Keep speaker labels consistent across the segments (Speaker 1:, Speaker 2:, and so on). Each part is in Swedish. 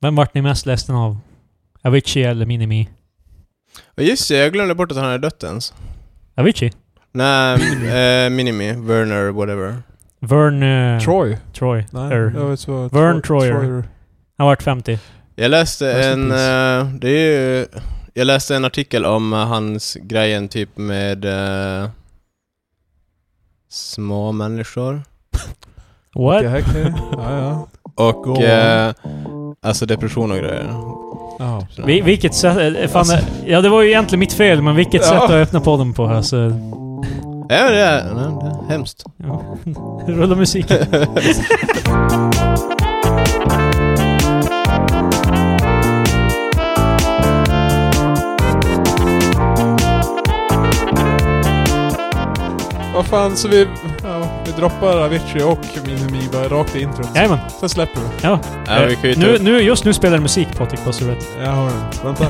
Speaker 1: Vem vart ni mest ledsen av? Avicii eller Minimi?
Speaker 2: Och just det, jag glömde bort att han hade dött ens.
Speaker 1: Avicii?
Speaker 2: Nej, eh, Minimi, Werner, whatever.
Speaker 1: Vern... eh,
Speaker 3: Troy?
Speaker 1: Troy.
Speaker 3: Nej,
Speaker 1: Er.
Speaker 3: jag vet vad-
Speaker 1: Vern
Speaker 3: Troy-
Speaker 1: Troyer. Han vart 50.
Speaker 2: Jag läste
Speaker 3: Rest
Speaker 2: en...
Speaker 3: in peace.
Speaker 2: eh, det är ju... Jag läste en artikel om eh, hans grejen typ med... eh, små människor.
Speaker 1: What?
Speaker 3: Vilka häcken? Ja, ja.
Speaker 2: Och...
Speaker 3: Go on.
Speaker 2: eh, alltså depression och grejer.
Speaker 3: Jaha.
Speaker 1: Vi, vilket sätt... eh, Fan, eh, ja, det var ju egentligen mitt fel, men vilket
Speaker 3: Ja.
Speaker 1: sätt att öppna podden på här så...
Speaker 2: Ja, men det är, nej, det är hemskt.
Speaker 1: Ja. Rulla musiken.
Speaker 3: Vad fan, så vi... Ja, vi droppar Avicii och Minimi bara rakt i introt.
Speaker 1: Jajamän.
Speaker 3: Sen släpper vi.
Speaker 1: Ja.
Speaker 2: Ja, vi kan ju ta
Speaker 1: nu,
Speaker 2: upp-
Speaker 1: nu, just nu spelar det musik, Patrik, bara så du vet.
Speaker 3: Jag har den. Vänta.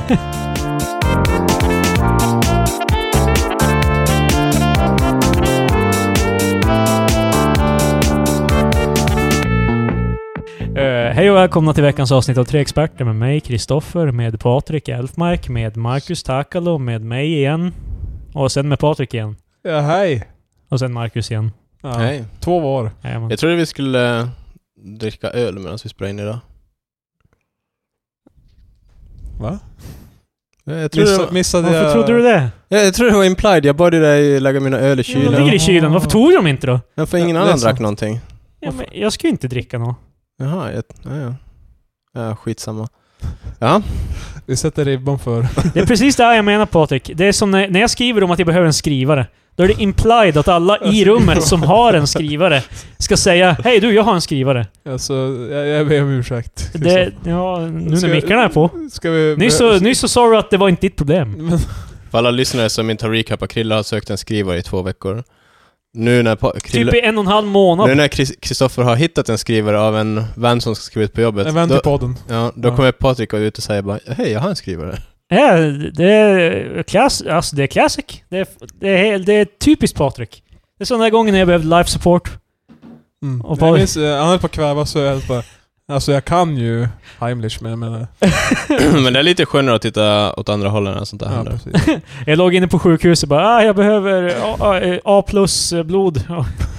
Speaker 1: Eh, hej och välkomna till veckans avsnitt av Tre Experter med mig, Kristoffer, med Patrik Elfmark, med Marcus Takalo, med mig igen. Och sen med Patrik igen.
Speaker 3: Ja, hej.
Speaker 1: Och sen Marcus igen.
Speaker 3: Ja,
Speaker 2: Nej.
Speaker 3: Två var.
Speaker 1: Jajamän.
Speaker 2: Jag trodde vi skulle eh, dricka öl medan vi spelade in idag.
Speaker 3: Va?
Speaker 2: Jag
Speaker 3: Missa,
Speaker 2: trodde,
Speaker 3: missade
Speaker 1: Varför
Speaker 3: jag...
Speaker 1: trodde du det?
Speaker 2: jag, jag trodde det var implied, jag bad ju dig lägga mina öl i
Speaker 1: Jo, De
Speaker 2: kylen.
Speaker 1: ligger i kylen. Varför tog de inte då?
Speaker 2: Men för ingen
Speaker 3: Ja, det är
Speaker 2: annan
Speaker 3: så.
Speaker 2: drack någonting.
Speaker 1: Ja, men jag ska ju inte dricka något.
Speaker 2: Jaha, jag, ja, ja. ja, skitsamma. Ja,
Speaker 3: Vi sätter ribban för...
Speaker 1: Det är precis det här jag menar Patrik. Det är som när, när jag skriver om att jag behöver en skrivare. Då är det implied att alla i rummet som har en skrivare ska säga Hej du, jag har en skrivare.
Speaker 3: Alltså, jag, jag ber om ursäkt.
Speaker 1: Det, ja, nu
Speaker 3: Ska-
Speaker 1: när mickarna är på.
Speaker 3: Ska vi...
Speaker 1: Nyss så, nyss så sa du att det var inte ditt problem.
Speaker 3: Men,
Speaker 2: för alla lyssnare som inte har recapat, Krille har sökt en skrivare i två veckor. Nu när pa- Krille,
Speaker 1: Typ i en och en halv månad.
Speaker 2: nu när Chris- Kristoffer har hittat en skrivare av en vän som ska skriva ut på jobbet,
Speaker 3: en vän till
Speaker 2: då,
Speaker 3: podden.
Speaker 2: ja, då
Speaker 3: Ja.
Speaker 2: kommer Patrik gå ut och säga bara Hej, jag har en skrivare.
Speaker 1: Ja, det är klass, alltså det är classic. Det är, det är, hel- det är typiskt Patrik. Det är sån där gången när jag behövde life support.
Speaker 3: Mm.
Speaker 1: Och
Speaker 3: Jag
Speaker 1: vad-
Speaker 3: minns, eh, han höll på att kväva så jag höll på... Alltså jag kan ju Heimlich men jag menar...
Speaker 2: Men det är lite skönare att titta åt andra hållet när sånt där
Speaker 3: Ja,
Speaker 2: händer.
Speaker 3: precis.
Speaker 1: Jag låg inne på sjukhuset och bara ah, jag behöver A- A- eh, A plus eh, blod.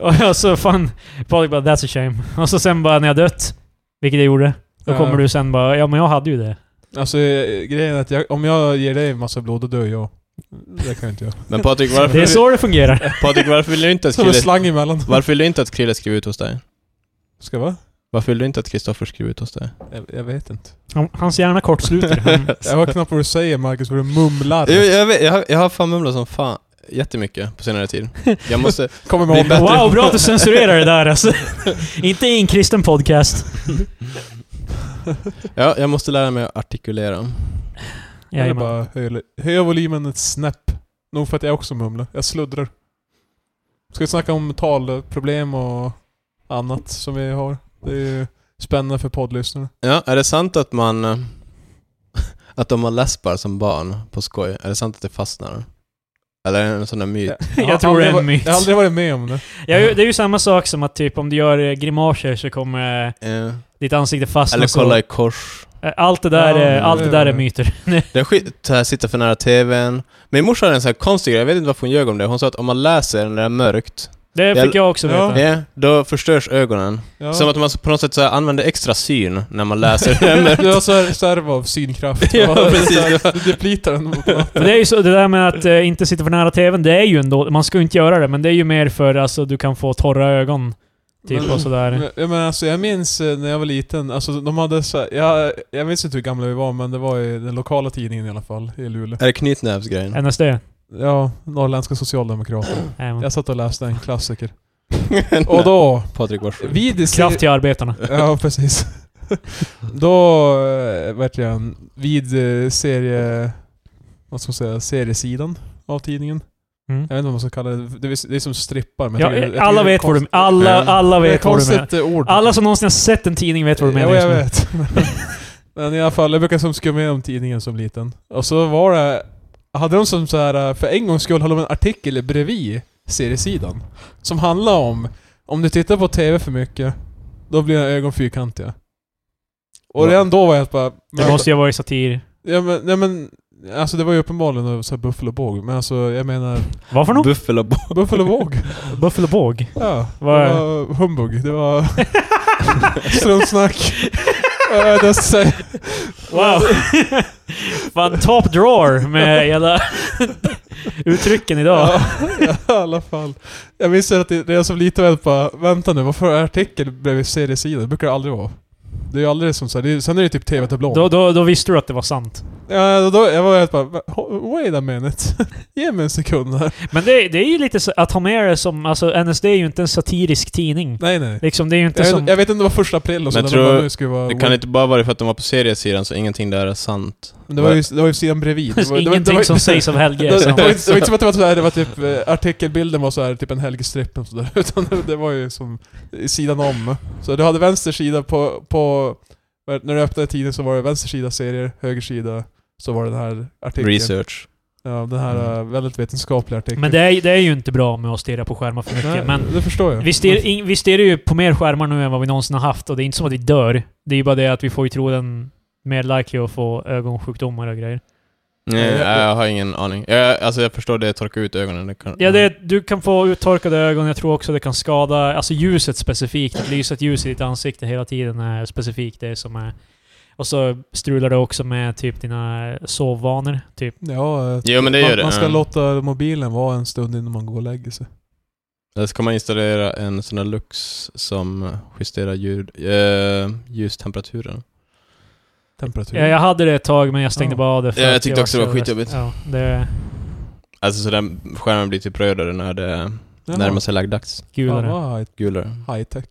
Speaker 1: och jag så fan, Patrik bara that's a shame. Och så sen bara när jag dött, vilket jag gjorde, då
Speaker 3: Ja.
Speaker 1: kommer du sen bara ja men jag hade ju det.
Speaker 3: Alltså eh, grejen är att jag, om jag ger dig en massa blod då dör jag. Det kan jag inte göra.
Speaker 2: Men Patrik,
Speaker 1: Det är
Speaker 2: varför,
Speaker 1: så det fungerar.
Speaker 2: Patrik, varför vill du inte att
Speaker 3: Som en
Speaker 2: Krille,
Speaker 3: slang emellan.
Speaker 2: varför vill du inte att Krille skriver ut hos dig?
Speaker 3: Ska va?
Speaker 2: Varför vill du inte att Kristoffer skriver ut hos dig?
Speaker 3: Jag, jag vet inte.
Speaker 1: Han- Hans hjärna kortsluter. Han-
Speaker 3: Jag hör knappt vad du säger Marcus, för du mumlar.
Speaker 2: Jag, jag, vet, jag, har, jag har fan mumlat som fan jättemycket på senare tid. Jag måste...
Speaker 3: Kommer
Speaker 2: Det är
Speaker 3: med åldern.
Speaker 2: bättre.
Speaker 1: Wow, bra att du censurerar det där alltså. Inte i en kristen podcast.
Speaker 2: Ja, jag måste lära mig att artikulera.
Speaker 3: Eller
Speaker 1: Jajamän.
Speaker 3: bara höja, höja volymen ett snäpp. Nog för att jag också mumlar. Jag sluddrar. Ska vi snacka om talproblem och annat som vi har? Det är ju spännande för poddlyssnarna.
Speaker 2: Ja, är det sant att man... eh, Att om man läspar som barn på skoj, är det sant att det fastnar? Eller är det en sån där myt?
Speaker 1: Jag tror det är
Speaker 3: aldrig
Speaker 1: en
Speaker 3: va-
Speaker 1: myt.
Speaker 3: Jag har aldrig varit med om det.
Speaker 1: Ja, ju- det är ju samma sak som att typ om du gör eh, grimaser så kommer eh,
Speaker 2: Eh,
Speaker 1: ditt ansikte fastna.
Speaker 2: eller
Speaker 1: så-
Speaker 2: kolla i kors.
Speaker 1: Eh, Allt det där,
Speaker 3: Ja,
Speaker 1: eh, allt det där
Speaker 3: det-
Speaker 1: är myter.
Speaker 2: Det är skit, så här, sitta för nära TVn. Min morsa hade en sån här konstig grej, jag vet inte varför hon ljög om det. Hon sa att om man läser när det är mörkt,
Speaker 1: Det
Speaker 2: Jag-
Speaker 1: fick jag också
Speaker 3: Ja.
Speaker 1: veta.
Speaker 2: eh, då förstörs ögonen.
Speaker 3: Ja.
Speaker 2: Som att man på något sätt så här, använder extra syn när man läser. det är mörkt.
Speaker 3: Du har så här reserv av synkraft.
Speaker 2: Ja, precis.
Speaker 3: Du depletar den mot
Speaker 1: Men det är ju så, det där med att eh, inte sitta för nära TVn, det är ju ändå, man ska ju inte göra det, men det är ju mer för alltså du kan få torra ögon. Typ
Speaker 3: Men-
Speaker 1: och sådär.
Speaker 3: Men- Ja, men alltså jag minns eh, när jag var liten, alltså de hade så här, jag, jag minns inte hur gamla vi var men det var i den lokala tidningen i alla fall, i Luleå.
Speaker 2: Är det knytnävsgrejen?
Speaker 1: NSD.
Speaker 3: Ja, Norrländska Socialdemokrater.
Speaker 1: Jajamän.
Speaker 3: Jag satt och läste en klassiker. Och då,
Speaker 2: Patrik, varsågod.
Speaker 3: vid i se-
Speaker 1: Kraft till arbetarna.
Speaker 3: Ja, precis. då eh, vart jag en- vid eh, serie... Vad ska man säga? Seriesidan av tidningen.
Speaker 1: Mm.
Speaker 3: Jag vet inte vad man ska kalla det. Det är, det är som strippar. Men jag
Speaker 1: Ja,
Speaker 3: tycker- jag tycker
Speaker 1: alla
Speaker 3: det är
Speaker 1: vet vad du
Speaker 3: konst-
Speaker 1: Alla,
Speaker 2: Mm.
Speaker 1: alla
Speaker 3: Det är
Speaker 1: vet vad du menar.
Speaker 3: konstigt eh, ord.
Speaker 1: Alla som någonsin har sett en tidning vet vad du menar liksom.
Speaker 3: Jo,
Speaker 1: just
Speaker 3: jag
Speaker 1: nu.
Speaker 3: vet. Men i alla fall, jag brukade som skumma igenom tidningen som liten. Och så var det... Hade de som så här för en gångs skull hade de en artikel bredvid seriesidan. Som handlar om, om du tittar på TV för mycket, då blir dina ögon fyrkantiga. Och redan då var jag bara...
Speaker 1: Det måste ju ha varit satir.
Speaker 3: ja, men, nej, men, alltså det var ju uppenbarligen så här Buffalo båg, men alltså jag menar...
Speaker 1: Vad för något?
Speaker 2: Buffalo Bob.
Speaker 3: Buffalo båg?
Speaker 1: Buffalo båg?
Speaker 3: Ja.
Speaker 1: Vad
Speaker 3: Det
Speaker 1: är-
Speaker 3: var humbug. Det var struntsnack. Vad är det att säga?
Speaker 1: Wow! Fan, top drawer med hela uttrycken idag.
Speaker 3: Ja, i alla fall. Jag minns att det det är som lite väl bara, vänta nu, varför är artikel bredvid seriesidan? Det brukar det aldrig vara. Det är ju aldrig som så här, det är, sen är det typ TV-tablån.
Speaker 1: Då, då, då visste du att det var sant.
Speaker 3: Ja, då, då, jag var helt bara, "Va- wait a minute. Ge mig en sekund här.
Speaker 1: Men det, det är ju lite så, att ha med det som... Alltså NSD är ju inte en satirisk tidning.
Speaker 3: Nej, nej.
Speaker 1: Liksom, det är ju inte
Speaker 3: Jag,
Speaker 1: som...
Speaker 3: vet- jag vet inte, det var första april och så,
Speaker 2: Men
Speaker 3: där
Speaker 2: tror-
Speaker 3: man bara, nu ska vi vara,
Speaker 2: Det kan inte bara vara för att de var på seriesidan så ingenting där är sant.
Speaker 3: Men det var ju, det var ju sidan bredvid. Det var, det var, det
Speaker 1: Ingenting
Speaker 3: var,
Speaker 1: som sägs av
Speaker 3: Det
Speaker 1: Helge. liksom.
Speaker 3: var,
Speaker 1: är
Speaker 3: det, var,
Speaker 1: sant.
Speaker 3: det var inte det var inte som att det var såhär, det var typ eh, artikelbilden var såhär, typ en helgestripp och sådär. Utan det, det var ju som i sidan om. Så du hade vänster sida på, på... När du öppnade tidningen så var det vänster sida serier, höger sida så var det den här artikeln.
Speaker 2: Research. Mm.
Speaker 3: Ja, den här eh, väldigt vetenskapliga artikeln.
Speaker 1: Men det är, det är ju inte bra med att stirra på skärmar för mycket.
Speaker 3: Nej,
Speaker 1: Men
Speaker 3: det förstår jag.
Speaker 1: vi stirrar, in, vi stirrar ju på mer skärmar nu än vad vi någonsin har haft. Och det är inte som att vi dör. Det är ju bara det att vi får ju tro den mer likely att få ögonsjukdomar och grejer.
Speaker 2: Nej,
Speaker 3: Ja,
Speaker 2: jag,
Speaker 3: jag-
Speaker 2: har ingen aning. Jag, alltså jag förstår det, torka ut ögonen. Det kan, Mm.
Speaker 1: Ja, det, du kan få uttorkade ögon. Jag tror också det kan skada... Alltså ljuset specifikt. Att lysa ett ljus i ditt ansikte hela tiden är specifikt det som är... Och så strular det också med typ dina sovvanor. Typ.
Speaker 3: Ja, eh,
Speaker 2: Jo men det gör
Speaker 3: man,
Speaker 2: det.
Speaker 3: man ska
Speaker 2: Ja.
Speaker 3: låta mobilen vara en stund innan man går och lägger sig.
Speaker 2: Eller så kan man installera en sån där lux som justerar ljud, eh, ljustemperaturen.
Speaker 3: Temperatur.
Speaker 1: Ja, jag hade det ett tag men jag stängde
Speaker 3: Typ. Ja.
Speaker 1: bara av det för
Speaker 2: Ja, jag
Speaker 1: att
Speaker 2: tyckte
Speaker 1: vart
Speaker 2: också det var
Speaker 1: så-
Speaker 2: skitjobbigt.
Speaker 1: Ja, det...
Speaker 2: Alltså så den skärmen blir typ rödare när det
Speaker 3: Jaha.
Speaker 2: närmar sig lagdags.
Speaker 1: Gulare.
Speaker 3: Fan, vad high-
Speaker 2: Gulare.
Speaker 3: high tech.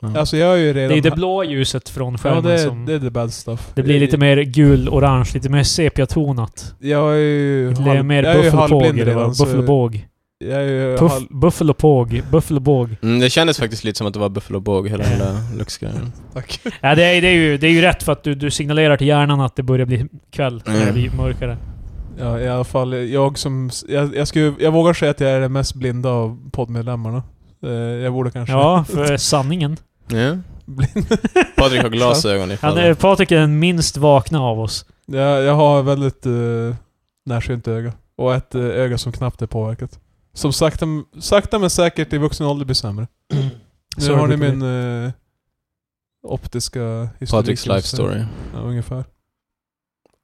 Speaker 2: Ja.
Speaker 3: Alltså jag är ju redan...
Speaker 1: Det är det blå ljuset från
Speaker 3: ja,
Speaker 1: skärmen
Speaker 3: det, är-
Speaker 1: som...
Speaker 3: det
Speaker 1: liksom. Det,
Speaker 3: är the bad stuff.
Speaker 1: blir lite mer gul-orange, lite mer sepiatonat.
Speaker 3: Jag är ju
Speaker 1: Lite mer
Speaker 3: jag är ju
Speaker 1: buffelpåg.
Speaker 3: halvblind
Speaker 1: eller vad?
Speaker 3: redan, så
Speaker 1: Buffelbåg.
Speaker 3: Jag är ju
Speaker 1: Puff-
Speaker 3: halv...
Speaker 1: Buffelopåg. Buffelbåg.
Speaker 2: Mm, det kändes faktiskt lite som att det var Buffalo Båg, hela den
Speaker 1: Ja.
Speaker 2: där luxgrejen.
Speaker 3: Tack.
Speaker 1: Ja, det, är, det, är ju, det är ju rätt för att du, du signalerar till hjärnan att det börjar bli kväll. När det
Speaker 2: Mm.
Speaker 1: blir mörkare.
Speaker 3: Ja, i alla fall. Jag som... Jag, jag, skulle, jag vågar säga att jag är den mest blinda av poddmedlemmarna. Eh, Jag borde kanske...
Speaker 1: Ja, för sanningen.
Speaker 2: Ja.
Speaker 3: Blind.
Speaker 2: Patrik har glasögon ifall...
Speaker 1: Han är, Patrik är den minst vakna av oss.
Speaker 3: Jag, jag har väldigt eh, närsynt öga. Och ett eh, öga som knappt är påverkat. Som sakta, sakta men säkert i vuxen ålder blir sämre. Nu
Speaker 1: Så
Speaker 3: har ni
Speaker 1: brukar
Speaker 3: min eh, optiska historik.
Speaker 2: Patriks life story.
Speaker 3: Ja, ungefär.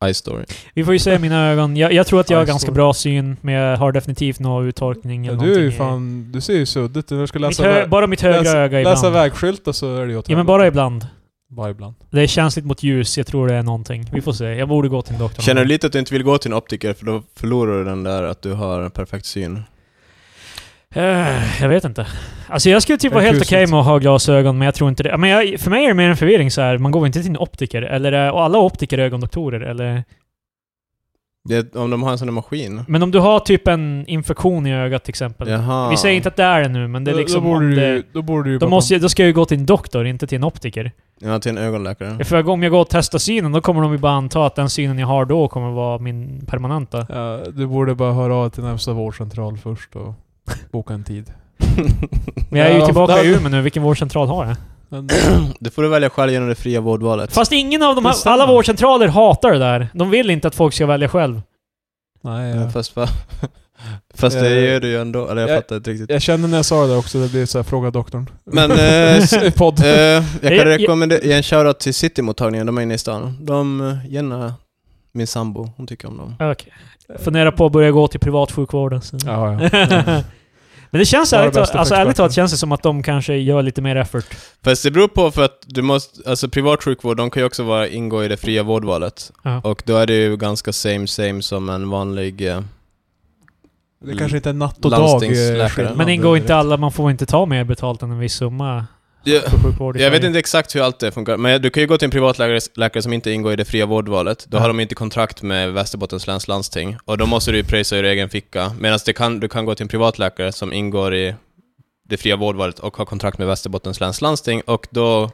Speaker 2: Eye story.
Speaker 1: Vi får ju se mina ögon. Jag, jag tror att jag har
Speaker 3: Ja, jag
Speaker 1: ganska
Speaker 3: såg.
Speaker 1: bra syn, men jag har definitivt någon uttorkning
Speaker 3: Ja,
Speaker 1: eller
Speaker 3: du är ju
Speaker 1: någonting.
Speaker 3: fan... Du ser ju suddigt ut. När du ska
Speaker 1: mitt
Speaker 3: läsa...
Speaker 1: hö- bara mitt högra
Speaker 3: läs-
Speaker 1: öga ibland.
Speaker 3: Läsa vägskyltar så är det ju åt
Speaker 1: Ja, men
Speaker 3: helvete.
Speaker 1: bara ibland.
Speaker 3: Bara ibland.
Speaker 1: Det är känsligt mot ljus, jag tror det är någonting. Vi får se. Jag borde gå till doktorn.
Speaker 2: Känner du lite att du inte vill gå till en optiker för då förlorar du den där att du har perfekt syn?
Speaker 1: Eh, Jag vet inte. Alltså jag skulle typ
Speaker 3: En
Speaker 1: vara helt
Speaker 3: kusligt.
Speaker 1: okej med att ha glasögon, men jag tror inte det. Men jag, för mig är det mer en förvirring så här. man går väl inte till en optiker? Eller är och alla optiker är ögondoktorer? Eller?
Speaker 2: Det, om de har en sån där maskin?
Speaker 1: Men om du har typ en infektion i ögat till exempel.
Speaker 2: Jaha.
Speaker 1: Vi säger inte att det är det nu, men det är
Speaker 3: Då-
Speaker 1: liksom...
Speaker 3: då,
Speaker 1: om
Speaker 3: borde du,
Speaker 1: det,
Speaker 3: ju- då borde du ju
Speaker 1: då,
Speaker 3: bara-
Speaker 1: måste jag, då ska jag ju gå till en doktor, inte till en optiker.
Speaker 2: Ja, till en
Speaker 3: Mm.
Speaker 2: ögonläkare.
Speaker 1: För om jag går och testar synen, då kommer de ju bara anta att den synen jag har då kommer vara min permanenta.
Speaker 3: Ja, du borde bara höra av till närmsta vårdcentral först och boka en tid.
Speaker 1: Men jag är ju
Speaker 3: Ja,
Speaker 1: tillbaka
Speaker 3: där-
Speaker 1: i Umeå nu, vilken vårdcentral har jag?
Speaker 3: Men,
Speaker 2: Det får du välja själv genom det fria vårdvalet.
Speaker 1: Fast ingen av de
Speaker 3: Det
Speaker 1: här,
Speaker 3: stämmer.
Speaker 1: alla vårdcentraler hatar det där. De vill inte att folk ska välja själv.
Speaker 3: nej,
Speaker 2: Ja,
Speaker 3: jag,
Speaker 2: Fast, va? Fast det
Speaker 1: Eh,
Speaker 2: gör du ju ändå. Eller jag,
Speaker 3: Jag-
Speaker 2: fattar inte riktigt.
Speaker 3: jag kände när jag sa det där också, det blev så här, fråga doktorn.
Speaker 2: Men... Eh, s-
Speaker 3: I podd.
Speaker 2: eh,
Speaker 1: Jag-
Speaker 2: jag kan
Speaker 1: jag-
Speaker 2: rekommendera... Ge en shoutout till Citymottagningen, de är inne i stan. De eh, gärna min sambo, hon tycker om dem.
Speaker 1: Okej. Funderar på att börja gå till privatsjukvården sen.
Speaker 3: Ja, ja.
Speaker 1: Men det känns
Speaker 3: Det var det
Speaker 1: ärligt talat,
Speaker 3: bästa
Speaker 1: alltså
Speaker 3: för
Speaker 1: ärligt talat
Speaker 3: experten.
Speaker 1: känns det som att de kanske gör lite mer effort.
Speaker 2: Fast det beror på för att du måste, alltså privat sjukvård, de kan ju också vara, ingå i det fria vårdvalet.
Speaker 1: Ja.
Speaker 2: Och då är det ju ganska same same som en vanlig... Eh,
Speaker 3: Det kanske inte är natt och dag. eh,
Speaker 2: Landstingsläkare.
Speaker 3: skillnad.
Speaker 1: Men ingår inte alla, man får inte ta mer betalt än en viss summa
Speaker 2: ja,
Speaker 1: för sjukvård i
Speaker 2: jag vet
Speaker 1: Sverige.
Speaker 2: inte exakt hur allt det funkar, men du kan ju gå till en privatläkare läkare som inte ingår i det fria vårdvalet. Då
Speaker 1: Ja.
Speaker 2: har de inte kontrakt med Västerbottens läns landsting. Och då måste du ju pröjsa ur egen ficka. Medan det kan, du kan gå till en privatläkare som ingår i det fria vårdvalet och har kontrakt med Västerbottens läns landsting. Och då...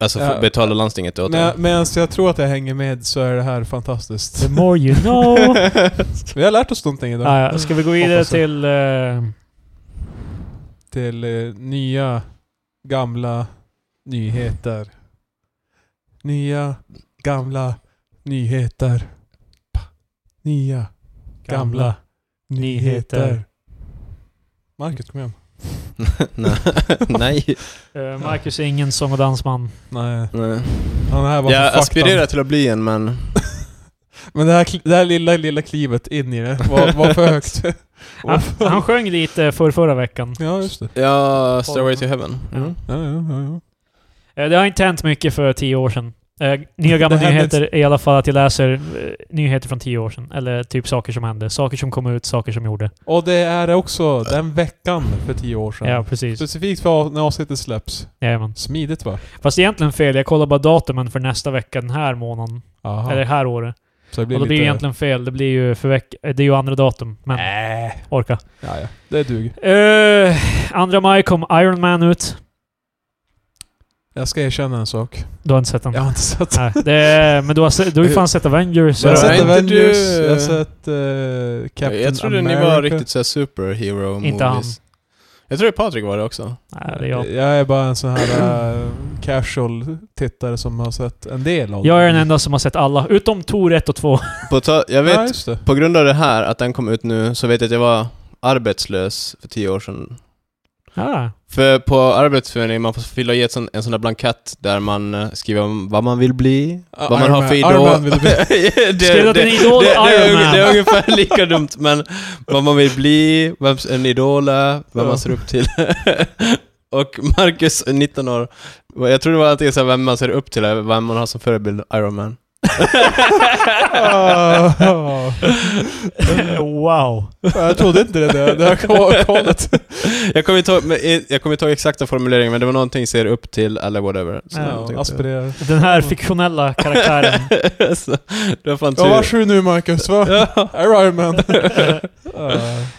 Speaker 2: Alltså
Speaker 3: Ja.
Speaker 2: ja. betalar landstinget åt dig.
Speaker 3: Men, medan jag tror att jag hänger med så är det här fantastiskt.
Speaker 1: The more you know.
Speaker 3: Vi har lärt oss någonting idag.
Speaker 1: Ah, ja. Ska vi gå vidare
Speaker 3: Hoppas det.
Speaker 1: till... eh,
Speaker 3: Till eh, nya, gamla nyheter. Nya, gamla, nyheter. Pa. Nya, gamla, nyheter. Marcus, kom igen.
Speaker 2: Nej. Nej.
Speaker 1: Eh, Marcus är ingen sång och dansman.
Speaker 3: Nej,
Speaker 2: Nej.
Speaker 3: han är här bara
Speaker 2: Jag
Speaker 3: för faktan.
Speaker 2: aspirerar till att bli en, men...
Speaker 3: Men det här, kli- det här lilla, lilla klivet in i det var, var för högt.
Speaker 1: Han, han sjöng lite för förra veckan.
Speaker 3: ja, just det.
Speaker 2: Ja, Stairway to Heaven. Mm.
Speaker 3: Ja, ja, ja, ja.
Speaker 1: Eh, Det har inte hänt mycket för tio år sedan. Eh, Nya gamla
Speaker 3: Det hände
Speaker 1: nyheter är i alla fall att jag läser eh, nyheter från tio år sedan. Eller typ saker som hände. Saker som kom ut, saker som gjorde.
Speaker 3: Och det är också den veckan för tio år sedan.
Speaker 1: Ja, precis.
Speaker 3: Specifikt för när avsnittet släpps.
Speaker 1: Jajamän.
Speaker 3: Smidigt va?
Speaker 1: Fast egentligen fel. Jag kollar bara datumen för nästa vecka den här månaden.
Speaker 3: Aha.
Speaker 1: Eller det här året.
Speaker 3: så det
Speaker 1: Och då blir det egentligen fel. Det blir ju för veck- eh, Det är ju andra datum. Men
Speaker 3: Äh.
Speaker 1: orka.
Speaker 3: Ja, ja. Det duger.
Speaker 1: Eh, Andra maj kom Iron Man ut.
Speaker 3: Jag ska erkänna en sak.
Speaker 1: Du har inte sett den?
Speaker 3: Jag har inte sett den.
Speaker 1: Nej, det är, men du har, se, du har ju fan sett Avengers.
Speaker 3: Jag har
Speaker 2: Var
Speaker 3: sett
Speaker 2: inte
Speaker 3: Avengers,
Speaker 2: du-
Speaker 3: jag har sett eh, Captain
Speaker 2: Jag trodde
Speaker 3: America.
Speaker 2: ni var riktigt såhär superhero movies.
Speaker 1: Inte han.
Speaker 2: Jag tror Patrik var det också.
Speaker 1: Nej, det är jag.
Speaker 3: Jag är bara en sån här eh, casual tittare som har sett en del av
Speaker 1: Jag är
Speaker 3: den.
Speaker 1: den enda som har sett alla, utom Tor 1 och 2.
Speaker 2: På ta- jag
Speaker 3: Ja,
Speaker 2: vet,
Speaker 3: just det.
Speaker 2: på grund av det här, att den kom ut nu, så vet jag att jag var arbetslös för tio år sedan.
Speaker 1: Ah,
Speaker 2: För på Arbetsförmedlingen, man får fylla i ett sån, en sån där blankett där man eh, skriver om vad man vill bli,
Speaker 3: Ja,
Speaker 2: vad man
Speaker 3: Iron
Speaker 2: har
Speaker 3: Man-
Speaker 2: för idol.
Speaker 3: Iron Man vill du bli.
Speaker 2: det,
Speaker 1: Skrev du att en idol
Speaker 2: det,
Speaker 1: är
Speaker 2: det,
Speaker 1: Iron
Speaker 2: är,
Speaker 1: Man?
Speaker 2: det är ungefär lika dumt, men vad man vill bli, vem en idol är, vem
Speaker 3: Ja.
Speaker 2: man ser upp till. Och Marcus, 19 år, jag tror det var antingen så här vem man ser upp till, eller vem man har som förebild, Iron Man.
Speaker 3: Ah,
Speaker 1: wow.
Speaker 3: jag trodde inte det. där. Det här kom- kollet.
Speaker 2: Jag kommer inte ihåg, men, eh, jag kommer inte ihåg exakta formuleringen, men det var någonting ser upp till eller whatever. Så
Speaker 1: Ja,
Speaker 2: någonting
Speaker 3: Ja,
Speaker 2: åt det.
Speaker 3: aspirerar.
Speaker 1: Den här fiktionella karaktären.
Speaker 2: så, det var fan
Speaker 3: Ja,
Speaker 2: tur.
Speaker 3: varsågod nu Marcus. Va? Är Iron Man. Ah.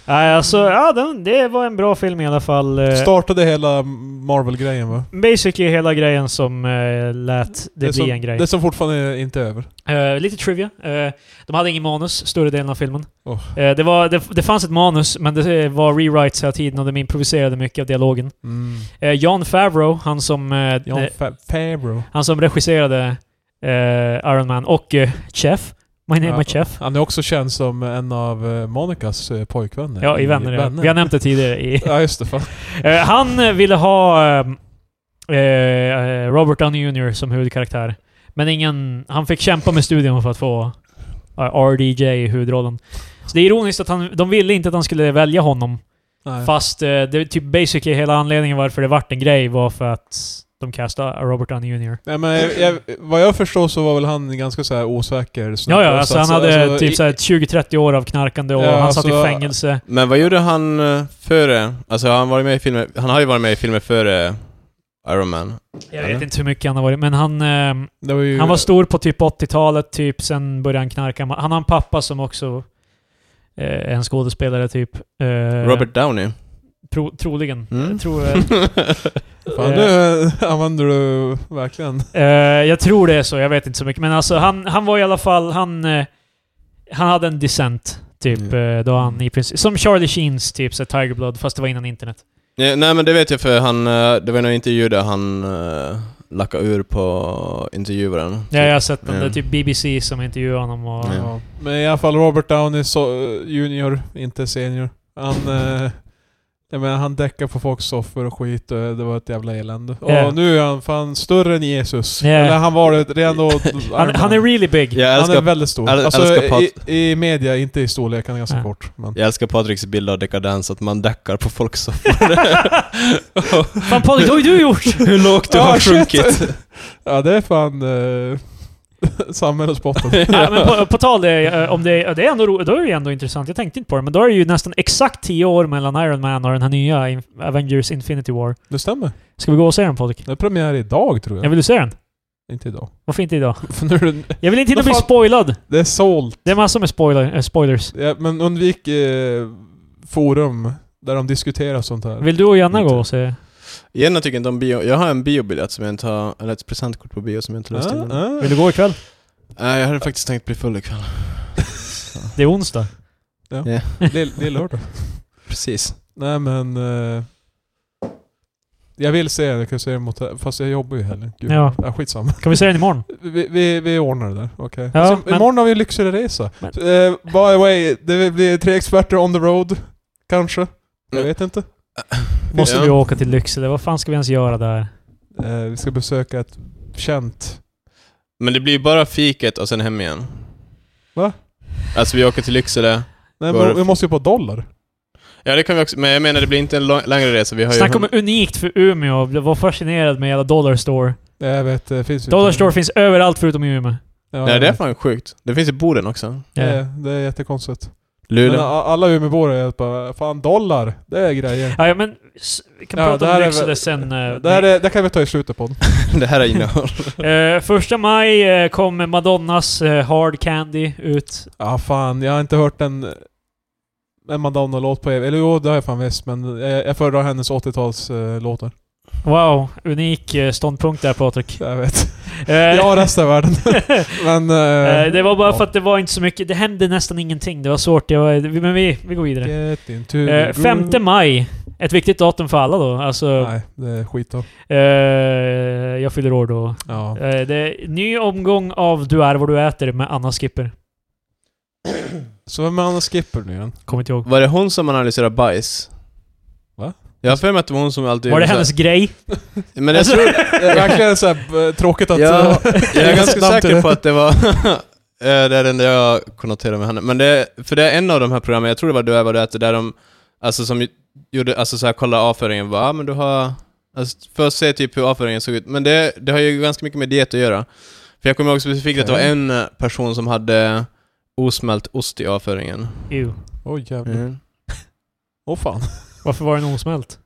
Speaker 1: Nej, alltså, ja, den, det var en bra film i alla fall. Eh,
Speaker 3: Startade hela Marvel-grejen va?
Speaker 1: Basically hela grejen som eh, lät det, bli
Speaker 3: som,
Speaker 1: en grej.
Speaker 3: Det som fortfarande är inte är över.
Speaker 1: Eh, lite trivia. Eh, de hade ingen manus större delen av filmen.
Speaker 3: Oh.
Speaker 1: Eh, det, var, det, det fanns ett manus, men det var rewrites hela tiden och de improviserade mycket av dialogen.
Speaker 3: Mm.
Speaker 1: Eh, Jon Favreau, han som, eh,
Speaker 3: Jon
Speaker 1: eh,
Speaker 3: Fa- Favreau.
Speaker 1: han som regisserade eh, Iron Man och eh, Chef. My name
Speaker 3: Ja.
Speaker 1: is Chef.
Speaker 3: Han är också känd som en av eh, Monicas eh, pojkvänner.
Speaker 1: Ja, i Vänner. ja. Vi har nämnt det tidigare. I,
Speaker 3: Ja, just det. Fan.
Speaker 1: Eh, han eh, ville ha ehm, eh, Robert Downey Jr som huvudkaraktär. Men ingen, han fick kämpa med studion för att få eh, RDJ i huvudrollen. Så det är ironiskt att han, de ville inte att han skulle välja honom.
Speaker 3: Nej.
Speaker 1: Fast eh, det är typ basically hela anledningen varför det vart en grej var för att de castade Robert Downey Jr.
Speaker 3: Nej, men jag, jag, vad jag förstår så var väl han ganska så här osäker. snubbe.
Speaker 1: Ja, ja, alltså
Speaker 3: Så
Speaker 1: han
Speaker 3: att-
Speaker 1: hade
Speaker 3: alltså,
Speaker 1: typ
Speaker 3: i-
Speaker 1: såhär 20-30 år av knarkande och
Speaker 3: Ja,
Speaker 1: han satt i
Speaker 3: alltså-
Speaker 1: fängelse.
Speaker 2: Men vad gjorde han eh, före? Alltså har han varit med i filmer, han har ju varit med i filmer före Iron Man.
Speaker 1: Jag
Speaker 2: Eller?
Speaker 1: vet inte hur mycket han har varit, men han... ehm,
Speaker 3: det var ju,
Speaker 1: Han var stor på typ 80-talet, typ sen började han knarka. Han har en pappa som också eh, är en skådespelare typ. Eh,
Speaker 2: Robert Downey.
Speaker 1: Tro, troligen.
Speaker 2: Mm.
Speaker 1: Jag, tror, eh,
Speaker 3: Fan, nu använder du verkligen...
Speaker 1: eh, jag tror det är så, jag vet inte så mycket. Men alltså han, han var i alla fall, han, eh, han hade en dissent typ eh, då han i princip, som Charlie Sheens typ så här Tiger Blood, fast det var innan internet.
Speaker 2: Nej, nej men det vet jag för han, eh, det var en intervju där han uh, lackade ur på intervjuaren.
Speaker 1: Ja, jag har sett den,
Speaker 2: Ja.
Speaker 1: det är typ BBC som intervjuade honom och...
Speaker 2: Ja.
Speaker 3: Ja. Men i alla fall Robert Downey så, junior, inte senior. Han... Eh, jag menar, han däckade på folks soffor och skit och det var ett jävla elände.
Speaker 1: Ja.
Speaker 3: Och nu är han fan större än Jesus.
Speaker 1: Ja.
Speaker 3: Eller han var det redan då...
Speaker 1: Han, han är really big.
Speaker 2: Jag
Speaker 3: Han är
Speaker 2: älskar,
Speaker 3: väldigt stor.
Speaker 2: äl-
Speaker 3: Alltså,
Speaker 2: älskar
Speaker 3: i, I media, inte i storlek, han är ganska
Speaker 1: Ja.
Speaker 3: kort. Men.
Speaker 2: jag älskar Patriks bild av dekadens, att man däckar på folk så
Speaker 1: Fan Patrik, vad har ju du gjort?
Speaker 2: Hur lågt du
Speaker 3: Ah,
Speaker 2: har
Speaker 3: shit.
Speaker 2: sjunkit.
Speaker 3: Ja, det är fan eh, samhällsbotten.
Speaker 1: Ja, men på, på tal det, eh, om det, eh, det är ändå, ro- då är det ju ändå intressant. Jag tänkte inte på det, men då är det ju nästan exakt 10 år mellan Iron Man och den här nya In- Avengers Infinity War.
Speaker 3: det stämmer.
Speaker 1: Ska vi gå och se den Patrik?
Speaker 3: Det är premiär idag tror jag.
Speaker 1: Jag vill du se den?
Speaker 3: Inte idag.
Speaker 1: Varför inte idag?
Speaker 3: För nu är det,
Speaker 1: Jag vill inte hinna
Speaker 3: Vad
Speaker 1: bli
Speaker 3: fan?
Speaker 1: spoilad.
Speaker 3: det är sålt.
Speaker 1: Det är massor med spoiler, eh, spoilers.
Speaker 3: Ja, men undvik eh, forum där de diskuterar sånt här.
Speaker 1: Vill du och Janna
Speaker 2: Inte.
Speaker 1: gå och se?
Speaker 2: Jenna tycker inte om bio. Jag har en biobiljett som jag inte har, eller ett presentkort på bio som jag inte
Speaker 3: Ja,
Speaker 2: löst in. än.
Speaker 3: ja.
Speaker 1: Vill du gå ikväll?
Speaker 2: Nej, jag hade faktiskt tänkt bli full ikväll.
Speaker 1: Det är onsdag.
Speaker 3: Lill- Lill-lördag.
Speaker 2: Precis.
Speaker 3: Nej men... Eh, Jag vill se det, jag kan se det mot Fast jag jobbar ju heller. Gud.
Speaker 1: Ja.
Speaker 3: Ja, skitsamma.
Speaker 1: Kan vi se den imorgon?
Speaker 3: Vi, vi, vi ordnar det där, okej.
Speaker 1: Ja,
Speaker 3: Sen,
Speaker 1: men-
Speaker 3: Imorgon har vi en lyxigare resa.
Speaker 1: Men-
Speaker 3: Så, eh, by the way, det blir tre experter on the road. Kanske. Jag
Speaker 2: Mm.
Speaker 3: vet inte.
Speaker 1: Måste
Speaker 2: Ja.
Speaker 1: vi åka till Lycksele? Vad fan ska vi ens göra där?
Speaker 3: Eh, vi ska besöka ett känt...
Speaker 2: Men det blir ju bara fiket och sen hem igen.
Speaker 3: Va?
Speaker 2: Alltså vi åker till Lycksele.
Speaker 3: Nej,
Speaker 2: Var-
Speaker 3: men vi måste ju på dollar.
Speaker 2: Ja, det kan vi också. Men jag menar, det blir inte en lång, längre resa. Vi har ju...
Speaker 1: Snacka om unikt för Umeå. Jag var fascinerad med hela Dollar Store.
Speaker 3: Jag vet, det finns ju...
Speaker 1: Typ. Dollar Store finns överallt förutom i Umeå. Eh,
Speaker 3: Ja,
Speaker 2: Nej,
Speaker 3: jag
Speaker 2: det är
Speaker 3: vet.
Speaker 2: fan sjukt. Det finns i Boden också.
Speaker 1: Ja.
Speaker 3: Det, det är jättekonstigt. Men
Speaker 2: Luleå.
Speaker 3: a- alla Umeåbor är bara, fan dollar, det är grejer.
Speaker 1: Ja, ja, men s- vi kan
Speaker 3: Ja, det
Speaker 1: prata
Speaker 3: här
Speaker 1: om
Speaker 3: är
Speaker 1: Lycksele
Speaker 3: väl-
Speaker 1: sen. eh,
Speaker 3: Det, här är, det kan vi ta i slutet på.
Speaker 2: det här är innehåll.
Speaker 1: Eh, första maj eh, kommer Madonnas eh, Hard Candy ut.
Speaker 3: Ja, fan, jag har inte hört en, en Madonna-låt på Eller jo, det har jag fan visst, men jag, jag föredrar hennes 80-talslåtar.
Speaker 1: Wow, unik eh, ståndpunkt där Patrik.
Speaker 3: jag vet.
Speaker 1: Eh,
Speaker 3: Jag och resten av världen. men... eh,
Speaker 1: eh, det var bara
Speaker 3: ja.
Speaker 1: för att det var inte så mycket. Det hände nästan ingenting. Det var svårt. Det var, vi- men vi, vi går vidare.
Speaker 3: Get into the
Speaker 1: Eh, 5
Speaker 3: groove.
Speaker 1: maj. Ett viktigt datum för alla då. Alltså,
Speaker 3: Nej, det är skit då.
Speaker 1: eh, jag fyller år då.
Speaker 3: Ja.
Speaker 1: Eh, det är ny omgång av Du är vad du äter med Anna Skipper.
Speaker 3: Så vem är Anna Skipper nu igen?
Speaker 1: Kommer inte ihåg.
Speaker 2: Var det hon som analyserade bajs?
Speaker 3: Va?
Speaker 2: Jag har för mig att det var hon som alltid...
Speaker 1: Var det
Speaker 2: så här-
Speaker 1: hennes grej?
Speaker 2: Men
Speaker 3: Alltså,
Speaker 2: jag, tror,
Speaker 3: Det är verkligen såhär tråkigt att...
Speaker 2: Ja. jag är ganska
Speaker 3: namn till
Speaker 2: säker
Speaker 3: det.
Speaker 2: på att det var... eh, det är det enda jag konnoterar med henne. Men det, för det är en av de här programmen, jag tror det var Du är vad du äter, där de... Alltså som ju- gjorde, alltså så här kolla avföringen, va? Ah, men du har... Alltså, först se typ hur avföringen såg ut, men det, det har ju ganska mycket med diet att göra. För jag kommer ihåg specifikt att det var
Speaker 3: Okej.
Speaker 2: en eh, person som hade osmält ost i avföringen.
Speaker 1: Ew.
Speaker 3: Oj jävlar. Åh
Speaker 2: Mm.
Speaker 3: fan.
Speaker 1: Varför var den osmält?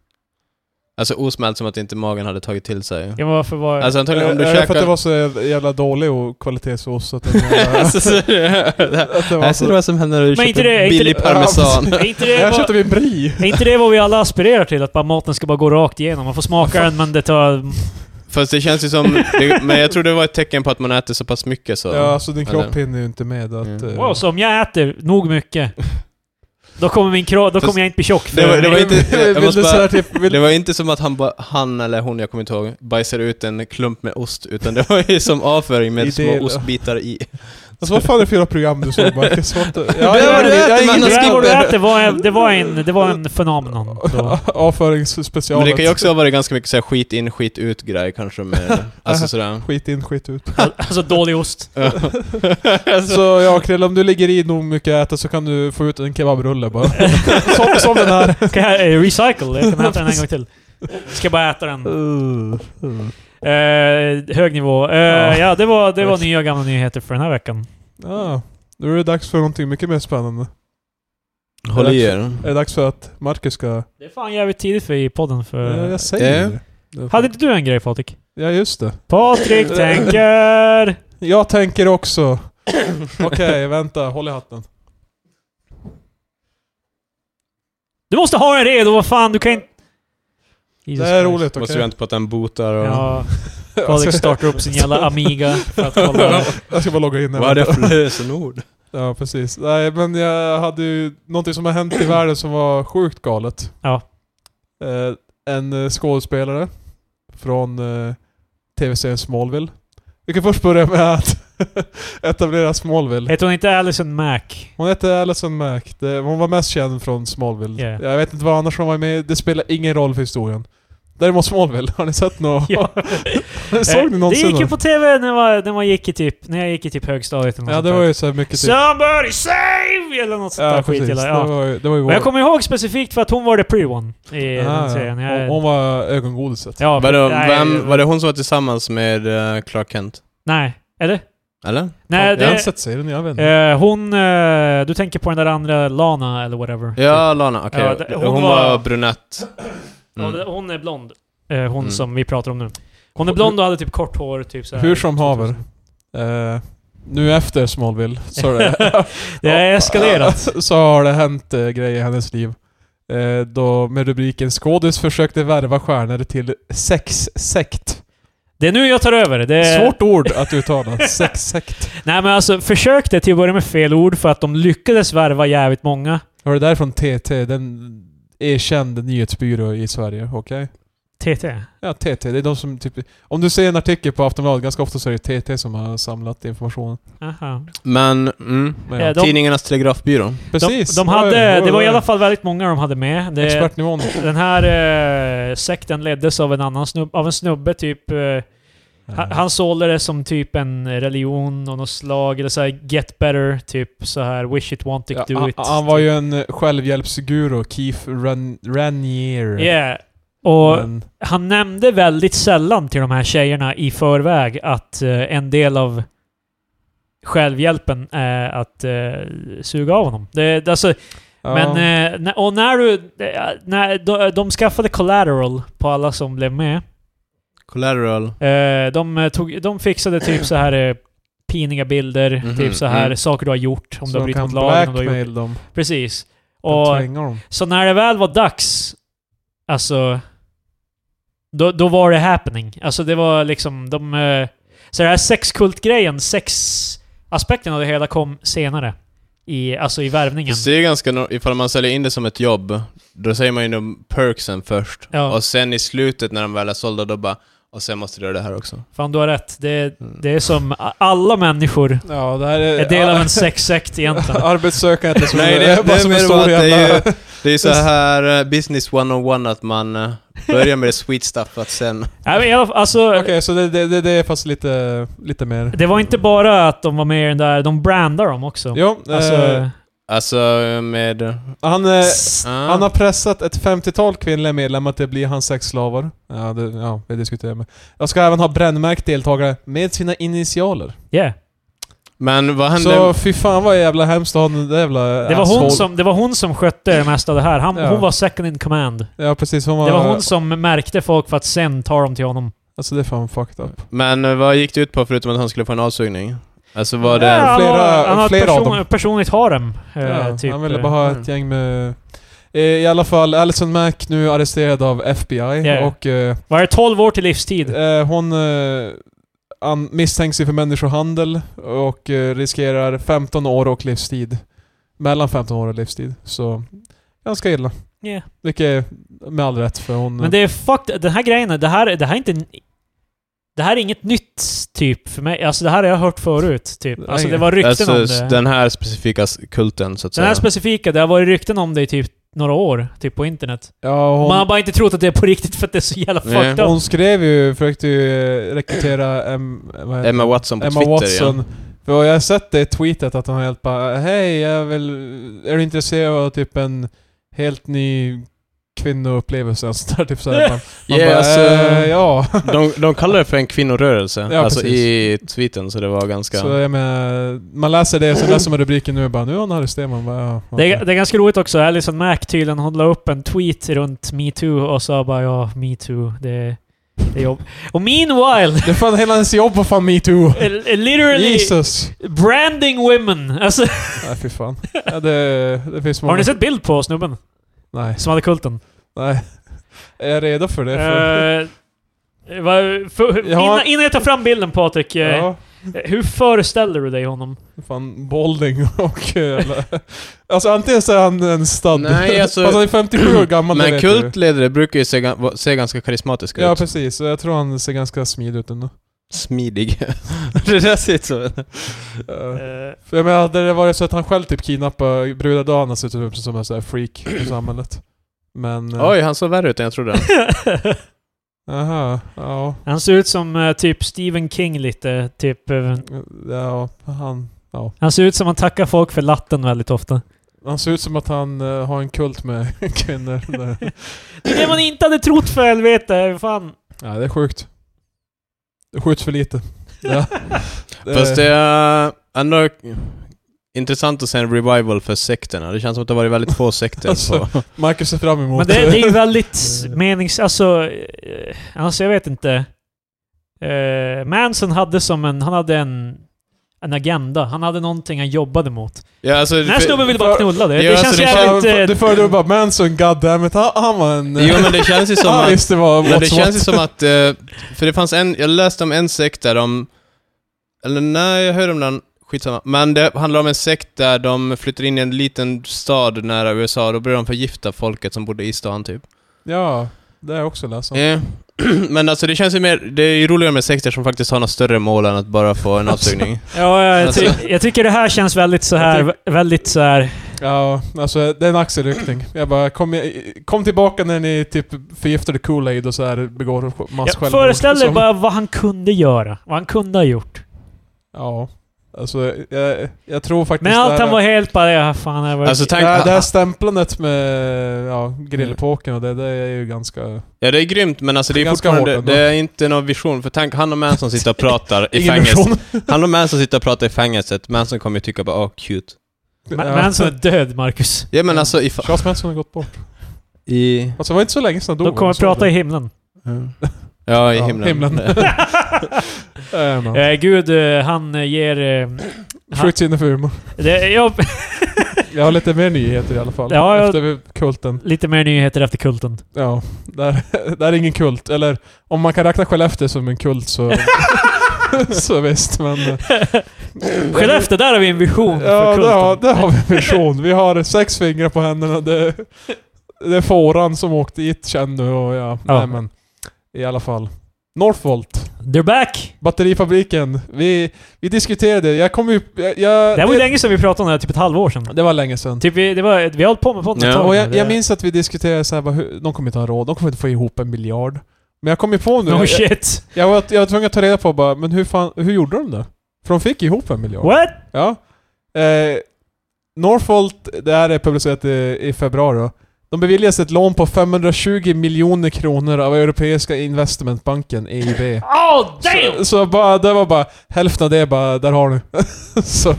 Speaker 2: Alltså osmält som att inte magen hade tagit till sig.
Speaker 1: Ja, men varför var...
Speaker 2: Alltså antagligen om du
Speaker 3: Är det Eh, för att det
Speaker 2: käkar...
Speaker 3: var så jävla dålig och kvalitetsost att den var-
Speaker 2: Alltså, så- Alltså,
Speaker 3: att det
Speaker 2: Här
Speaker 3: var
Speaker 2: ser du
Speaker 3: så...
Speaker 2: vad som händer när du
Speaker 1: Men inte
Speaker 2: köper
Speaker 1: det- inte
Speaker 2: billig
Speaker 1: det-
Speaker 2: parmesan.
Speaker 1: är, inte det
Speaker 3: Här
Speaker 1: vad-
Speaker 3: köpte vi en brie.
Speaker 1: är inte det vad vi alla aspirerar till? Att bara maten ska bara gå rakt igenom? Man får smaka den men det tar...
Speaker 2: Fast det känns ju som... Det, men jag tror det var ett tecken på att man äter så pass mycket så.
Speaker 3: Ja, alltså din kropp
Speaker 2: Eller?
Speaker 3: hinner ju inte med att...
Speaker 2: Mm.
Speaker 3: eh,
Speaker 1: Wow, så om jag äter nog mycket, då kommer min kro- då
Speaker 2: Fast-
Speaker 1: kommer jag inte bli tjock. För
Speaker 2: Det var- det var inte- jag
Speaker 3: vill
Speaker 2: måste
Speaker 3: du sådär
Speaker 2: bara-
Speaker 3: typ... Vill,
Speaker 2: Det var inte som att han, ba, han eller hon, jag kommer inte ihåg, bajsade ut en klump med ost, utan det var ju som avföring
Speaker 3: I
Speaker 2: med små
Speaker 3: del-
Speaker 2: ostbitar i.
Speaker 3: alltså vad fan är det för jävla program du såg Marcus? Vad- Ja,
Speaker 2: var
Speaker 3: jag-
Speaker 2: du
Speaker 3: jag-
Speaker 2: äter,
Speaker 3: jag-
Speaker 2: men-
Speaker 1: det,
Speaker 3: jag-
Speaker 1: där
Speaker 2: skipper.
Speaker 1: vad du äter var en, det var en, det var en fenomenon. Då.
Speaker 3: Avföringsspecialet.
Speaker 2: Men det kan ju också ha varit ganska mycket så här, skit in, skit ut grej kanske med... Alltså sådär.
Speaker 3: Skit in, skit ut.
Speaker 1: Alltså dålig ost.
Speaker 2: Ja. Alltså,
Speaker 3: Så ja, Krille, om du ligger i nog mycket att äta så kan du få ut en kebabrulle bara. som, som den här.
Speaker 1: Kan jag eh, recycle? Jag kan äta den en gång till. Ska bara äta den. Mm. Eh, hög nivå. Eh,
Speaker 3: Ja.
Speaker 1: ja, det var, det var nya och gamla nyheter för den här veckan.
Speaker 3: Ja, nu är det dags för någonting mycket mer spännande.
Speaker 2: Håll i er.
Speaker 3: Är det dags för att Marcus ska...
Speaker 1: Det är fan jävligt tidigt för i podden för...
Speaker 3: Ja, jag säger
Speaker 2: eh.
Speaker 3: det. det.
Speaker 1: Hade inte du en grej Patrik?
Speaker 3: Ja, just det.
Speaker 1: Patrik tänker...
Speaker 3: Jag tänker också... Okej, vänta. Håll i hatten.
Speaker 1: Du måste ha en redo, vad fan du kan inte... Jesus
Speaker 3: det är
Speaker 1: Christ.
Speaker 3: roligt, Alltså- okej?
Speaker 2: Måste vänta på att den botar och...
Speaker 1: Ja,
Speaker 3: Jag ska-
Speaker 1: Patrik startar upp sin jävla Amiga för att kolla.
Speaker 3: Jag ska bara logga in här.
Speaker 2: Vad är det för lösenord?
Speaker 3: Ja, precis. Nej, men jag hade ju någonting som har hänt i världen som var sjukt galet.
Speaker 1: Ja.
Speaker 3: Eh, en eh, skådespelare från eh, tv-serien Smallville. Vi kan först börja med att etablera Smallville.
Speaker 1: Heter hon inte Alison Mack?
Speaker 3: Hon hette Alison Mack. Det, hon var mest känd från Smallville.
Speaker 1: Yeah.
Speaker 3: Jag vet inte vad annars hon var med i. Det spelar ingen roll för historien. Däremot Smallville, har ni sett något?
Speaker 1: Ja.
Speaker 3: Såg ni
Speaker 1: Eh, det
Speaker 3: någonsin
Speaker 1: gick ju
Speaker 3: något?
Speaker 1: på TV när, man, när, man gick i typ, när jag gick i typ högstadiet eller något
Speaker 3: Ja,
Speaker 1: sånt
Speaker 3: det
Speaker 1: där.
Speaker 3: var ju så här mycket... typ-
Speaker 1: Somebody save! Eller något sånt
Speaker 3: Ja,
Speaker 1: där skit.
Speaker 3: precis.
Speaker 1: Eller,
Speaker 3: Det
Speaker 1: ja.
Speaker 3: var ju... Det var ju
Speaker 1: Och jag kommer ihåg specifikt för att hon var the pre one i
Speaker 3: Ah,
Speaker 1: den serien.
Speaker 3: ja. hon,
Speaker 1: Jag,
Speaker 3: hon var ögongodiset.
Speaker 1: ja,
Speaker 2: Var det,
Speaker 1: nej,
Speaker 2: vem, var det hon som var tillsammans med eh, Clark Kent?
Speaker 1: Nej, eller?
Speaker 2: Eller?
Speaker 1: Nej,
Speaker 3: jag har
Speaker 1: det,
Speaker 3: inte sett serien, jag vet inte.
Speaker 1: Eh, hon... eh, du tänker på den där andra, Lana eller whatever.
Speaker 2: Ja, Lana. Okej.
Speaker 1: Ja, det-
Speaker 2: hon,
Speaker 1: hon
Speaker 2: var
Speaker 1: var-
Speaker 2: brunett.
Speaker 1: Ja, det-
Speaker 2: Mm.
Speaker 1: hon är blond. Eh, hon
Speaker 2: Mm.
Speaker 1: som vi pratar om nu. Hon är blond och hade typ kort hår, typ så här.
Speaker 3: Hur som haver. Eh, nu efter Smallville så, har det,
Speaker 1: Det har eskalerat.
Speaker 3: så har det hänt eh, grejer i hennes liv. Eh, då med rubriken “Skådis försökte värva stjärnor till sexsekt”.
Speaker 1: Det är nu jag tar över. Det är...
Speaker 3: Svårt ord att uttala. sexsekt.
Speaker 1: Nej men alltså, försök det till att börja med fel ord för att de lyckades värva jävligt många.
Speaker 3: Var det där från TT? Den erkänd nyhetsbyrå i Sverige, okej?
Speaker 1: TT?
Speaker 3: Ja, TT. Det är de som typ... Om du ser en artikel på Aftonbladet, ganska ofta så är det TT som har samlat informationen.
Speaker 1: Aha.
Speaker 2: Men, mm,
Speaker 3: Men,
Speaker 1: Eh,
Speaker 3: ja.
Speaker 1: de-
Speaker 2: Tidningarnas Telegrafbyrå.
Speaker 1: De,
Speaker 3: Precis!
Speaker 1: de
Speaker 3: Oj,
Speaker 1: hade,
Speaker 3: oj,
Speaker 1: det var i
Speaker 3: oj.
Speaker 1: alla fall väldigt många de hade med. Det,
Speaker 3: Expertnivån.
Speaker 1: den här eh, sekten leddes av en annan snubbe, av en snubbe typ... Eh, Han, han sålde det som typ en religion och något slag, eller såhär get better, typ så här wish it, want it,
Speaker 3: Ja,
Speaker 1: do
Speaker 3: han,
Speaker 1: it.
Speaker 3: han var ju en självhjälpsguru, Keith Ran Ranier.
Speaker 1: Yeah. Och
Speaker 3: Men,
Speaker 1: han nämnde väldigt sällan till de här tjejerna i förväg att eh, en del av självhjälpen är att eh, suga av honom. Det, det, alltså,
Speaker 3: ja,
Speaker 1: Men, eh, när- och när du... eh, När, de, de skaffade collateral på alla som blev med.
Speaker 2: Collateral.
Speaker 1: Eh, de, eh, tog, de fixade typ så här eh, piniga bilder,
Speaker 2: Mhm,
Speaker 1: typ så här
Speaker 2: mm.
Speaker 1: saker du har gjort, om
Speaker 3: så
Speaker 1: du har
Speaker 3: de
Speaker 1: brutit
Speaker 3: kan
Speaker 1: mot lagen. Om du har gjort,
Speaker 3: blackmail dem.
Speaker 1: precis.
Speaker 3: Och,
Speaker 1: Och,
Speaker 3: tvinga dem.
Speaker 1: så när det väl var dags, alltså... Då, då var det happening. Alltså det var liksom de... eh, Så den här sexkultgrejen, sexaspekten av det hela kom senare. I, alltså i värvningen.
Speaker 2: Det är ju ganska, no- ifall man säljer in det som ett jobb, då säger man ju de perksen först.
Speaker 1: Ja.
Speaker 2: Och sen i slutet när de väl är sålda, då bara och sen måste du göra det här också.
Speaker 1: Fan, du har rätt. Det,
Speaker 2: Mm.
Speaker 1: det är som a- alla människor
Speaker 3: Ja, det här är...
Speaker 1: är del av en sexsekt egentligen.
Speaker 3: Arbetssökandet är som
Speaker 2: Nej, det,
Speaker 3: en-
Speaker 2: det,
Speaker 3: bara
Speaker 2: är
Speaker 3: som en
Speaker 2: mer
Speaker 3: stor
Speaker 2: bara att det är ju,
Speaker 3: jävla-
Speaker 2: det är ju så här eh, business 101 att man eh, börjar med det sweet stuff för att sen...
Speaker 1: Nej, men i alla fall, alltså,
Speaker 3: Okej, så det, det, det, det är fast lite, lite mer...
Speaker 1: Det var inte bara att de var med i den där, de brandade dem också.
Speaker 3: Jo,
Speaker 1: Alltså,
Speaker 3: eh,
Speaker 2: Alltså med...
Speaker 3: han, eh,
Speaker 1: s-
Speaker 3: han har pressat ett 50-tal kvinnliga medlemmar till att bli hans sexslavar. Ja, det, ja, vi diskuterar med. Jag ska även ha brännmärkt deltagare med sina initialer.
Speaker 1: yeah.
Speaker 2: Men vad hände...
Speaker 3: Så fy fan vad jävla hemskt att ha den där jävla
Speaker 1: det, var hon
Speaker 3: asshole.
Speaker 1: som, det var hon som skötte det mesta av det här. Han,
Speaker 3: Ja.
Speaker 1: Hon var second in command.
Speaker 3: Ja precis, hon var...
Speaker 1: Det var hon som märkte folk för att sen ta dem till honom.
Speaker 3: Alltså det är fan fucked up.
Speaker 2: Men eh, vad gick det ut på förutom att han skulle få en avsugning? Alltså var
Speaker 1: Ja,
Speaker 2: det...
Speaker 1: han
Speaker 3: flera-
Speaker 1: har- han har
Speaker 3: flera av
Speaker 1: person,
Speaker 3: dem?
Speaker 1: personligt harem. Eh,
Speaker 3: ja,
Speaker 1: typ.
Speaker 3: Han ville bara ha
Speaker 2: Mm.
Speaker 3: ett gäng med... Eh, I alla fall, Alison Mack nu arresterad av FBI
Speaker 1: Ja.
Speaker 3: och eh,
Speaker 1: Var det 12 år till livstid?
Speaker 3: eh, hon eh, an, misstänks ju för människohandel och eh, riskerar 15 år och livstid. Mellan 15 år och livstid. Så ganska illa.
Speaker 1: Yeah.
Speaker 3: Vilket är med all rätt för hon...
Speaker 1: Men det är fucked. Den här grejen, är- det här, det här är inte... en- Det här är inget nytt, typ, för mig. Alltså det här har jag hört förut, typ. Alltså det var rykten
Speaker 2: Alltså,
Speaker 1: om
Speaker 2: s-
Speaker 1: det. Den,
Speaker 2: den här specifika s- kulten så att säga.
Speaker 1: här specifika, det har varit rykten om det i typ några år, typ på internet.
Speaker 3: ja, hon,
Speaker 1: Man har bara inte trott att det är på riktigt för att det är så jävla
Speaker 2: Nej.
Speaker 1: fucked up.
Speaker 3: hon skrev ju, försökte ju eh, rekrytera em, vad heter
Speaker 2: Emma
Speaker 3: hon?
Speaker 2: Watson på
Speaker 3: Emma
Speaker 2: Twitter
Speaker 3: Watson.
Speaker 2: igen.
Speaker 3: För jag har sett det i tweetet att hon helt bara Hej, jag vill... Är du intresserad av typ en helt ny kvinnoupplevelse? Och sådär, typ så här. Man, man
Speaker 2: Yeah,
Speaker 3: bara,
Speaker 2: alltså-
Speaker 3: "Eh, ja.
Speaker 2: De, de kallar det för en kvinnorörelse,
Speaker 3: Ja,
Speaker 2: alltså
Speaker 3: precis.
Speaker 2: i tweeten, så det var ganska...
Speaker 3: Så jag menar, man läser det, så läser man rubriken nu och bara nu har hon arresterat man bara, ja,
Speaker 1: Det är,
Speaker 3: okej."
Speaker 1: det är ganska roligt också, Alison Mack tydligen, hon la upp en tweet runt metoo och sa bara ja, metoo, det, det är jobb. Och meanwhile,
Speaker 3: det är fan hela ens jobb och fan metoo.
Speaker 1: literally
Speaker 3: Jesus!
Speaker 1: branding women. Alltså,
Speaker 3: Nej fy fan. Ja, det, det finns många...
Speaker 1: har ni sett bild på snubben
Speaker 3: Nej.
Speaker 1: som hade kulten?
Speaker 3: Nej. Är jag redo för det? För,
Speaker 1: Eh, vad- för,
Speaker 3: Jag har-
Speaker 1: innan, innan jag tar fram bilden Patrik, eh,
Speaker 3: ja.
Speaker 1: hur föreställer du dig honom?
Speaker 3: Fan, bowling och... eh, jävla- alltså antingen så är han en stud.
Speaker 2: Nej, alltså-
Speaker 3: Fast han är 57 år gammal, det
Speaker 2: Men
Speaker 3: vet
Speaker 2: kultledare brukar ju se, ga- va- se ganska karismatiska
Speaker 3: du. Ja,
Speaker 2: ut.
Speaker 3: precis. Så Jag tror han ser ganska smidig ut ändå.
Speaker 2: Smidig. det där ser ut som...
Speaker 3: Eh,
Speaker 1: Eh,
Speaker 3: För jag menar, hade det varit så att han själv typ kidnappade brudar, då hade han sett ut som en sån här freak i samhället. Men... eh,
Speaker 2: Oj, han såg värre ut än jag trodde.
Speaker 1: Eh,
Speaker 3: Aha, ja.
Speaker 1: han ser ut som eh, typ Stephen King lite, typ. eh,
Speaker 3: Ja, han... Ja.
Speaker 1: Han ser ut som han tackar folk för latten väldigt ofta.
Speaker 3: Han ser ut som att han eh, har en kult med kvinnor. där.
Speaker 1: Det är det man inte hade trott för helvete, fan.
Speaker 3: ja, det är sjukt. Det skjuts för lite. Eh, Ja.
Speaker 2: Fast det är ändå intressant att se en revival för sekterna. Det känns som att det har varit väldigt få sekter
Speaker 3: Alltså,
Speaker 2: på...
Speaker 3: Marcus ser fram emot
Speaker 1: Men det, det är ju väldigt menings... Alltså, eh, alltså jag vet inte. Eh, Manson hade som en... Han hade en, en agenda. Han hade någonting han jobbade mot.
Speaker 2: Ja, alltså,
Speaker 1: Den här
Speaker 2: för-
Speaker 1: snubben vill bara
Speaker 3: för-
Speaker 1: knulla det. Det
Speaker 2: Ja, alltså,
Speaker 1: känns
Speaker 2: det
Speaker 1: jävligt...
Speaker 3: Fan,
Speaker 1: eh,
Speaker 3: Du föredrar bara Manson, goddammit. Han, han var en... eh,
Speaker 2: Jo men det känns ju som
Speaker 3: han
Speaker 2: att...
Speaker 3: visste vad
Speaker 2: Men det
Speaker 3: what's what.
Speaker 2: känns ju som att... eh, För det fanns en... Jag läste om en sekt där de... Eller nej, jag hörde om den. Skitsamma. Men det handlar om en sekt där de flyttar in i en liten stad nära USA. Då börjar de förgifta folket som bodde i stan typ.
Speaker 3: Ja. Det har jag också läst om.
Speaker 2: Eh, Men alltså det känns ju mer, det är ju roligare med sekter som faktiskt har något större mål än att bara få en avsugning.
Speaker 1: Ja, jag, ty-
Speaker 2: Alltså-
Speaker 1: jag tycker det här känns väldigt så här,
Speaker 3: Jag
Speaker 1: vä- väldigt så här.
Speaker 3: Ja, alltså det är en axelryckning. Jag bara, kom, kom tillbaka när ni typ förgiftade Kool-Aid och så här begår mass
Speaker 1: Jag
Speaker 3: självmord.
Speaker 1: föreställ dig
Speaker 3: Som-
Speaker 1: bara vad han kunde göra. Vad han kunde ha gjort.
Speaker 3: Ja. Alltså, jag, jag tror faktiskt...
Speaker 1: Men allt
Speaker 3: det
Speaker 1: han
Speaker 3: här,
Speaker 1: var helt bara, ja fan. Det var...
Speaker 2: Alltså
Speaker 3: det,
Speaker 2: tänk,
Speaker 3: här, det här stämplandet med ja, grillpåken och det, det är ju ganska...
Speaker 2: ja det är grymt men alltså det är
Speaker 3: Ganska
Speaker 2: fortfarande,
Speaker 3: hårt ändå.
Speaker 2: det är inte någon vision. För tänk han och Manson sitter och pratar i
Speaker 3: Ingen
Speaker 2: fängelset.
Speaker 3: vision.
Speaker 2: Han och Manson sitter och pratar i fängelset, Manson kommer ju tycka bara åh cute.
Speaker 1: Ma- Manson är död, Marcus.
Speaker 2: Ja men alltså if,
Speaker 3: Charles Manson har gått bort.
Speaker 2: i...
Speaker 3: Alltså det var inte så länge sedan han
Speaker 1: De
Speaker 3: dog.
Speaker 1: kommer
Speaker 3: så
Speaker 1: prata
Speaker 3: det-
Speaker 1: i himlen.
Speaker 2: Ja, i
Speaker 3: Ja,
Speaker 2: himlen.
Speaker 3: himlen. Eh, man.
Speaker 1: Eh, Gud, eh, han eh, ger... eh,
Speaker 3: Skjuts in i humor.
Speaker 1: det, ja,
Speaker 3: Jag har lite mer nyheter i alla fall.
Speaker 1: Ja, jag-
Speaker 3: Efter kulten.
Speaker 1: lite mer nyheter efter kulten.
Speaker 3: Ja, där, där är ingen kult. Eller om man kan räkna Skellefteå som en kult så... så visst, men... eh,
Speaker 1: Skellefteå, där har vi en vision för
Speaker 3: Ja,
Speaker 1: kulten.
Speaker 3: det har, det har vi en vision. Vi har sex fingrar på händerna. Det, det är fåran som åkte hit känd nu och ja,
Speaker 1: Ja.
Speaker 3: Nej, men, I alla fall. Northvolt,
Speaker 1: They're back!
Speaker 3: batterifabriken. Vi, vi diskuterade, jag kom ju... Jag,
Speaker 1: Det
Speaker 3: jag,
Speaker 1: här var ju länge sedan vi pratade om det här, typ ett halvår sedan.
Speaker 3: det var länge sedan.
Speaker 1: Typ vi, det var, vi har hållit på med podden ett
Speaker 2: Ja,
Speaker 1: tag
Speaker 3: Och
Speaker 1: nu.
Speaker 3: jag,
Speaker 1: Det-
Speaker 3: jag minns att vi diskuterade så här, bara, hur- de kommer inte ha råd, de kommer inte få ihop en miljard. Men jag kom ju på nu,
Speaker 1: No
Speaker 3: jag,
Speaker 1: Oh, shit!
Speaker 3: jag, var, jag var tvungen att ta reda på bara, men hur, fan, hur gjorde de det? För de fick ihop en miljard.
Speaker 1: What?
Speaker 3: Ja. Eh, Northvolt, det här är publicerat i, i februari då. De beviljas ett lån på 520 miljoner kronor av Europeiska investmentbanken, EIB.
Speaker 1: Oh damn!
Speaker 3: Så, så bara, det var bara, hälften av det bara, där har ni. så,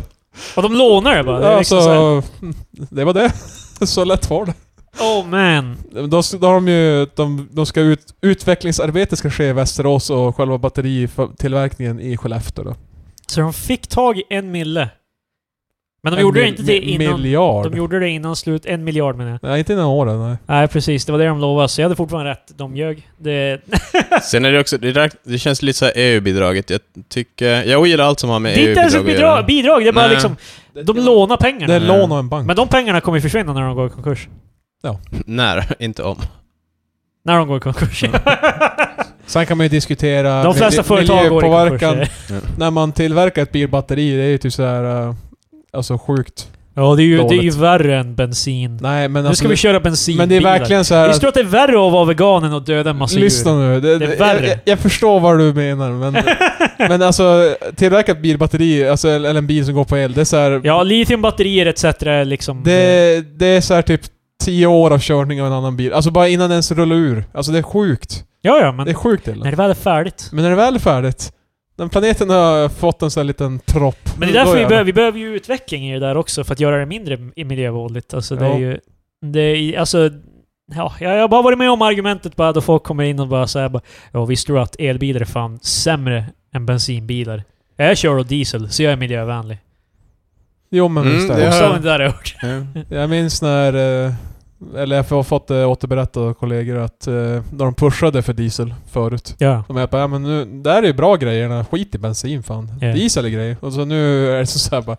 Speaker 1: Och de lånar det bara. Det är
Speaker 3: ja,
Speaker 1: liksom så här,
Speaker 3: så, mm, det var det. så lätt var det.
Speaker 1: oh man.
Speaker 3: Då, ska- då har de ju, de, de ska ut, utvecklingsarbete ska ske i Västerås och själva batteritillverkningen i Skellefteå då.
Speaker 1: Så de fick tag i en mille. Men de gjorde
Speaker 3: En
Speaker 1: det inte det
Speaker 3: mi-
Speaker 1: innan...
Speaker 3: Miljard.
Speaker 1: De gjorde det innan slut... En miljard menar jag.
Speaker 3: Nej, inte innan åren, nej.
Speaker 1: Nej precis, det var det de lovade. Så jag hade fortfarande rätt. De ljög. Det...
Speaker 2: Sen är det också, det, där, det känns lite såhär EU-bidraget. Jag tycker, jag ogillar allt som har
Speaker 1: det
Speaker 2: med
Speaker 1: är inte ens ett
Speaker 2: EU-bidrag att
Speaker 1: bidrag. bidrag.
Speaker 2: göra.
Speaker 1: Det är bara
Speaker 2: Nej.
Speaker 1: liksom... De lånar pengarna.
Speaker 3: Det är lån av en bank.
Speaker 1: Men de pengarna kommer ju försvinna när de går i konkurs.
Speaker 2: När, inte om.
Speaker 1: När de går i konkurs.
Speaker 3: Sen kan man ju diskutera
Speaker 1: de flesta
Speaker 3: miljö-
Speaker 1: företag går i konkurs.
Speaker 3: miljöpåverkan.
Speaker 1: eh.
Speaker 3: När man tillverkar ett bilbatteri, det är ju typ såhär... eh, Alltså sjukt.
Speaker 1: Ja, det är, ju, det är ju
Speaker 3: Dåligt.
Speaker 1: värre än bensin.
Speaker 3: Nej men
Speaker 1: nu
Speaker 3: alltså...
Speaker 1: ska vi köra bensinbilar.
Speaker 3: men det är verkligen så här
Speaker 1: Visste du
Speaker 3: att,
Speaker 1: att det är värre att vara vegan än att döda en massa
Speaker 3: Lyssna
Speaker 1: djur?
Speaker 3: nu. Det,
Speaker 1: Det är
Speaker 3: jag,
Speaker 1: värre.
Speaker 3: jag, jag förstår vad du menar men... men alltså, tillverka ett bilbatteri, alltså, eller eller en bil som går på el, det är såhär...
Speaker 1: Ja, litiumbatterier etc. är liksom...
Speaker 3: Det, det är så här typ 10 år av körning av en annan bil. Alltså bara innan den ens rullar ur. Alltså det är sjukt.
Speaker 1: Ja, ja, men
Speaker 3: Det är sjukt illa.
Speaker 1: när det väl är färdigt.
Speaker 3: Men när det väl är färdigt, den planeten har fått en sån här liten tropp.
Speaker 1: Men det
Speaker 3: Då
Speaker 1: är därför vi
Speaker 3: jävlar.
Speaker 1: behöver, vi behöver ju utveckling i det där också, för att göra det mindre i- miljövådligt. Alltså det
Speaker 3: Ja.
Speaker 1: är ju... Det är, alltså... Ja, jag jag har bara varit med om argumentet bara då folk kommer in och bara säger bara Ja, visste du att elbilar är fan sämre än bensinbilar? Jag kör då diesel, så jag är miljövänlig.
Speaker 3: Jo men
Speaker 2: Mm,
Speaker 3: visst är
Speaker 2: det
Speaker 3: det.
Speaker 2: har
Speaker 1: Så det där är ord.
Speaker 3: Jag minns när, eh, eller jag har fått det återberättat av kollegor att eh, när de pushade för diesel förut.
Speaker 1: Ja.
Speaker 3: De är bara, ja, men nu, det här är ju bra grejer, den här skit i bensin fan.
Speaker 1: Ja.
Speaker 3: Diesel är grejer. Och så nu är det så här bara,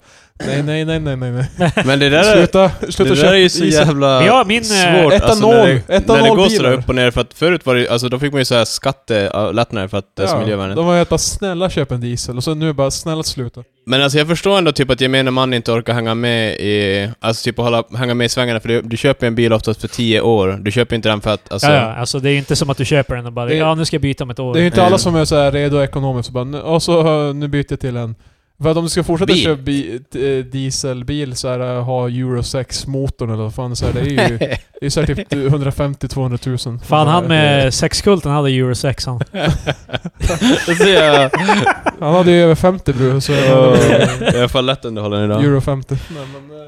Speaker 3: nej nej nej nej nej nej.
Speaker 2: Men det där, är-
Speaker 3: Sluta,
Speaker 2: det
Speaker 3: sluta
Speaker 2: där är ju så
Speaker 3: diesel.
Speaker 2: jävla
Speaker 1: Men ja, min... eh,
Speaker 2: svårt. alltså, när, det,
Speaker 3: Etanol-
Speaker 2: när det går sådär
Speaker 3: etanolbilar.
Speaker 2: upp och ner. För att förut var det ju- alltså då fick man ju såhär skattelättnader äh, för att det är så miljövänligt.
Speaker 3: De var ju bara snälla köp en diesel och så nu bara snälla sluta.
Speaker 2: Men alltså jag förstår ändå typ att gemene man inte orkar hänga med i, alltså typ att hålla, hänga med i svängarna för du, du köper ju en bil oftast för 10 år. Du köper inte den för att, alltså,
Speaker 1: Ja, ja, alltså det är ju inte som att du köper den och bara
Speaker 3: Det-
Speaker 1: ja nu ska jag byta om ett år.
Speaker 3: Det är ju inte
Speaker 2: Mm.
Speaker 3: alla som är så här redo ekonomiskt och bara, "Nu- och så eh, nu byter jag till en. För att om du ska fortsätta
Speaker 2: Bil.
Speaker 3: köpa bi, eh, dieselbil så här, eh, ha Euro 6-motorn eller vad fan så här, det är ju Det är säkert typ 150-200 tusen.
Speaker 1: Fan han med sexkulten hade euro 6 han.
Speaker 2: så jag,
Speaker 3: Han hade ju över 50 bror, så...
Speaker 2: jag är fan lätt underhållen idag.
Speaker 3: Euro 50. Nej, men, eh,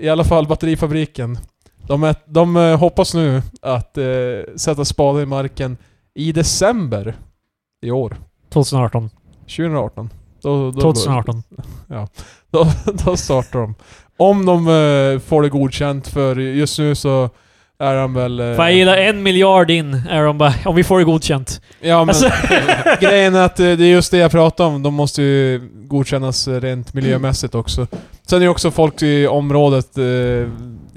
Speaker 3: I alla fall batterifabriken. De, är, de eh, hoppas nu att eh, sätta spaden i marken i december i år.
Speaker 1: 2018.
Speaker 3: 2018. Då, då,
Speaker 1: 2018.
Speaker 3: Då, då startar de. Om de eh, får det godkänt, för just nu så är han väl... eh,
Speaker 1: Fan jag gillar en miljard in är de bara, om vi får det godkänt.
Speaker 3: Ja, men,
Speaker 1: Alltså-
Speaker 3: grejen är att eh, det är just det jag pratar om. De måste ju godkännas eh, rent miljömässigt också. Sen är det också folk i området, eh,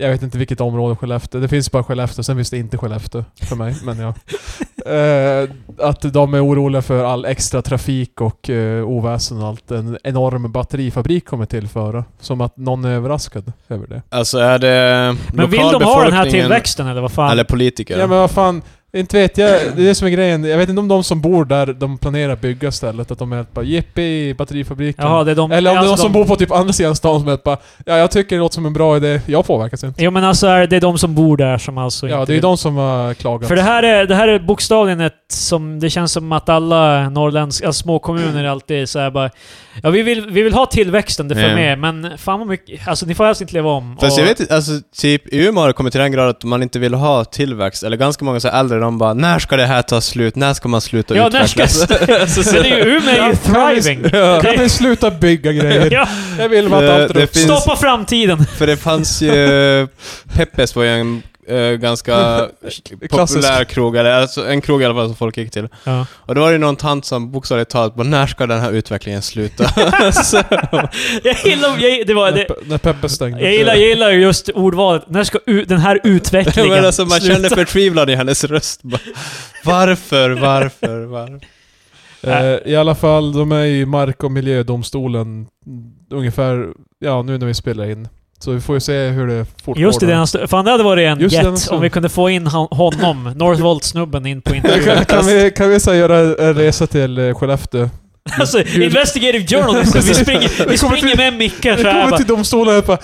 Speaker 3: jag vet inte vilket område Skellefteå, det finns bara Skellefteå, sen finns det inte Skellefteå för mig, men ja. Eh, att de är oroliga för all extra trafik och eh, oväsen och allt en enorm batterifabrik kommer tillföra. Som att någon är överraskad över det.
Speaker 2: Alltså är det
Speaker 1: Men vill de ha den här
Speaker 2: lokalbefolkningen
Speaker 1: tillväxten eller vad fan?
Speaker 2: Eller politiker?
Speaker 3: Ja men vad fan, inte vet jag, det är det som är grejen. Jag vet inte om de som bor där, de planerar att bygga stället, att de är helt bara jippi, batterifabriken.
Speaker 1: Jaha, det är de...
Speaker 3: Eller om det är någon
Speaker 1: alltså
Speaker 3: som
Speaker 1: de,
Speaker 3: bor på typ andra sidan stan som är bara Ja, jag tycker det låter som en bra idé. Jag påverkas inte.
Speaker 1: Jo men alltså är det de som bor där som alltså
Speaker 3: Ja,
Speaker 1: inte
Speaker 3: det är
Speaker 1: vill-
Speaker 3: de som har klagat.
Speaker 1: För det här är, det här är bokstavligen ett som... Det känns som att alla norrländska alltså småkommuner alltid är så här bara... Ja vi vill, vi vill ha tillväxten, det får
Speaker 2: Ja.
Speaker 1: med, men fan vad mycket... Alltså ni får helst inte leva om.
Speaker 2: Fast
Speaker 1: Och-
Speaker 2: jag vet inte, alltså typ i Umeå har det kommit till den grad att man inte vill ha tillväxt, eller ganska många så här äldre, de bara när ska det här ta slut, när ska man sluta
Speaker 1: Ja, när ska...
Speaker 2: utvecklas?
Speaker 1: Men det är ju Umeå är ju thriving!
Speaker 3: Ja, Kan
Speaker 1: Det-
Speaker 3: vi sluta bygga grejer?
Speaker 1: Ja,
Speaker 3: Jag vill bara
Speaker 2: Det-
Speaker 3: att allt
Speaker 2: Eh, det
Speaker 3: är upp.
Speaker 2: finns-
Speaker 1: stoppa framtiden!
Speaker 2: För det fanns ju, eh, Peppes var ju en eh, ganska
Speaker 3: Klassisk.
Speaker 2: populär krog, eller alltså en krog i alla fall som folk gick till.
Speaker 1: Ja.
Speaker 2: Och då var det någon tant som bokstavligt talat bara när ska den här utvecklingen sluta?
Speaker 1: Jag gillar... Jag, det var,
Speaker 3: När
Speaker 1: det,
Speaker 3: Pe- När Peppe stängde.
Speaker 1: jag, gillar, jag gillar ju just ordvalet. När ska u, den här utvecklingen
Speaker 2: Men alltså, man
Speaker 1: sluta?
Speaker 2: kände förtvivlan i hennes röst. Bara, varför, varför, varför?
Speaker 3: Eh, I alla fall, de är i mark och miljödomstolen mm, ungefär, ja nu när vi spelar in. Så vi får ju se hur det fortgår.
Speaker 1: Just i
Speaker 3: då.
Speaker 1: denna stund. Fan det hade varit en
Speaker 3: Just i denna
Speaker 1: jet
Speaker 3: stund.
Speaker 1: om vi kunde få in han- honom, Northvolt-snubben, in på
Speaker 3: kan,
Speaker 1: intervjun.
Speaker 3: kan vi, kan vi så här göra en resa till eh, Skellefteå?
Speaker 1: alltså, investigative journalism. Vi springer, vi
Speaker 3: Vi kommer
Speaker 1: springer
Speaker 3: till-
Speaker 1: med micken
Speaker 3: Vi
Speaker 1: så här
Speaker 3: kommer
Speaker 1: bara.
Speaker 3: till domstolen och bara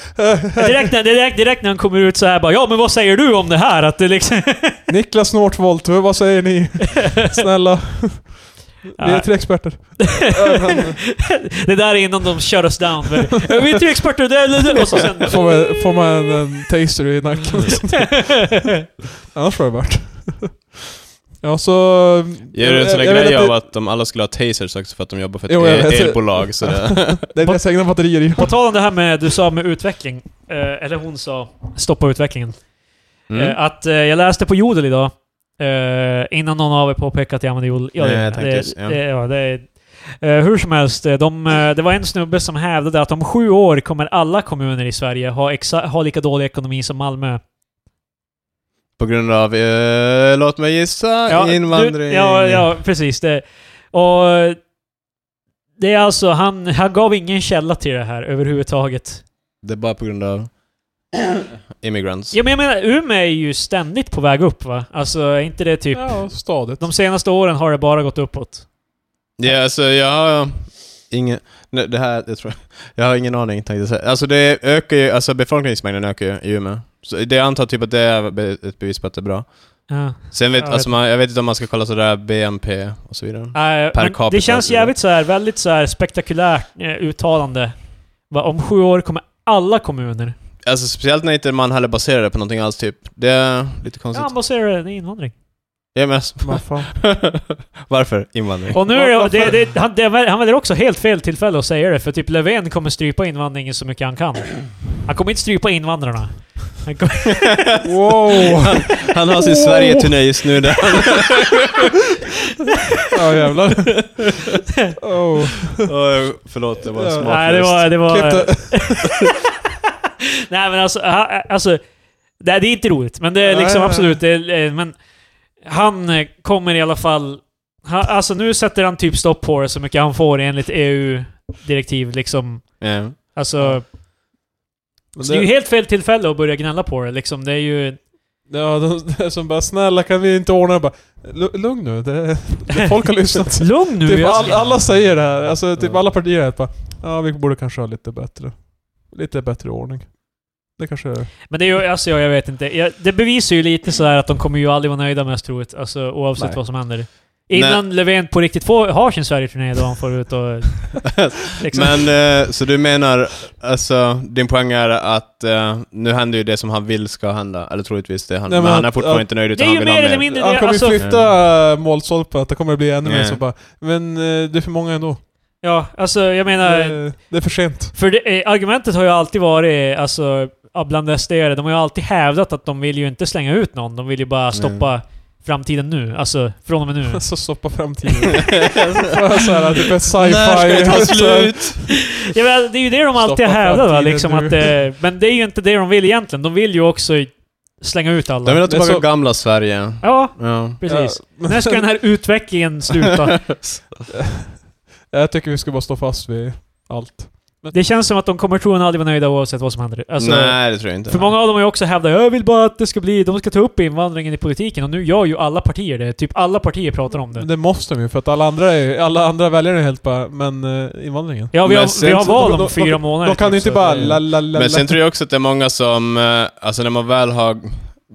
Speaker 1: Direkt när, direkt, direkt när han kommer ut så här bara Ja men vad säger du om det här? Att det liksom...
Speaker 3: Niklas Northvolt, vad säger ni? Snälla. Vi är
Speaker 1: Ja.
Speaker 3: tre experter.
Speaker 1: det där är innan de kör oss down. Men, "Ja, vi är inte experter. Det, det, det. Och så sen...
Speaker 3: Får man, får man en, en taster i nacken? Annars var det värt. Ja, så...
Speaker 2: Gör du en sån där
Speaker 3: jag- jag vet
Speaker 2: grej
Speaker 3: att
Speaker 2: av
Speaker 3: det-
Speaker 2: att de alla skulle ha tasers också för att de jobbar för ett
Speaker 3: Jo, jag
Speaker 2: el-
Speaker 3: vet.
Speaker 2: elbolag? Så det,
Speaker 3: Det är deras egna batterier i.
Speaker 1: På tal om det här med du sa med utveckling. Eh, eller hon sa stoppa utvecklingen.
Speaker 2: mm.
Speaker 1: Eh, att eh, jag läste på Jodel idag. Eh, innan någon av er påpekade att jag använder Jodel. Ja,
Speaker 2: Nej,
Speaker 1: det-
Speaker 2: jag tänkte
Speaker 1: det-
Speaker 2: just- ja.
Speaker 1: det- ja, det är- eh, Hur som helst, eh, de, eh, det var en snubbe som hävdade att om sju år kommer alla kommuner i Sverige ha, exa- ha lika dålig ekonomi som Malmö.
Speaker 2: På grund av, eh, låt mig gissa, invandring.
Speaker 1: Du, ja, ja, precis. Det. Och eh, det är alltså, han, han gav ingen källa till det här överhuvudtaget.
Speaker 2: Det är bara på grund av immigrants.
Speaker 1: Ja, men jag menar, Umeå är ju ständigt på väg upp va? Alltså, är inte det typ...
Speaker 3: Ja, stadigt.
Speaker 1: De senaste åren har det bara gått uppåt.
Speaker 2: Ja, alltså jag har ingen... Nej, det här, jag tror... Jag har ingen aning, tänkte jag säga. Alltså det ökar ju, alltså befolkningsmängden ökar ju i Umeå. Så det jag antar typ att det är be- ett bevis på att det är bra.
Speaker 1: Ja.
Speaker 2: Sen vet,
Speaker 1: Jag
Speaker 2: jag
Speaker 1: vet.
Speaker 2: alltså man, jag vet inte om man ska kolla sådär BNP och så vidare.
Speaker 1: Nej,
Speaker 2: Per
Speaker 1: men
Speaker 2: capita,
Speaker 1: det känns
Speaker 2: tror jag.
Speaker 1: jävligt så här, väldigt så här spektakulärt eh, uttalande. Va, om sju år kommer alla kommuner...
Speaker 2: Alltså speciellt när inte man heller baserar det på någonting alls typ. Det är lite
Speaker 1: Ja,
Speaker 2: konstigt.
Speaker 1: han baserar det i invandring.
Speaker 2: Ja, men alltså,
Speaker 3: Vad fan.
Speaker 2: varför invandring?
Speaker 1: Och nu är
Speaker 3: Var-
Speaker 1: det,
Speaker 3: varför?
Speaker 1: det, det, han, det, han väljer också helt fel tillfälle att säga det, för typ Löfven kommer strypa invandringen så mycket han kan. Han kommer inte strypa invandrarna. Han kommer,
Speaker 3: Wow!
Speaker 2: Han, han har sin Sverige-turné just nu där.
Speaker 3: Ja, jävlar. Oh.
Speaker 2: Oj, förlåt, det var
Speaker 3: Ja.
Speaker 2: smaklöst.
Speaker 1: nej, det var... Det
Speaker 3: Klipp
Speaker 1: var
Speaker 3: det.
Speaker 1: nej, men alltså... ha- Alltså... Nej, det är inte roligt, men det är
Speaker 3: Nej,
Speaker 1: liksom
Speaker 3: nej.
Speaker 1: absolut... Det, är- eh, men han eh, kommer i alla fall... Han, alltså nu sätter han typ stopp på det så mycket han får enligt EU-direktiv liksom.
Speaker 2: Ja.
Speaker 1: Alltså,
Speaker 3: Men
Speaker 1: så det är ju
Speaker 3: det-
Speaker 1: helt fel tillfälle att börja gnälla på det liksom. Det är ju...
Speaker 3: Ja, de, de som bara 'Snälla kan vi inte ordna det?' bara, "Lu- Lugn nu, det, det, folk har lyssnat.
Speaker 1: Lugn nu!
Speaker 3: Typ
Speaker 1: jag-
Speaker 3: all, alla säger det här, alltså typ alla partier är bara Ja vi borde kanske ha lite bättre, lite bättre ordning. Det kanske är...
Speaker 1: Men det är ju, alltså jag, jag vet inte. Jag, det bevisar ju lite sådär att de kommer ju aldrig vara nöjda mest troligt. Alltså oavsett
Speaker 3: Nej.
Speaker 1: vad som händer. Innan Löfven på riktigt får, har sin Sverigeturné då han får ut och... liksom.
Speaker 2: Men, eh, så du menar, alltså, din poäng är att eh, nu händer ju det som han vill ska hända, eller troligtvis det han,
Speaker 3: Nej,
Speaker 2: men,
Speaker 3: men
Speaker 2: han är
Speaker 3: att-
Speaker 2: fortfarande
Speaker 3: att-
Speaker 2: inte nöjd
Speaker 1: det
Speaker 2: utan
Speaker 1: är
Speaker 2: han
Speaker 1: ju
Speaker 2: vill ha
Speaker 1: mer eller
Speaker 2: mer.
Speaker 1: mindre
Speaker 3: Han
Speaker 1: det.
Speaker 3: kommer
Speaker 1: Alltså,
Speaker 3: flytta målstolpen, att det kommer bli ännu mer
Speaker 2: Nej.
Speaker 3: så bara Men eh, det är för många ändå.
Speaker 1: ja, alltså jag menar...
Speaker 3: Det, det är för sent.
Speaker 1: För det, eh, argumentet har ju alltid varit, alltså ja, bland SD-are, de har ju alltid hävdat att de vill ju inte slänga ut någon. De vill ju bara stoppa framtiden nu. Alltså, från och med nu.
Speaker 3: Så stoppa framtiden. så här, typ ett sci-fi.
Speaker 2: När ska det ta
Speaker 3: så här-
Speaker 2: slut?
Speaker 1: Ja, men alltså, det är ju det de alltid
Speaker 3: Stoppa
Speaker 1: hävdar va?
Speaker 3: framtiden
Speaker 1: Liksom
Speaker 3: nu.
Speaker 1: att, eh, men det är ju inte det de vill egentligen. De vill ju också i- slänga ut alla.
Speaker 2: De vill ha tillbaka
Speaker 3: så-
Speaker 2: gamla Sverige.
Speaker 1: Ja,
Speaker 2: Ja.
Speaker 1: precis.
Speaker 3: Ja.
Speaker 1: När ska den här utvecklingen sluta?
Speaker 3: Jag tycker vi ska bara stå fast vid allt.
Speaker 1: Det känns som att de kommer troligen aldrig vara nöjda oavsett vad som händer. Alltså,
Speaker 2: Nej, det tror jag inte.
Speaker 1: För många av dem har ju också hävdat jag vill bara att det ska bli, de ska ta upp invandringen i politiken och nu gör ju alla partier det. Typ alla partier pratar om
Speaker 3: Men
Speaker 1: det.
Speaker 3: det måste de ju, för att alla andra, är, alla andra väljare är helt bara, men eh, invandringen.
Speaker 1: Ja, vi
Speaker 2: Men
Speaker 1: har,
Speaker 2: sen
Speaker 1: vi har
Speaker 2: så-
Speaker 1: val
Speaker 3: då-
Speaker 1: om
Speaker 3: då-
Speaker 1: fyra
Speaker 3: då-
Speaker 1: månader.
Speaker 3: De kan ju
Speaker 1: typ,
Speaker 3: inte
Speaker 1: så
Speaker 3: bara
Speaker 1: det-
Speaker 3: la, la, la,
Speaker 2: Men sen
Speaker 3: la.
Speaker 2: tror jag också att det är många som, eh, alltså när man väl har,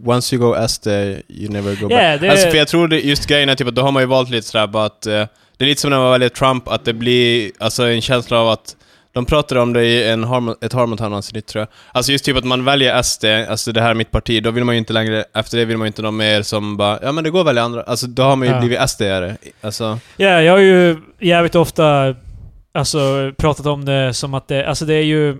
Speaker 2: once you go SD, you never go
Speaker 1: Ja,
Speaker 2: back.
Speaker 1: det-
Speaker 2: Alltså för jag tror det, just grejen är typ att då har man ju valt lite sådär bara att, eh, det är lite som när man väljer Trump, att det blir, alltså en känsla av att de pratade om det i en Harmon, ett Harmon-avsnitt tror jag. Alltså just typ att man väljer SD, alltså det här är mitt parti, då vill man ju inte längre, efter det vill man ju inte någon mer som bara, ja men det går väl i andra, alltså då har man ju
Speaker 1: Ja.
Speaker 2: blivit SD-are. Alltså,
Speaker 1: Ja, jag har ju jävligt ofta alltså, pratat om det som att det, alltså det är ju...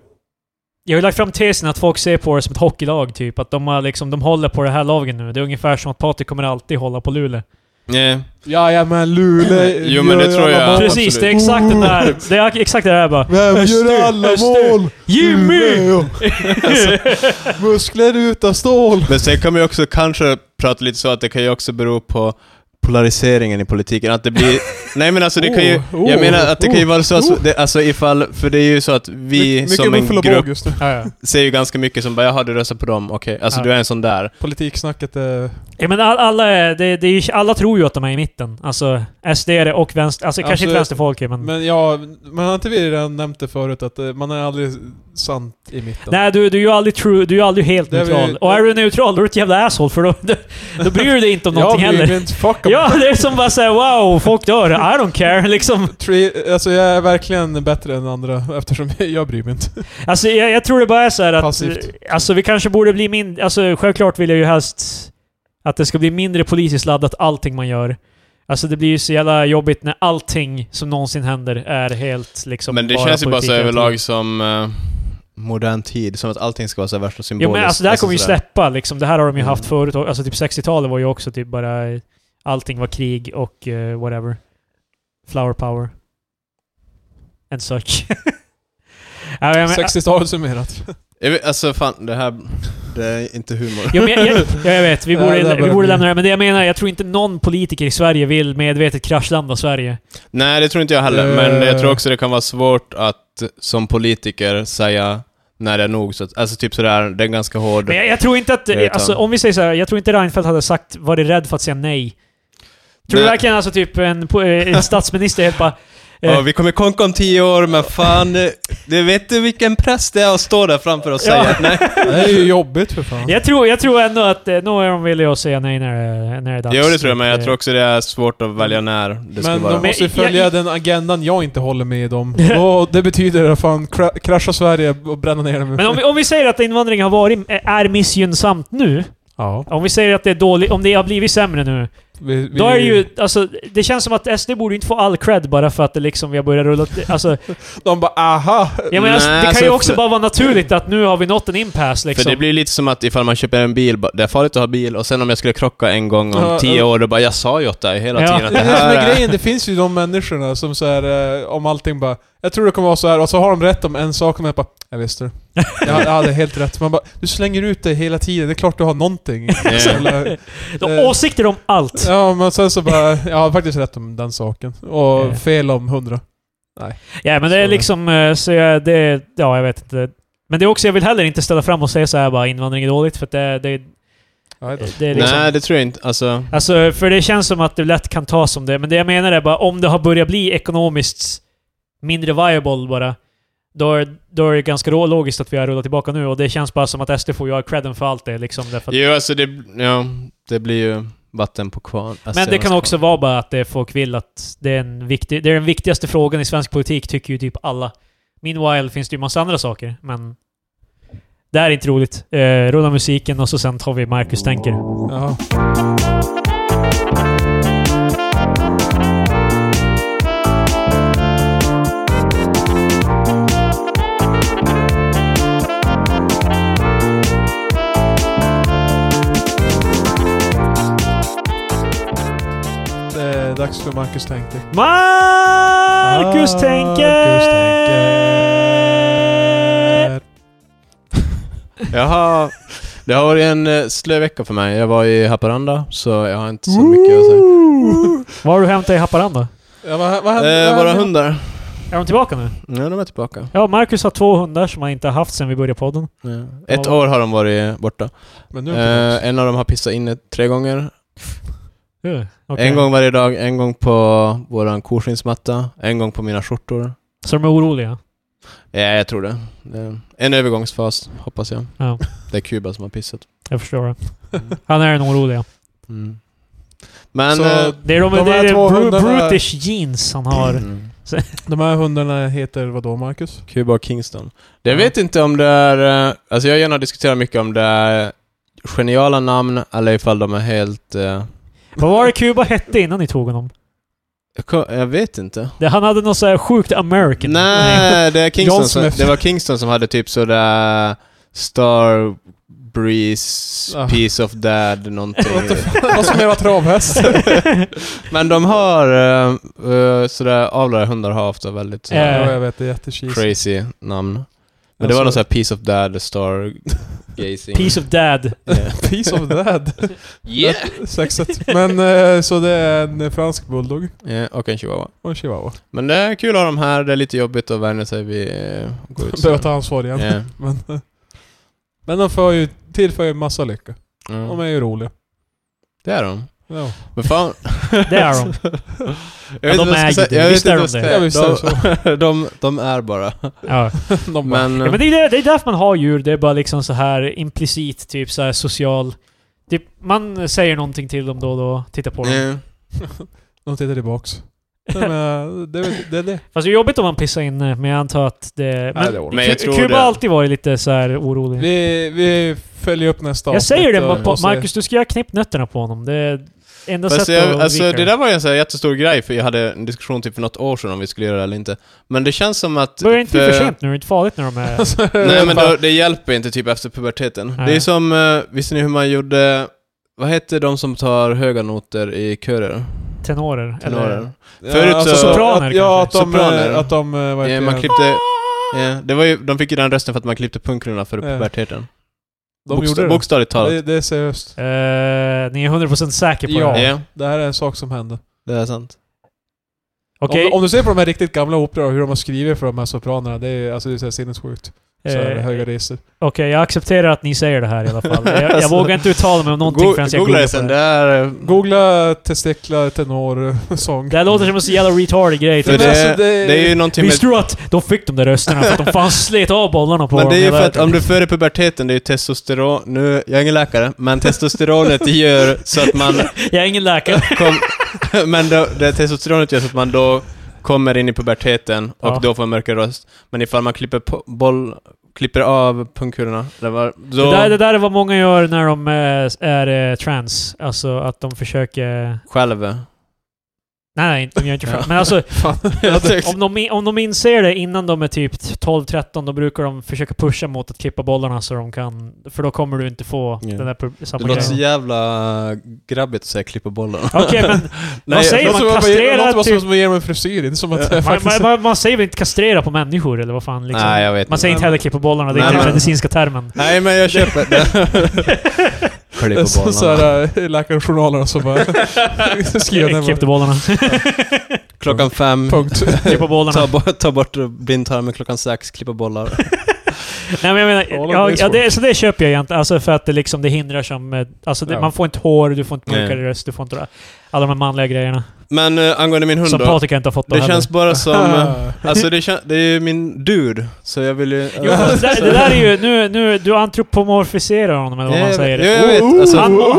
Speaker 1: Jag har ju lagt fram tesen att folk ser på det som ett hockeylag typ. Att de, har liksom, de håller på det här laget nu. Det är ungefär som att Patrik kommer alltid hålla på Luleå.
Speaker 2: nej.
Speaker 3: Ja, ja men Luleå...
Speaker 2: Jo, men det
Speaker 3: gör
Speaker 2: tror
Speaker 3: alla
Speaker 2: jag.
Speaker 3: mål.
Speaker 1: Precis, det är exakt det där. Det är exakt det där bara.
Speaker 3: Vem
Speaker 1: Öster,
Speaker 3: gör alla
Speaker 1: öster.
Speaker 3: mål?
Speaker 1: Jimmy!
Speaker 3: Luleå. Alltså. Muskler utan stål!
Speaker 2: Men sen kan man ju också kanske prata lite så att det kan ju också bero på polariseringen i politiken, att det blir... Nej men alltså det kan ju...
Speaker 3: Oh,
Speaker 2: jag
Speaker 3: oh,
Speaker 2: menar att det kan ju
Speaker 3: oh,
Speaker 2: vara så att,
Speaker 3: oh.
Speaker 2: det, alltså ifall... För det är ju så att vi
Speaker 3: My-
Speaker 2: som
Speaker 3: buffel
Speaker 2: en
Speaker 3: och
Speaker 2: grupp
Speaker 3: båg just nu.
Speaker 1: Ja, ja.
Speaker 2: ser ju ganska mycket som bara ”jaha, du röstar på dem, okej”. Alltså
Speaker 1: Ja.
Speaker 2: du är en sån där.
Speaker 3: Politiksnacket är...
Speaker 1: Ja, men all, alla, är, det, det är, ju- alla tror ju att de är i mitten. Alltså SD är det och vänster... Alltså kanske inte
Speaker 3: Absolut.
Speaker 1: vänsterfolk men...
Speaker 3: Men ja, men har inte vi redan nämnt det förut att eh, man är aldrig sant i mitten?
Speaker 1: Nej, du, du är ju aldrig true, du är ju aldrig helt
Speaker 3: Det är vi-
Speaker 1: neutral. Och är du neutral, då är du ett jävla asshole, för då, då, då bryr du dig inte om någonting
Speaker 3: jag bryr
Speaker 1: heller.
Speaker 3: mig inte. Fuck em.
Speaker 1: Ja, det är som bara säga wow, folk dör, I don't care, liksom.
Speaker 3: Tre, alltså jag är verkligen bättre än andra eftersom jag bryr mig inte.
Speaker 1: Alltså jag, jag tror det bara är så här att...
Speaker 3: Passivt.
Speaker 1: Alltså vi kanske borde bli mindre... Alltså självklart vill jag ju helst att det ska bli mindre politiskt laddat allting man gör. Alltså det blir ju så jävla jobbigt när allting som någonsin händer är helt liksom
Speaker 2: men det känns ju bara så
Speaker 1: politik hela tiden.
Speaker 2: överlag som eh, modern tid, som att allting ska vara så här värsta
Speaker 1: Jo
Speaker 2: symboliskt.
Speaker 1: men alltså det här kommer ju
Speaker 2: sådär.
Speaker 1: släppa liksom. Det här har de ju
Speaker 2: Mm.
Speaker 1: haft förut. Och, Alltså typ 60-talet var ju också typ bara... Allting var krig och eh, whatever. Flower power. And such. ja, men,
Speaker 3: 60-talet summerat.
Speaker 2: Jag vet- Alltså fan, det här... Det är inte humor.
Speaker 1: Jo, men jag, jag, ja, jag vet, vi
Speaker 3: Ja, det
Speaker 1: borde,
Speaker 3: där
Speaker 1: vi
Speaker 3: börjar
Speaker 1: borde
Speaker 3: bli-
Speaker 1: lämna det här. Men det jag menar, jag tror inte någon politiker i Sverige vill medvetet kraschlanda Sverige.
Speaker 2: Nej, det tror inte jag heller. Men
Speaker 3: Eh.
Speaker 2: jag tror också det kan vara svårt att som politiker säga när det är nog. Så att, alltså typ sådär, det är en ganska hård...
Speaker 1: Men jag, jag tror inte att...
Speaker 2: Jag vet
Speaker 1: Alltså,
Speaker 2: han.
Speaker 1: om vi säger så här, jag tror inte Reinfeldt hade sagt, varit rädd för att säga nej. Tror du
Speaker 2: Nej.
Speaker 1: verkligen alltså typ en, po- eh, en statsminister helt bara... eh,
Speaker 2: Ja, vi kommer konka om tio år, men fan, eh, det vet du vilken press det är att stå där framför och
Speaker 1: Ja.
Speaker 2: säga nej.
Speaker 3: Det är ju jobbigt för fan.
Speaker 1: Jag tror, jag tror ändå att eh, några av dem vill ju säga nej när, det- när det är dags.
Speaker 2: Jo, det tror jag, men jag
Speaker 1: Eh,
Speaker 2: tror också det är svårt att välja när det ska
Speaker 3: Men
Speaker 2: vara.
Speaker 3: de måste ju
Speaker 1: Men jag-
Speaker 3: följa den agendan jag inte håller med om. Och det betyder att fan kra- krascha Sverige och bränna ner dem.
Speaker 1: Men om vi, om vi säger att invandringen har varit, eh, är missgynnsamt nu.
Speaker 3: Ja.
Speaker 1: Om vi säger att det är dåligt, om det har blivit sämre nu.
Speaker 3: Vi, vi,
Speaker 1: Då är det ju, alltså, det känns som att SD borde inte få all cred bara för att det liksom, vi har börjat rulla... Alltså,
Speaker 3: De bara aha!
Speaker 1: jag menar,
Speaker 2: Nej,
Speaker 1: alltså, det kan
Speaker 2: alltså,
Speaker 1: ju också
Speaker 2: för-
Speaker 1: bara vara naturligt att nu har vi nått en impasse liksom.
Speaker 2: För det blir lite som att ifall man köper en bil, ba- det är farligt att ha bil, och sen om jag skulle krocka en gång om
Speaker 3: Ja,
Speaker 2: tio
Speaker 3: ja.
Speaker 2: år, då bara jag sa ju åt dig hela
Speaker 1: Ja.
Speaker 2: tiden att
Speaker 3: Det
Speaker 2: det
Speaker 3: är det som
Speaker 2: här
Speaker 3: är
Speaker 2: är...
Speaker 3: grejen, det finns ju de människorna som säger om allting bara Jag tror det kommer vara så här och så har de rätt om en sak och man bara Jag visste det. Jag, jag hade helt rätt. Man bara Du slänger ut det hela tiden, det är klart du har någonting.
Speaker 2: Ja.
Speaker 3: Så jävla-
Speaker 1: De
Speaker 3: eh,
Speaker 1: åsikter om allt.
Speaker 3: ja men sen så bara Jag har faktiskt rätt om den saken.
Speaker 1: Ja.
Speaker 3: Och fel om hundra.
Speaker 1: Ja, men det är
Speaker 3: så-
Speaker 1: liksom... eh, Så jag, det, ja, jag vet inte. Men det är också, jag vill heller inte ställa fram och säga så här bara invandring är dåligt, för att det, det,
Speaker 3: Ja, det är-
Speaker 1: det är liksom...
Speaker 2: Nej, det tror jag inte. Alltså,
Speaker 1: Alltså, för det känns som att det lätt kan tas som det. Men det jag menar är bara om det har börjat bli ekonomiskt mindre viable bara. Då är, då är det ganska rå- logiskt att vi har rullat tillbaka nu och det känns bara som att SD får ju ha credden för allt det liksom. Därför att,
Speaker 2: jo, alltså det, ja, det blir ju vatten på kvarn. Alltså,
Speaker 1: men det kan
Speaker 2: kvarn.
Speaker 1: också vara bara att det folk vill att det är, en viktig, det är den viktigaste frågan i svensk politik tycker ju typ alla. Meanwhile finns det ju massa andra saker, men det här är inte roligt. Eh, rulla musiken och så sen tar vi Marcus tänker.
Speaker 3: Jaha. Exakt så Marcus tänkte.
Speaker 1: Marcus tänker!
Speaker 3: Ah, Marcus tänker.
Speaker 2: Jaha. Det har varit en eh, slö vecka för mig. Jag var i Haparanda, så jag har inte så mycket att säga.
Speaker 1: Vad har du hämtat i Haparanda?
Speaker 3: Ja, vad, vad hände?
Speaker 2: Eh,
Speaker 3: vad
Speaker 2: våra
Speaker 3: hände?
Speaker 2: hundar.
Speaker 1: Är de tillbaka nu?
Speaker 2: Nu är de tillbaka.
Speaker 1: Ja, Marcus har två hundar som han inte har haft sedan vi började podden.
Speaker 2: Ja. Ett år har de varit borta.
Speaker 3: Men nu är de tillbaka.
Speaker 2: Eh, en av dem har pissat inne tre gånger.
Speaker 1: Ja, okej.
Speaker 2: En gång varje dag, en gång på våran korskinnsmatta, en gång på mina skjortor.
Speaker 1: Så de är oroliga?
Speaker 2: Ja, jag tror det. det är en övergångsfas, hoppas jag.
Speaker 1: Ja,
Speaker 2: Det är Kuba som har pissat.
Speaker 1: jag förstår det. Han är den oroliga.
Speaker 2: Mm. Men...
Speaker 3: Så-
Speaker 2: eh,
Speaker 1: Det är de,
Speaker 3: De här
Speaker 1: det är
Speaker 3: två
Speaker 1: bru-
Speaker 3: hundarna-
Speaker 1: brutish jeans han har.
Speaker 2: mm.
Speaker 3: De här hundarna heter vad då Marcus?
Speaker 2: Kuba och Kingston. Det jag
Speaker 1: Ja.
Speaker 2: vet inte om det är... eh, Alltså jag och Jenna har diskuterat mycket om det är geniala namn eller ifall de är helt... eh,
Speaker 1: Vad var det Kuba hette innan ni tog honom?
Speaker 2: jag ko- jag vet inte.
Speaker 1: Det, han hade något så här sjukt American.
Speaker 2: Nej, det är Kingston
Speaker 3: John
Speaker 2: som,
Speaker 3: Smith.
Speaker 2: Det var Kingston som hade typ sådär... Star... Breeze...
Speaker 3: Ah.
Speaker 2: Piece of Dad någonting.
Speaker 3: What the fuck? Vad som är
Speaker 2: Eh.
Speaker 3: travhäst?
Speaker 2: Men de har... eh, eh, sådär avlade hundar har ofta väldigt så här
Speaker 1: Eh.
Speaker 3: ja, jag vet. Det är jättecheesy.
Speaker 2: crazy namn. Men det
Speaker 3: Alltså-
Speaker 2: var någon sån här Piece of Dad, Star... Gazing.
Speaker 1: Piece of Dad.
Speaker 2: Yeah.
Speaker 3: Piece of dad.
Speaker 2: yeah.
Speaker 3: Sexet. Men eh, så det är en fransk bulldog
Speaker 2: Ja, och en chihuahua.
Speaker 3: och en chihuahua.
Speaker 2: Men det är kul att ha dem här, det är lite jobbigt att vänja sig vid eh, att gå ut.
Speaker 3: Behöver ta ansvar igen.
Speaker 2: Ja.
Speaker 3: Men, eh, men de för ju, tillför ju massa lycka. De
Speaker 2: Ja.
Speaker 3: är ju roliga.
Speaker 2: Det är de.
Speaker 3: Ja.
Speaker 2: Men fan...
Speaker 1: Det är de.
Speaker 2: Jag vet
Speaker 1: de
Speaker 2: inte vad
Speaker 1: är
Speaker 2: jag
Speaker 1: ju
Speaker 2: ska
Speaker 1: det.
Speaker 2: säga. Jag vet
Speaker 1: Visst är
Speaker 2: inte
Speaker 1: de
Speaker 2: vad jag
Speaker 1: det?
Speaker 2: ska säga.
Speaker 3: Ja, visst
Speaker 2: De-
Speaker 3: är
Speaker 2: de- De är bara.
Speaker 1: Ja.
Speaker 3: De bara,
Speaker 2: Men...
Speaker 1: Ja, men det, är det, det är därför man har djur. Det är bara liksom så här implicit, typ så här social... Typ, man säger någonting till dem då och då, tittar på dem.
Speaker 2: eh,
Speaker 3: de tittar tillbaks. Nej, men, eh, det, är- det är det.
Speaker 1: Fast det är jobbigt om man pissar in eh, men jag antar att det...
Speaker 3: Nej, det är
Speaker 1: Men,
Speaker 3: oroliga.
Speaker 2: Men jag
Speaker 1: Ku-
Speaker 2: tror
Speaker 1: Kuba
Speaker 2: det-
Speaker 1: har alltid varit lite så här orolig.
Speaker 3: Vi, vi följer upp nästa
Speaker 1: jag säger det,
Speaker 3: avsnitt
Speaker 1: Ma-
Speaker 3: och-
Speaker 1: Pa-
Speaker 3: och ser-
Speaker 1: Marcus, du ska göra knäppnötterna på honom. Det är enda
Speaker 2: Fast
Speaker 1: sättet
Speaker 2: jag,
Speaker 1: att
Speaker 2: alltså,
Speaker 1: undvika
Speaker 2: det där var ju en så här jättestor grej, för jag hade en diskussion typ för något år sedan om vi skulle göra det eller inte. Men det känns som att...
Speaker 1: Börjar inte bli för sent nu? Det är inte farligt när de är...
Speaker 3: Alltså,
Speaker 2: Nej men
Speaker 3: bara-
Speaker 2: då, det hjälper inte typ efter puberteten.
Speaker 1: Nej.
Speaker 2: Det är som, eh, visste ni hur man gjorde... Vad hette de som tar höga noter i körer?
Speaker 1: Tenorer. Eller,
Speaker 2: Tenorer? Förut så-
Speaker 1: Sopraner
Speaker 3: att, alltså, ja, att
Speaker 1: kanske.
Speaker 3: de,
Speaker 2: Sopraner.
Speaker 3: eh, Att de, eh, vad
Speaker 2: Ja,
Speaker 3: heter
Speaker 2: man
Speaker 3: det?
Speaker 2: klippte... Ja, Eh, det var ju, de fick ju den rösten för att man klippte pungklorna före
Speaker 3: Ja.
Speaker 2: puberteten.
Speaker 3: Eh. de
Speaker 2: Boksta-
Speaker 3: gjorde det.
Speaker 2: Bokstavligt talat.
Speaker 3: det. Det är seriöst.
Speaker 1: Eh, ni är 100% säker på
Speaker 3: Ja.
Speaker 1: det? här?
Speaker 2: Ja,
Speaker 3: Det här är en sak som hände.
Speaker 2: det är sant.
Speaker 1: Okej. Eh,
Speaker 3: Om, om du ser på de här riktigt gamla operor och hur de har skrivit för de här sopranerna, det är, alltså, det är så här sinnessjukt. Så här,
Speaker 1: eh,
Speaker 3: höga register.
Speaker 1: Okej, jag accepterar att ni säger det här i alla fall. Jag, jag vågar inte uttala mig om någonting
Speaker 2: Go-
Speaker 1: förrän jag
Speaker 2: googla
Speaker 1: googlar
Speaker 2: det
Speaker 1: på
Speaker 2: sen,
Speaker 1: det.
Speaker 2: det är... eh,
Speaker 3: Googla testiklar, tenor, sång.
Speaker 1: Det här låter som en så jävla retardig grej.
Speaker 2: För
Speaker 1: typ.
Speaker 3: Men
Speaker 2: det,
Speaker 3: alltså, det-
Speaker 2: det är ju någonting med...
Speaker 1: Visste du att de fick de där rösterna för att de fan slet av bollarna på
Speaker 2: Men
Speaker 1: dem
Speaker 2: det är ju
Speaker 1: hela
Speaker 2: för att
Speaker 1: tiden.
Speaker 2: om du är före puberteten, det är ju testosteron... Nu, jag är ingen läkare, men testosteronet gör så att man...
Speaker 1: Jag är ingen läkare.
Speaker 2: Kom, men då, det testosteronet gör så att man då kommer in i puberteten och
Speaker 1: Ja.
Speaker 2: då får en mörkare röst. Men ifall man klipper på, boll... Klipper av pungkulorna, eller vad- då
Speaker 1: Det, där, det där är vad många gör när de eh, är eh, trans. Alltså att de försöker...
Speaker 2: själv...
Speaker 1: Nej, nej, de gör inte själva.
Speaker 2: Ja.
Speaker 1: Men alltså,
Speaker 3: Fan.
Speaker 2: Jag tyckte-
Speaker 1: om de, in- om de inser det innan de är typ 12-13, då brukar de försöka pusha mot att klippa bollarna så de kan... För då kommer du inte få
Speaker 2: Ja.
Speaker 1: den där pro-
Speaker 2: Det
Speaker 1: samma
Speaker 2: låter så
Speaker 1: grejen.
Speaker 2: jävla grabbigt att säga klippa bollen.
Speaker 1: Okej, men Vad säger
Speaker 3: det
Speaker 1: man?
Speaker 3: låter som att
Speaker 1: Kastrerar
Speaker 3: det låter
Speaker 1: typ-
Speaker 3: som att man ger dem en frisyr, inte som att det är
Speaker 1: man,
Speaker 3: faktiskt...
Speaker 1: man, man, man säger väl inte kastrera på människor eller vad fan liksom.
Speaker 2: Nej, jag vet
Speaker 1: Man säger
Speaker 2: inte.
Speaker 1: inte heller klippa bollarna, det är
Speaker 2: Nej,
Speaker 1: inte den
Speaker 2: men-
Speaker 1: medicinska termen.
Speaker 2: Nej, men jag köper det.
Speaker 3: det är
Speaker 2: Klippa
Speaker 3: så-
Speaker 1: äh,
Speaker 3: såhär, eh, läkarjournalerna som bara... skriver ner
Speaker 1: Klippa
Speaker 3: vad-
Speaker 1: bollarna.
Speaker 2: Klockan fem.
Speaker 3: Punkt.
Speaker 1: klippa bollarna.
Speaker 2: Ta, bort- ta bort blindtarmen klockan sex, klippa bollar.
Speaker 1: Nej men jag
Speaker 3: All
Speaker 1: menar,
Speaker 3: of
Speaker 1: ja,
Speaker 3: this
Speaker 1: ja, det, så det köper jag egentligen. Alltså för att det liksom, det hindrar som... eh, Alltså det,
Speaker 3: Ja.
Speaker 1: man får inte hår, du får inte
Speaker 2: Nej.
Speaker 1: mörkare röst, du får inte alla de här manliga grejerna.
Speaker 2: Men eh, angående min hund
Speaker 1: Som
Speaker 2: då.
Speaker 1: Patrik inte har fått då
Speaker 2: Det känns bara som... eh,
Speaker 3: Ah.
Speaker 2: alltså det, kän, det är ju min dude, så jag vill ju...
Speaker 1: Jo, fast det, det där är ju... Nu, nu, du antropomorfiserar honom eller vad man säger.
Speaker 2: Ja, jag vet. Alltså,
Speaker 1: Han, må-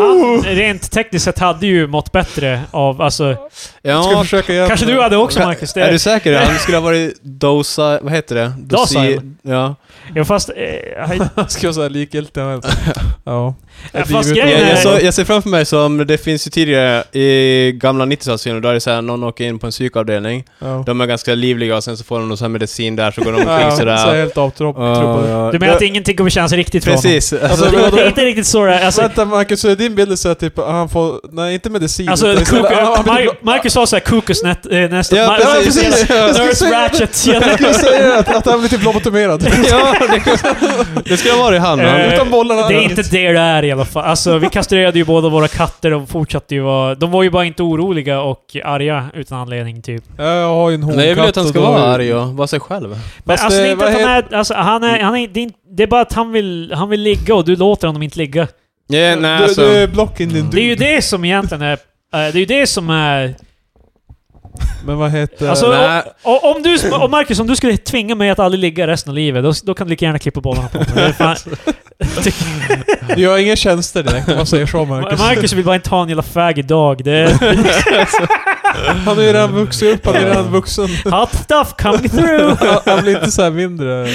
Speaker 1: han rent tekniskt sett hade ju mått bättre av... Alltså,
Speaker 2: ja,
Speaker 3: Ska försöka göra...
Speaker 1: kanske du hade också
Speaker 2: Ka-
Speaker 1: Marcus?
Speaker 2: Är
Speaker 1: Det,
Speaker 2: du säker? Han skulle ha varit dosa... Vad heter det? Dosi-
Speaker 1: Docile.
Speaker 2: Ja.
Speaker 1: ja, fast... Eh,
Speaker 3: Han ska vara såhär likgiltig. han- Ja.
Speaker 1: Ja,
Speaker 3: Ett
Speaker 1: fast
Speaker 3: liv
Speaker 1: grejen
Speaker 2: Jag,
Speaker 1: är-
Speaker 3: utan-
Speaker 2: jag, så, jag ser framför mig som, det finns ju tidigare i gamla 90-talsfilmer, och då är det så här, någon åker in på en psykavdelning,
Speaker 3: Ja.
Speaker 2: de är ganska livliga och sen så får de någon sån här medicin där, så går de
Speaker 3: Ja,
Speaker 2: omkring
Speaker 3: så är jag
Speaker 2: sådär.
Speaker 3: helt avtrubbade.
Speaker 2: Ja, ja.
Speaker 1: Du menar att ingenting kommer kännas riktigt för honom?
Speaker 2: Precis!
Speaker 3: Alltså,
Speaker 2: Alltså,
Speaker 1: Det är inte riktigt så det är. Alltså,
Speaker 3: Vänta Marcus, så din bild är såhär typ, han får, nej inte medicin.
Speaker 1: Alltså,
Speaker 3: utan istället- Ah,
Speaker 1: Kuku-
Speaker 3: han- han blir
Speaker 1: Mar-
Speaker 3: bra-
Speaker 1: Marcus sa såhär kokosnätter... eh, nästa-
Speaker 2: Ja,
Speaker 1: Mar-
Speaker 2: ja,
Speaker 1: Mar-
Speaker 2: precis.
Speaker 1: Nurse
Speaker 2: Jag
Speaker 3: skulle säga det.
Speaker 1: Ratchet.
Speaker 3: Jag skulle säga att, att han blir typ lobotomerad.
Speaker 2: ja, det- det skulle ha varit han.
Speaker 1: Eh,
Speaker 2: han.
Speaker 3: Utan bollarna.
Speaker 1: Det är inte det det är i alla fall. Alltså, vi kastrerade ju båda våra katter och fortsatte ju vara... De var ju bara inte oroliga och arga utan anledning, typ.
Speaker 3: Ja, Jag har ju en honkatt.
Speaker 2: Nej, jag vill att han ska
Speaker 3: och då-
Speaker 2: vara arg och vara sig själv.
Speaker 1: Men
Speaker 3: Fast
Speaker 1: alltså, det är
Speaker 3: det-
Speaker 1: inte
Speaker 3: vad
Speaker 1: att han är... Alltså, han är, han är, det, är inte, det är bara att han vill, han vill ligga och du låter honom inte ligga.
Speaker 2: Ja, nej,
Speaker 3: du,
Speaker 2: alltså.
Speaker 3: du är block in din
Speaker 2: Mm.
Speaker 1: Det är ju
Speaker 3: dude.
Speaker 1: det som egentligen är... eh, Det är ju det som är...
Speaker 3: Men vad heter...
Speaker 1: Alltså,
Speaker 2: nej.
Speaker 1: o- o- om du... Om Marcus, om du skulle tvinga mig att aldrig ligga resten av livet, då, då kan du lika gärna klippa bollarna på mig. Det är fan-
Speaker 3: Du gör inga tjänster direkt om man säger så Marcus.
Speaker 1: Marcus vill bara inte ha en jävla fag idag. Det är,
Speaker 3: Han är ju redan vuxit upp, han är redan vuxen.
Speaker 1: hot stuff coming through!
Speaker 3: Han- Han blir inte så här mindre.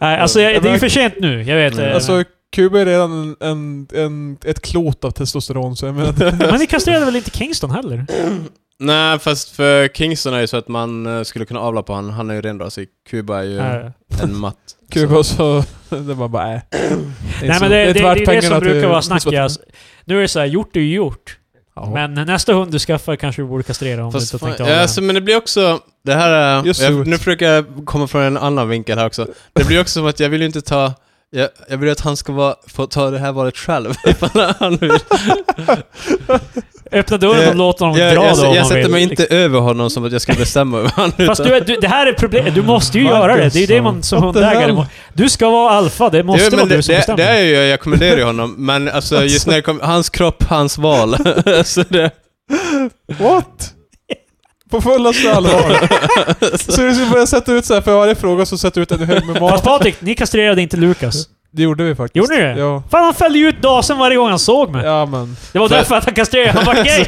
Speaker 1: Nej, alltså jag, det är ju för sent nu. Jag vet.
Speaker 2: Mm.
Speaker 1: eh,
Speaker 3: Alltså Kuba är redan en, en, en, ett klot av testosteron så jag menar...
Speaker 1: Men ni kastrerade väl inte Kingston heller?
Speaker 2: Nej, fast för Kingston är ju så att man eh, skulle kunna avla på han. Han är ju renrasig. Kuba är ju
Speaker 1: Eh,
Speaker 2: en matt.
Speaker 3: Kuba så... Det var bara äh. Det är
Speaker 1: Nej
Speaker 3: så-
Speaker 1: men det, det,
Speaker 3: inte
Speaker 1: det,
Speaker 3: värt
Speaker 1: är det
Speaker 3: pengarna
Speaker 1: som
Speaker 3: till-
Speaker 1: brukar vara
Speaker 3: till-
Speaker 1: snacket. Alltså. Nu är det så här, gjort är ju gjort.
Speaker 3: Ja.
Speaker 1: Men nästa hund du skaffar kanske du borde kastrera om
Speaker 2: Fast
Speaker 1: du inte har
Speaker 2: fan,
Speaker 1: tänkt av
Speaker 2: ja,
Speaker 1: det än.
Speaker 2: alltså, men det blir också... Det här är...
Speaker 3: Just
Speaker 2: Jag,
Speaker 3: det.
Speaker 2: nu försöker jag komma från en annan vinkel här också. Det blir också som att jag vill ju inte ta... Jag, jag vill ju att han ska vara, få ta det här valet själv. Ifall han vill.
Speaker 1: Öppna dörren
Speaker 2: Eh,
Speaker 1: och låt honom
Speaker 2: Jag,
Speaker 1: dra
Speaker 2: jag,
Speaker 1: då om
Speaker 2: jag,
Speaker 1: han
Speaker 2: sätter
Speaker 1: vill. liksom.
Speaker 2: mig inte över honom som att jag ska bestämma över honom.
Speaker 1: Fast
Speaker 2: utan-
Speaker 1: du, är- du, det här är problemet. Du måste ju göra det. Det är ju det man som
Speaker 3: What the
Speaker 1: hundägare
Speaker 3: hell?
Speaker 1: må- Du ska vara alfa. Det måste
Speaker 2: Jo, men
Speaker 1: vara
Speaker 2: det,
Speaker 1: du som
Speaker 2: det,
Speaker 1: bestämmer.
Speaker 2: det är ju, jag kommenderar ju honom, men alltså just när det kommer, hans kropp, hans val. så det,
Speaker 3: What? På fullaste allvar. så du skulle börja sätta ut så här för varje fråga så sätter du ut en hög med
Speaker 1: Fast
Speaker 3: mat.
Speaker 1: Patrik, ni kastrerade inte Lukas.
Speaker 3: Det gjorde vi faktiskt.
Speaker 1: Gjorde ni det?
Speaker 3: Ja.
Speaker 1: Fan, han fällde ju ut dasen varje gång han såg mig.
Speaker 3: Ja men.
Speaker 1: Det var
Speaker 2: Men-
Speaker 1: därför att han kastrerade. Han var gay.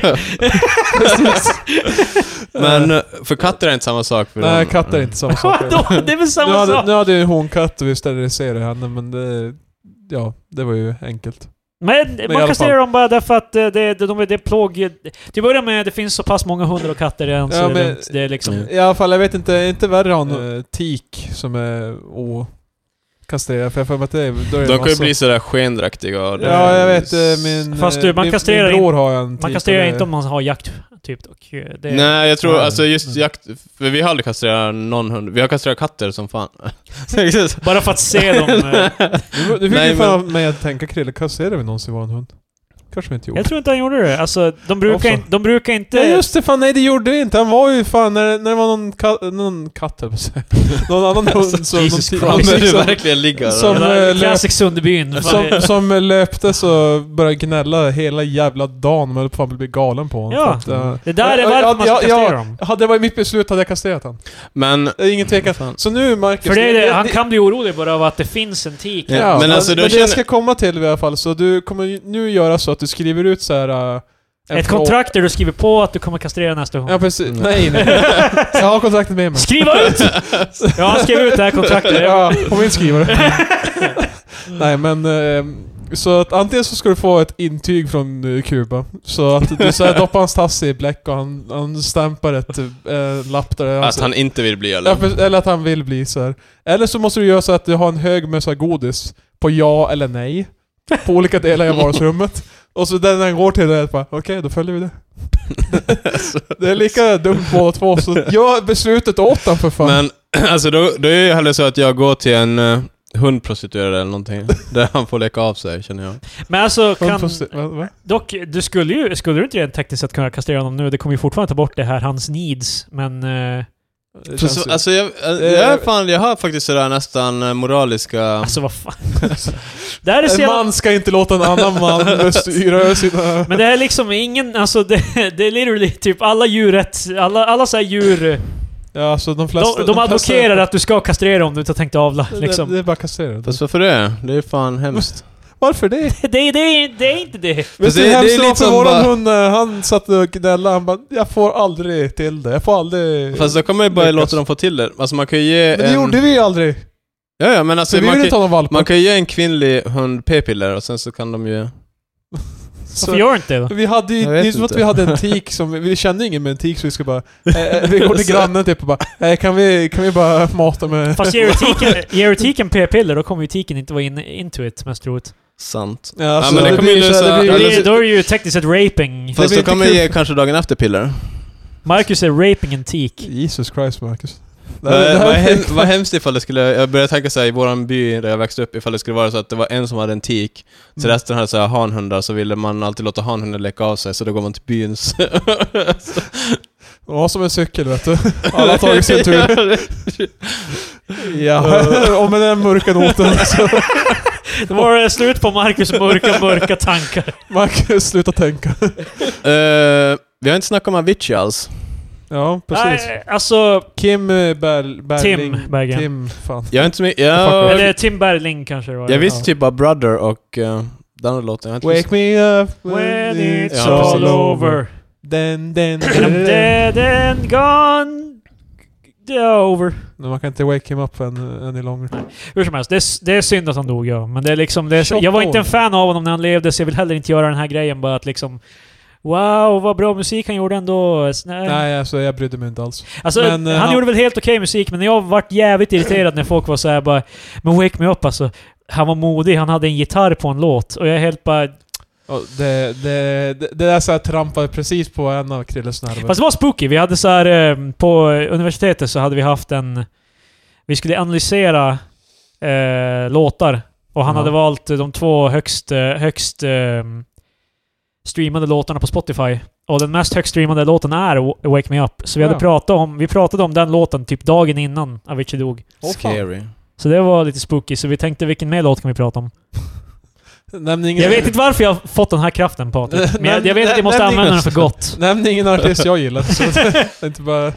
Speaker 2: men eh, för katter är det inte samma sak. För
Speaker 3: Nej,
Speaker 2: dem.
Speaker 3: katter är inte samma sak.
Speaker 1: Vadå? Det är väl
Speaker 3: nu,
Speaker 1: samma
Speaker 3: Alltså. hade,
Speaker 1: sak?
Speaker 3: nu hade ju hon katt och vi steriliserade henne men det... Ja, det var ju enkelt.
Speaker 1: Men
Speaker 3: i
Speaker 1: man
Speaker 3: alla
Speaker 1: kastrerar
Speaker 3: fall.
Speaker 1: dem bara därför att eh, det, det, de, det är plåg... Till att börja med, det finns så pass många hundar och katter redan så
Speaker 3: Ja,
Speaker 1: det är
Speaker 3: men-
Speaker 1: lugnt. Det är liksom...
Speaker 2: Mm.
Speaker 3: I alla fall, jag vet inte, är inte värre att ha en eh, tik som är okastrerad? För jag har för mig att det är... Då är
Speaker 2: De kan
Speaker 3: det
Speaker 2: ju
Speaker 1: Alltså.
Speaker 3: massa-
Speaker 2: bli sådär skendraktiga och det-
Speaker 3: Ja, jag vet. eh, Min,
Speaker 1: Fast du,
Speaker 3: eh,
Speaker 1: man
Speaker 3: min,
Speaker 1: kastrerar
Speaker 3: min
Speaker 1: in-
Speaker 3: bror har en tik.
Speaker 1: Man kastrerar inte om man har jakt, typ. Och eh, det,
Speaker 2: Nej, jag tror
Speaker 3: Nej.
Speaker 2: alltså just
Speaker 3: Mm.
Speaker 2: jakt... För vi har aldrig kastrerat någon hund. Vi har kastrerat katter som fan.
Speaker 1: Bara för att se dem. eh.
Speaker 3: Du, du fick
Speaker 2: Nej,
Speaker 3: ju fan mig att tänka Krille, kastrerade vi någonsin vår hund? Kanske vi inte gjorde.
Speaker 1: Jag tror inte han gjorde det. Alltså, de brukar,
Speaker 3: Varför?
Speaker 1: in, de brukar inte...
Speaker 3: Ja just det, fan nej det gjorde vi inte. Han var ju fan, när, när det var någon, ka någon katt höll jag på att säga. Någon annan hund som...
Speaker 1: Jesus
Speaker 3: någon ti-
Speaker 1: Christ.
Speaker 2: Kommer du
Speaker 3: som-
Speaker 2: verkligen ligga
Speaker 3: som-
Speaker 2: där?
Speaker 1: Jävla
Speaker 3: eh, löp-
Speaker 1: Classic Sunderbyn. Fan,
Speaker 3: Som,
Speaker 1: det-
Speaker 3: som löpte så började gnälla hela jävla dagen. Man höll på att bli galen på honom.
Speaker 1: Ja.
Speaker 3: För att, eh,
Speaker 1: Det där är
Speaker 3: Ja,
Speaker 1: varför
Speaker 3: ja,
Speaker 1: man ska
Speaker 3: ja,
Speaker 1: kastrera
Speaker 3: ja.
Speaker 1: dem.
Speaker 3: hade det varit mitt beslut hade jag kastrerat honom.
Speaker 2: Men...
Speaker 3: Det är ingen tvekan.
Speaker 2: Fan.
Speaker 3: Så nu Marcus...
Speaker 1: För det är
Speaker 3: ni-
Speaker 1: det, han
Speaker 3: ni-
Speaker 1: kan bli orolig bara av att det finns en tik.
Speaker 2: Ja,
Speaker 3: Ja,
Speaker 2: men
Speaker 3: men,
Speaker 2: alltså, då
Speaker 3: men det
Speaker 2: känner-
Speaker 3: jag ska komma till i alla fall, så du kommer ju nu göra så att du skriver ut så här. eh, en
Speaker 1: Ett
Speaker 3: frå-
Speaker 1: kontrakt där du skriver på att du kommer kastrera nästa hund.
Speaker 3: Ja precis.
Speaker 2: Mm.
Speaker 3: Nej, nej. jag har kontraktet med mig.
Speaker 1: Skriva ut! Ja, han skrev ut det här kontraktet.
Speaker 3: Ja, om inte skriver. Nej men... eh, Så att antingen så ska du få ett intyg från eh, Kuba. Så att du så här doppar hans tass i bläck och han, han stampar ett eh, lapp där.
Speaker 2: Att
Speaker 3: Alltså-
Speaker 2: han inte vill bli
Speaker 3: Ja,
Speaker 2: eller?
Speaker 3: precis. eller att han vill bli så här. Eller så måste du göra så att du har en hög med så här godis på ja eller nej. På olika delar i vardagsrummet. Och så den han går till det är bara, okej då följer vi det. det är lika dumt båda två, så gör beslutet åt honom för fan.
Speaker 2: Men alltså då, då är det ju hellre så att jag går till en eh, hundprostituerad eller någonting. Där han får leka av sig, känner jag.
Speaker 1: Men alltså,
Speaker 3: Hon
Speaker 1: kan,
Speaker 3: får se- va, va?
Speaker 1: dock, du skulle ju skulle du inte rent tekniskt sett kunna kastrera honom nu? Det kommer ju fortfarande ta bort det här, hans needs. Men... eh,
Speaker 2: Så,
Speaker 3: Det känns ju-
Speaker 2: alltså jag, jag,
Speaker 3: Eh,
Speaker 2: är fan, jag har faktiskt sådär nästan eh, moraliska...
Speaker 1: alltså vad fan. det här är så
Speaker 3: en
Speaker 1: jävla,
Speaker 3: man ska inte låta en annan man styra över sina...
Speaker 1: Men det här är liksom ingen... Alltså det, det är literally typ alla djurrätt... Alla, alla så här djur...
Speaker 3: Ja, alltså de flesta...
Speaker 1: De, de
Speaker 3: flesta-
Speaker 1: advokerar att du ska kastrera om du inte har tänkt avla.
Speaker 3: Det-
Speaker 1: Liksom.
Speaker 3: Det är bara kastrera.
Speaker 2: Fast varför det? Det är ju fan hemskt.
Speaker 3: Varför det?
Speaker 1: Det, det, det, det är inte det.
Speaker 3: Vet
Speaker 2: Fast
Speaker 3: du
Speaker 2: det-
Speaker 3: hur
Speaker 2: det är
Speaker 3: hemskt det var
Speaker 2: liksom
Speaker 3: för våran
Speaker 2: bara-
Speaker 3: hund när han satt och gnällde? Han bara, jag får aldrig till det. Jag får aldrig...
Speaker 2: Fast då kan man ju bara
Speaker 3: Lyckas.
Speaker 2: låta dem få till det. Alltså man kan ju ge
Speaker 3: men det
Speaker 2: en...
Speaker 3: gjorde vi ju aldrig.
Speaker 2: Ja, ja, men alltså
Speaker 3: Så vi
Speaker 2: man
Speaker 3: ville
Speaker 2: kan,
Speaker 3: inte ha någon valp.
Speaker 2: man kan ju ge en kvinnlig hund p-piller och sen så kan de ju...
Speaker 1: Varför gör du inte det då?
Speaker 3: Vi hade ju,
Speaker 2: Jag
Speaker 3: det är
Speaker 2: vet
Speaker 3: som att
Speaker 2: inte.
Speaker 3: vi hade en tik som, vi kände ingen med en tik så vi ska bara, eh, vi går till grannen typ och bara, eh, kan, vi, kan vi bara mata med...
Speaker 1: Fast ger du tiken- ger du tiken p-piller då kommer ju tiken inte vara in, into it mest troligt.
Speaker 2: Sant.
Speaker 3: Ja, alltså,
Speaker 2: men det kommer ju
Speaker 3: blir så-
Speaker 2: lösa-
Speaker 3: det
Speaker 1: Då
Speaker 2: Ja,
Speaker 1: är
Speaker 3: blir-
Speaker 2: det-
Speaker 1: det- då är det ju tekniskt sett raping.
Speaker 2: Fast
Speaker 3: blir
Speaker 2: då
Speaker 3: inte
Speaker 2: kan man
Speaker 3: kul.
Speaker 2: ge kanske dagen efter piller.
Speaker 1: Marcus är raping en tik.
Speaker 3: Jesus Christ Marcus. Det
Speaker 2: Vad
Speaker 3: här- det här
Speaker 2: vad
Speaker 3: är-
Speaker 2: hem- vad hemskt ifall det skulle, jag började tänka såhär i våran by där jag växte upp, ifall det skulle vara så att det var en som hade en tik, så
Speaker 3: Mm.
Speaker 2: resten hade såhär hanhundar, så ville man alltid låta hanhunden leka av sig, så då går man till byns...
Speaker 3: De har som en cykel vet du. Alla har tagit sin tur. Ja. Och med den mörka noten så
Speaker 1: Då var det slut på Marcus mörka, mörka tankar.
Speaker 3: Marcus, sluta tänka.
Speaker 2: Eh, vi har inte snackat om Avicii alls.
Speaker 3: Ja, precis.
Speaker 1: Nej, alltså...
Speaker 3: Kim eh, Ber- Berling.
Speaker 1: Tim Berggren.
Speaker 3: Tim, fan.
Speaker 2: Jag har inte så mycket...
Speaker 3: Fuck
Speaker 2: Jag,
Speaker 1: Eller eh, Tim Berling kanske det var.
Speaker 2: jag visste typ bara Brother och uh, den andra låten. Jag har inte
Speaker 3: Wake me up
Speaker 1: When it's
Speaker 2: Ja,
Speaker 1: all
Speaker 2: precis.
Speaker 1: over.
Speaker 3: Den, den,
Speaker 1: And I'm
Speaker 3: den.
Speaker 1: dead and gone. They're over.
Speaker 3: Men man kan inte wake him up an- any longer.
Speaker 1: Hur som helst, det är, s- det är synd att han dog ja. Men det är liksom... Det är,
Speaker 3: 28
Speaker 1: jag var inte en
Speaker 3: år.
Speaker 1: fan av honom när han levde, så jag vill heller inte göra den här grejen bara att liksom... Wow, vad bra musik han gjorde ändå. Nej.
Speaker 3: Nej, alltså jag brydde mig inte alls.
Speaker 1: Alltså,
Speaker 3: Men, eh,
Speaker 1: han,
Speaker 3: han-
Speaker 1: gjorde väl helt okej musik, men jag vart jävligt irriterad när folk var så här bara Men Wake Me Up alltså. Han var modig, han hade en gitarr på en låt. Och jag är helt bara...
Speaker 3: Och det, det, det, det där så här trampade precis på en av Krilles nerver.
Speaker 1: Fast det var spooky. Vi hade så här, eh, på universitetet så hade vi haft en... Vi skulle analysera eh, låtar. Och han
Speaker 3: Ja.
Speaker 1: hade valt de två högst, eh, högst eh, streamade låtarna på Spotify. Och den mest högst streamade låten är Wa- Wake Me Up. Så vi, hade
Speaker 3: Ja.
Speaker 1: pratat om, vi pratade om den låten typ dagen innan Avicii dog.
Speaker 3: Åh, fan.
Speaker 2: scary.
Speaker 1: Så det var lite spooky, så vi tänkte vilken mer låt kan vi prata om?
Speaker 3: Nämn ingen,
Speaker 1: Jag vet inte varför jag har fått den här kraften Patrik, men jag, jag vet att jag måste
Speaker 3: Nej, nej,
Speaker 1: använda den
Speaker 3: nej.
Speaker 1: för gott.
Speaker 3: nämn ingen artist jag gillar. Så det, det är inte bara...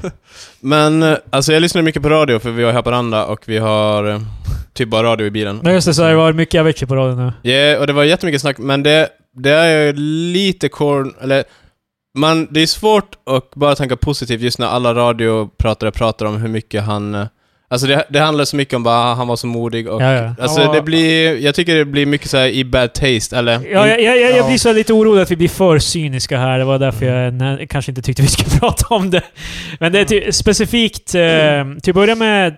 Speaker 2: Men eh, alltså jag lyssnar mycket på radio, för vi har i Haparanda och vi har eh, typ bara radio i bilen.
Speaker 1: Nej just det, så det var mycket Avicii på radion nu.
Speaker 2: Ja, och det var jättemycket snack, men det, det är ju lite korn... Eller, man, det är svårt att bara tänka positivt just när alla radiopratare pratar om hur mycket han... eh, Alltså det, det handlar så mycket om bara ah, han var så modig och...
Speaker 1: Ja, ja.
Speaker 2: Alltså
Speaker 3: Han var-
Speaker 2: det blir... Jag tycker det blir mycket så här i bad taste, eller...
Speaker 1: Ja, jag, jag, jag, jag
Speaker 3: Ja. Mm.
Speaker 1: blir så här lite orolig att vi blir för cyniska här, det var därför jag nä- kanske inte tyckte vi skulle prata om det. Men det är ty- specifikt, eh, till att börja med,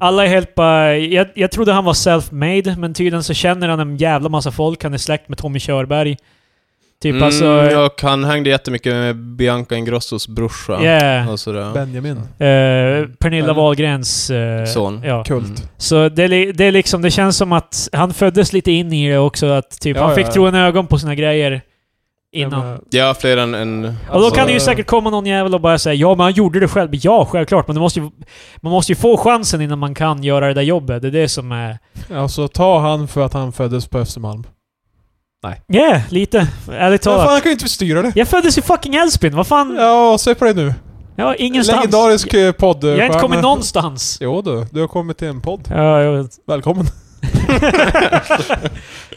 Speaker 1: alla är helt bara... Jag, jag trodde han var self-made, men tydligen så känner han en jävla massa folk, han är släkt med Tommy Körberg. Typ
Speaker 2: mm,
Speaker 1: alltså...
Speaker 2: Och han hängde jättemycket med Bianca Ingrossos brorsa.
Speaker 1: Yeah.
Speaker 2: Och sådär.
Speaker 3: Benjamin.
Speaker 1: Eh, Pernilla
Speaker 3: Eller?
Speaker 1: Wahlgrens eh,
Speaker 2: Son.
Speaker 1: Ja.
Speaker 3: Kult.
Speaker 2: Mm.
Speaker 1: Så det, är li- det, är liksom, det känns som att han föddes lite in i det också. Att typ,
Speaker 3: Ja,
Speaker 1: han
Speaker 3: ja,
Speaker 1: fick
Speaker 3: ja.
Speaker 1: tro en ögon på sina grejer innan.
Speaker 3: Ja, men-
Speaker 2: Ja, fler än... än
Speaker 1: och då
Speaker 3: alltså-
Speaker 1: kan det ju säkert komma någon jävel och bara säga ja, men han gjorde det själv. Ja, självklart. Men det måste ju, man måste ju få chansen innan man kan göra det där jobbet. Det är det som är...
Speaker 3: Alltså ta han för att han föddes på Östermalm.
Speaker 1: Ja, yeah, lite. Ärligt
Speaker 3: Men fan,
Speaker 1: talat.
Speaker 3: han kan ju inte styra det.
Speaker 1: Jag föddes i fucking Älvsbyn. Vad fan? Ja,
Speaker 3: Ja, se på dig nu.
Speaker 1: ingenstans.
Speaker 3: Legendarisk eh, podd.
Speaker 1: jag har inte kommit någonstans.
Speaker 3: Jo du, du har kommit till en podd.
Speaker 1: Ja, jag vet.
Speaker 3: Välkommen.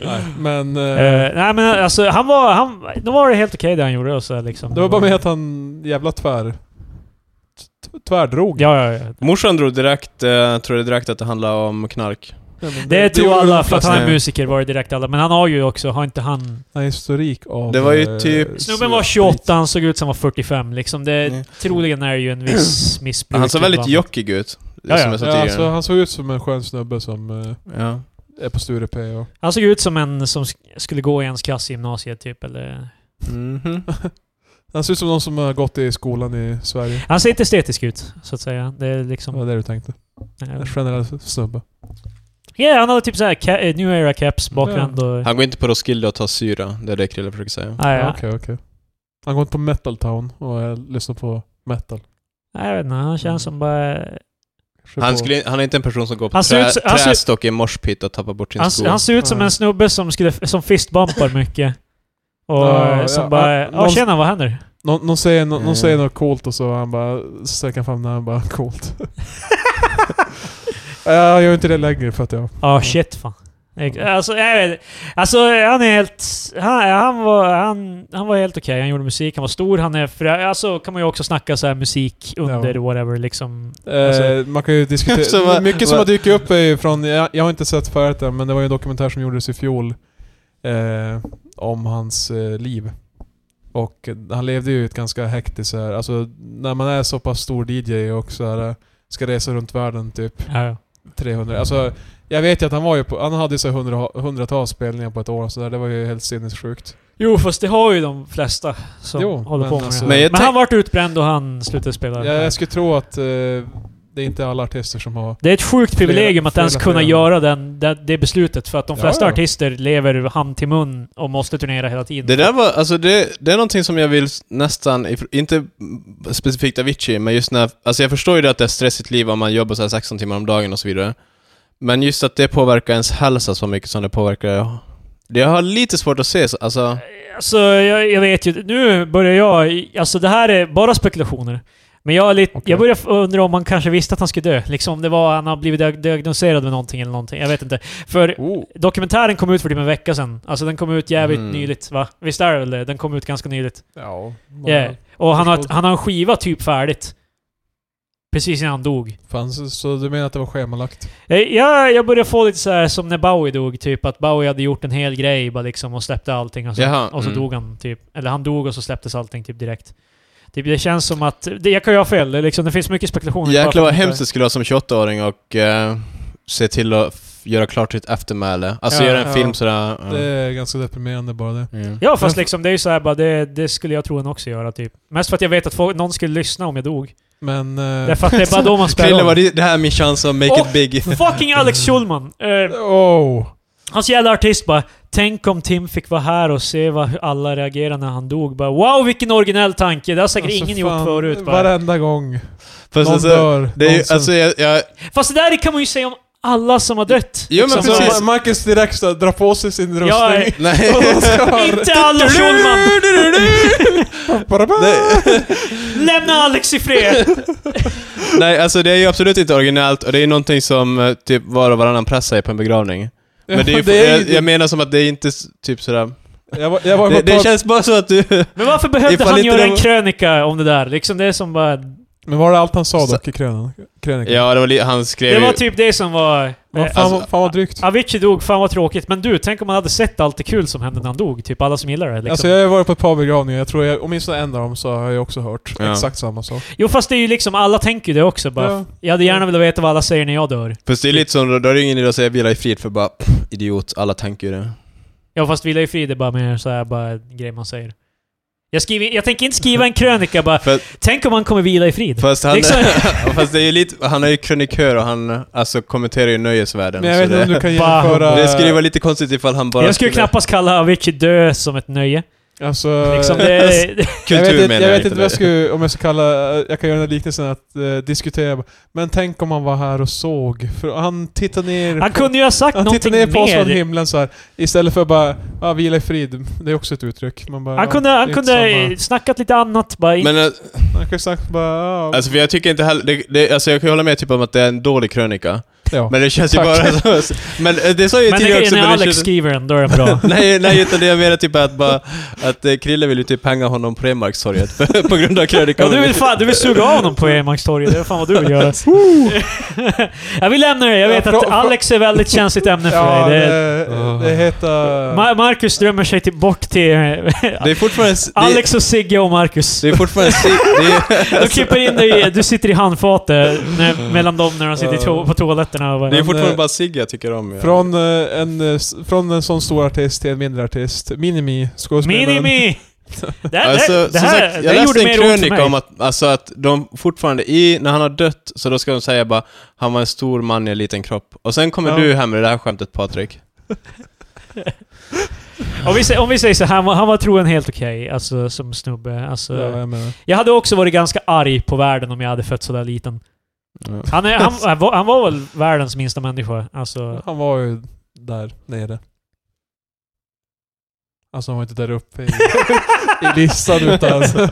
Speaker 3: Nej, men... eh,
Speaker 1: Eh, nej men alltså, han var... Han, då var det helt okej det han gjorde och så här, liksom.
Speaker 3: det var bara med att han jävla tvär... t- Tvärdrog.
Speaker 1: Ja, ja, ja.
Speaker 2: Morsan drog direkt, eh, tror jag direkt att det handlade om knark.
Speaker 3: Ja, men
Speaker 1: Det, tror
Speaker 3: gjorde
Speaker 1: alla,
Speaker 3: de
Speaker 1: för att
Speaker 3: flesta.
Speaker 1: han är
Speaker 2: Nej.
Speaker 1: musiker var det direkt alla. Men han har ju också, har inte han...
Speaker 3: Han har historik av...
Speaker 2: Det var ju
Speaker 3: eh,
Speaker 2: typ-
Speaker 1: Snubben var 28, han såg ut som han var 45 liksom. Det,
Speaker 2: Mm.
Speaker 1: Troligen är det ju en viss missbruk. typ,
Speaker 2: Han såg väldigt
Speaker 1: ibland.
Speaker 2: jockig ut.
Speaker 1: Ja, ja.
Speaker 2: Som jag sa
Speaker 3: Ja,
Speaker 2: tidigare.
Speaker 3: alltså, han såg ut som en skön snubbe som eh,
Speaker 2: Ja.
Speaker 3: är på Sture P och...
Speaker 1: Han såg ut som en som sk- skulle gå i ens klass i gymnasiet typ, eller...
Speaker 2: Mhm.
Speaker 3: Han ser ut som någon som har gått i skolan i Sverige.
Speaker 1: Han ser inte estetisk ut, så att säga. Det är
Speaker 3: Det
Speaker 1: liksom...
Speaker 3: var det du tänkte. En generell snubbe.
Speaker 1: Ja, han hade typ såhär ca- eh, New Era Caps bakvänd och...
Speaker 2: Han går inte på Roskilde och tar syra, det är det Krille försöker säga.
Speaker 1: Ah,
Speaker 3: Ja,
Speaker 1: ja.
Speaker 3: Okej, okej. Han går inte på Metal Town och eh, lyssnar på metal.
Speaker 1: Nej, jag vet inte, han
Speaker 3: Mm.
Speaker 1: känns som bara...
Speaker 3: Kanske
Speaker 2: Han,
Speaker 3: på-
Speaker 2: skulle, han är inte en person som går på
Speaker 1: Han ser
Speaker 2: trä,
Speaker 1: ut så- han ser-
Speaker 2: trästock i en morspit och tappar bort sin
Speaker 1: Han,
Speaker 2: sko.
Speaker 1: han ser ut som
Speaker 3: Mm.
Speaker 1: en snubbe som, skulle, som fistbumpar mycket. Och
Speaker 3: Ja, ja,
Speaker 1: som
Speaker 3: ja,
Speaker 1: bara... Ja, Ah,
Speaker 3: någon-
Speaker 1: tjena, vad händer?
Speaker 3: Någon, någon, säger, nå- någon
Speaker 2: Mm.
Speaker 3: säger något coolt och så han bara så sträcker han fram näven och bara coolt. jag gör inte det längre för att jag...
Speaker 1: Ja, shit fan. Ex- Alltså, jag vet, alltså han är helt... Han, han, var, han, han var helt okej. Han gjorde musik, han var stor, han är... För, alltså kan man ju också snacka så här musik under
Speaker 3: Ja.
Speaker 1: whatever liksom.
Speaker 3: Eh,
Speaker 1: Alltså-
Speaker 3: man kan ju diskutera...
Speaker 2: Så vad-
Speaker 3: mycket som
Speaker 2: vad-
Speaker 3: har dykt upp är ju från... Jag, jag har inte sett förut än, men det var ju en dokumentär som gjordes i fjol. Eh, om hans eh, liv. Och eh, han levde ju ett ganska hektiskt så här. alltså när man är så pass stor DJ och så här eh, ska resa runt världen typ
Speaker 1: Ja, ja.
Speaker 3: 300. Alltså jag vet ju att han var ju på, han hade ju så här hundra, hundratals spelningar på ett år och så där. Det var ju helt sinnessjukt.
Speaker 1: Jo, fast det har ju de flesta som
Speaker 3: Jo,
Speaker 1: håller på
Speaker 3: men
Speaker 1: med
Speaker 3: alltså-
Speaker 1: det.
Speaker 2: Men
Speaker 1: Men,
Speaker 2: jag tänk-
Speaker 1: han vart utbränd och han slutade spela.
Speaker 3: Jag, jag skulle tro att eh, det är inte alla artister som har...
Speaker 1: Det är ett sjukt
Speaker 3: Flera-
Speaker 1: privilegium att
Speaker 3: flera-
Speaker 1: ens kunna
Speaker 3: flera.
Speaker 1: göra den, det, det beslutet, för att de
Speaker 3: Ja,
Speaker 1: flesta
Speaker 3: ja.
Speaker 1: artister lever hand till mun och måste turnera hela tiden.
Speaker 2: Det där var, alltså det, det är någonting som jag vill s- nästan, if- inte specifikt Avicii, men just när, alltså jag förstår ju det att det är stressigt liv om man jobbar så här 16 timmar om dagen och så vidare. Men just att det påverkar ens hälsa så mycket som det påverkar, det har lite svårt att se, så- alltså.
Speaker 1: Alltså, jag, jag vet ju. Nu börjar jag... Alltså det här är bara spekulationer. Men jag, är lite,
Speaker 3: Okej.
Speaker 1: jag börjar undra om man kanske visste att han skulle dö. Liksom om det var, han har blivit diag- diagnostiserad med någonting eller någonting. Jag vet inte. För
Speaker 3: Oh.
Speaker 1: dokumentären kom ut för typ en vecka sedan. Alltså den kom ut jävligt
Speaker 2: Mm.
Speaker 1: nyligt, va? Visst är det väl det? Den kom ut ganska nyligt.
Speaker 3: Ja.
Speaker 1: Yeah. Och han har,
Speaker 3: förstås.
Speaker 1: han har en skiva typ färdigt. Precis innan han dog.
Speaker 3: Fan, så, så du menar att det var schemalagt?
Speaker 1: Eh, Ja, jag börjar få lite så här som när Bowie dog, typ att Bowie hade gjort en hel grej bara liksom och släppte allting och så,
Speaker 2: Jaha,
Speaker 1: och så
Speaker 2: mm.
Speaker 1: dog han typ. Eller han dog och så släpptes allting typ direkt. Typ, det känns som att, det, jag kan ju ha fel, det, är liksom, det finns mycket spekulationer.
Speaker 2: Jäklar vad
Speaker 1: Bara för att-
Speaker 2: hemskt det skulle vara som 28-åring och eh, se till att f- göra klart sitt eftermäle. Alltså
Speaker 1: Ja,
Speaker 2: göra en
Speaker 3: ja.
Speaker 2: film sådär. ja.
Speaker 3: Det är ganska deprimerande bara det.
Speaker 2: Mm.
Speaker 1: Ja fast liksom det är ju så här bara, det, det skulle jag troligen också göra typ. Mest för att jag vet att folk, någon skulle lyssna om jag dog.
Speaker 3: Men... eh,
Speaker 1: Därför att det är bara då man
Speaker 2: Krille,
Speaker 1: spelar
Speaker 2: var
Speaker 1: om.
Speaker 2: det, det här är min chans att make
Speaker 1: Åh!
Speaker 2: it big.
Speaker 1: Fucking Alex Schulman! Eh,
Speaker 3: Oh!
Speaker 1: Hans jävla artist bara Tänk om Tim fick vara här och se vad alla reagerar när han dog. Bara, wow vilken originell tanke! Det har säkert
Speaker 3: Alltså,
Speaker 1: ingen
Speaker 3: fan,
Speaker 1: gjort förut. Bara.
Speaker 3: Varenda gång.
Speaker 2: Fast
Speaker 3: Någon
Speaker 2: alltså,
Speaker 3: dör.
Speaker 2: det är ju,
Speaker 3: någon som-
Speaker 2: alltså jag, jag,
Speaker 1: Fast det där kan man ju säga om alla som har dött.
Speaker 2: Jo, men
Speaker 1: Liksom,
Speaker 3: Så
Speaker 2: precis.
Speaker 1: så-
Speaker 3: Ma- Marcus direkt så här, drar på sig sin rustning.
Speaker 1: Jag är-
Speaker 2: nej.
Speaker 3: Och ska-
Speaker 1: Inte alla Schulman!
Speaker 3: Ba-da-ba!
Speaker 2: Nej.
Speaker 1: Lämna Alex i fred!
Speaker 2: Nej, alltså det är ju absolut inte originellt och det är ju någonting som eh, typ var och varannan press säger på en begravning.
Speaker 3: Ja,
Speaker 2: Men det är ju,
Speaker 3: det är
Speaker 2: jag,
Speaker 3: ju-
Speaker 2: jag menar som att det är inte s- typ sådär...
Speaker 3: Jag var, jag var
Speaker 2: Det,
Speaker 3: på tal-
Speaker 2: det känns bara så att du...
Speaker 1: Men varför behövde
Speaker 2: Ifall
Speaker 1: han
Speaker 2: inte
Speaker 1: göra
Speaker 2: det
Speaker 1: en
Speaker 2: var-
Speaker 1: krönika om det där? Liksom det som bara...
Speaker 3: Men var det allt han sa
Speaker 2: Så-
Speaker 3: dock i krönikan? krönikan?
Speaker 2: Ja, det var li- han skrev
Speaker 1: Det var
Speaker 2: ju...
Speaker 1: typ det som var... Eh,
Speaker 3: Vad fan,
Speaker 2: alltså-
Speaker 3: fan vad drygt.
Speaker 1: Avicii dog, fan vad tråkigt. Men du, tänk om man hade sett allt det kul som hände när han dog. Typ alla som gillar det. Liksom.
Speaker 3: Alltså jag har ju varit på ett par begravningar, jag tror jag, åtminstone en av dem så har jag ju också hört
Speaker 2: Ja.
Speaker 3: exakt samma sak.
Speaker 1: Jo fast det är ju liksom, alla tänker ju det också. Bara,
Speaker 3: Ja.
Speaker 1: Jag hade gärna velat veta vad alla säger när jag dör.
Speaker 3: typ-
Speaker 2: Fast det är lite som, då är det ingen idé att säga vila i frid för bara pff, idiot, alla tänker ju det.
Speaker 1: Ja fast vila i frid är bara mer så här, bara en grej man säger. Jag, skriver, jag tänker inte skriva en krönika bara,
Speaker 2: För-
Speaker 1: tänk om han kommer vila i frid.
Speaker 2: Fast han...
Speaker 1: Liksom.
Speaker 2: fast det är ju lite... Han är ju krönikör och han alltså, kommenterar ju nöjesvärlden.
Speaker 3: Men jag vet
Speaker 2: så
Speaker 3: inte om
Speaker 2: det,
Speaker 3: du kan
Speaker 1: Bah.
Speaker 3: jämföra...
Speaker 2: det skulle ju vara lite konstigt ifall han bara
Speaker 1: jag skulle knappast kalla Avicii dö som ett nöje.
Speaker 3: Alltså...
Speaker 1: Liksom det,
Speaker 2: Kultur
Speaker 3: jag vet, inte-
Speaker 2: menar
Speaker 3: jag vet inte
Speaker 2: det.
Speaker 3: vad jag skulle, om jag ska kalla, jag kan göra den här liknelsen att eh, diskutera. Men tänk om han var här och såg. För han tittade ner
Speaker 1: han
Speaker 3: på,
Speaker 1: kunde ju ha sagt
Speaker 3: han tittade
Speaker 1: någonting
Speaker 3: ner på oss från
Speaker 1: mer.
Speaker 3: himlen så här. Istället för bara ah, vila i frid. Det är också ett uttryck. Man bara,
Speaker 1: Han
Speaker 3: ja,
Speaker 1: kunde,
Speaker 3: det är
Speaker 1: han
Speaker 3: inte
Speaker 1: kunde
Speaker 3: samma.
Speaker 1: snackat lite annat bara.
Speaker 2: Men eh,
Speaker 3: Han kunde sagt bara... Ah,
Speaker 2: alltså för jag tycker inte heller... Det, det, alltså jag kan ju hålla med typ om att det är en dålig krönika.
Speaker 3: ja.
Speaker 2: Men det känns ju
Speaker 3: Tack.
Speaker 2: bara så... Men eh, det sa jag ju
Speaker 1: men
Speaker 2: tidigare också...
Speaker 1: när
Speaker 2: men det
Speaker 1: Alex
Speaker 2: känns-
Speaker 1: skriver den, då är den bra.
Speaker 2: nej, nej, utan det jag menar typ är att bara... Att eh, Krille vill ju typ hänga honom på Remarkstorget på grund av krönikan.
Speaker 1: Ja, du vill fan, du vill suga av honom på Emarkstorget. Det är fan vad du vill göra. jag vill lämna det. Jag vet
Speaker 3: Ja, frå-
Speaker 1: att Alex är väldigt känsligt ämne för
Speaker 3: ja,
Speaker 1: dig.
Speaker 3: det,
Speaker 1: Det,
Speaker 3: det, heter...
Speaker 1: Ma- Marcus drömmer sig till, bort till...
Speaker 2: Det är fortfarande... s- Det,
Speaker 1: Alex och Sigge och Marcus.
Speaker 2: det är fortfarande... si- Det är,
Speaker 1: Du klipper in dig i- Du sitter i handfatet när, mellan dem när de sitter i to- på toaletterna. Och bara,
Speaker 2: det är fortfarande
Speaker 3: eh,
Speaker 2: bara Sigge jag tycker om. Ja.
Speaker 3: Från, eh, en, eh, s- från en sån stor artist till en mindre artist. Minimi, skådespelaren.
Speaker 1: Minimi! Det, här-
Speaker 2: Alltså,
Speaker 1: det, det
Speaker 2: som
Speaker 1: här,
Speaker 2: sagt,
Speaker 1: det
Speaker 2: jag
Speaker 1: här
Speaker 2: läste
Speaker 1: gjorde
Speaker 2: en
Speaker 1: mer ont för mig.
Speaker 2: krönika om att, alltså att de fortfarande, i, när han har dött, så då ska de säga bara han var en stor man i en liten kropp. Och sen kommer
Speaker 3: Ja.
Speaker 2: du hem med det här skämtet Patrik.
Speaker 1: Om vi, sä- om vi säger så här, han var, han var troligen helt okej, alltså som snubbe. Alltså,
Speaker 3: Ja, jag menar.
Speaker 1: Jag hade också varit ganska arg på världen om jag hade fötts sådär liten. Han, är, han, han, var, han var väl världens minsta människa. Alltså,
Speaker 3: Han var ju där nere. Alltså han var inte där uppe i, i listan utan... Alltså.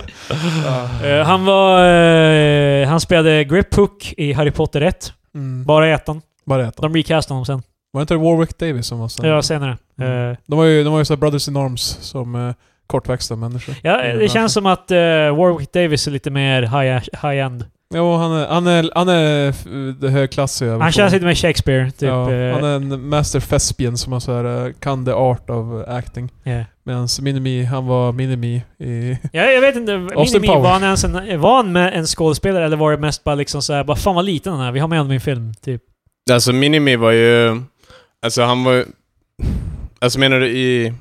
Speaker 3: Ja.
Speaker 1: eh, han var... eh, han spelade Grip Hook i Harry Potter 1.
Speaker 3: Mm.
Speaker 1: Bara i ettan.
Speaker 3: Bara ett.
Speaker 1: De recastade honom sen.
Speaker 3: Var det inte Warwick Davis som var sån?
Speaker 1: Ja, senare.
Speaker 3: Mm.
Speaker 1: Eh,
Speaker 3: De var ju, de var ju så här brothers in arms som eh, kortväxta människor.
Speaker 1: ja, det känns som att eh, Warwick Davis är lite mer high- high-end.
Speaker 3: Jo, han är, han är, han är f- det högklassiga.
Speaker 1: Han känns lite mer Shakespeare, typ.
Speaker 3: ja,
Speaker 1: eh,
Speaker 3: Han är en master thespian som har så här, eh, kan the art of acting.
Speaker 1: ja.
Speaker 3: Medan Minimi, han var Minimi i...
Speaker 1: Ja, jag vet inte.
Speaker 3: Austin
Speaker 1: Minimi,
Speaker 3: Powers.
Speaker 1: var han ens en, var han med en skådespelare eller var det mest bara liksom såhär, bara fan vad liten han är, vi har med honom i en film, typ.
Speaker 2: Alltså Minimi var ju... Alltså han var ju... Alltså menar du i...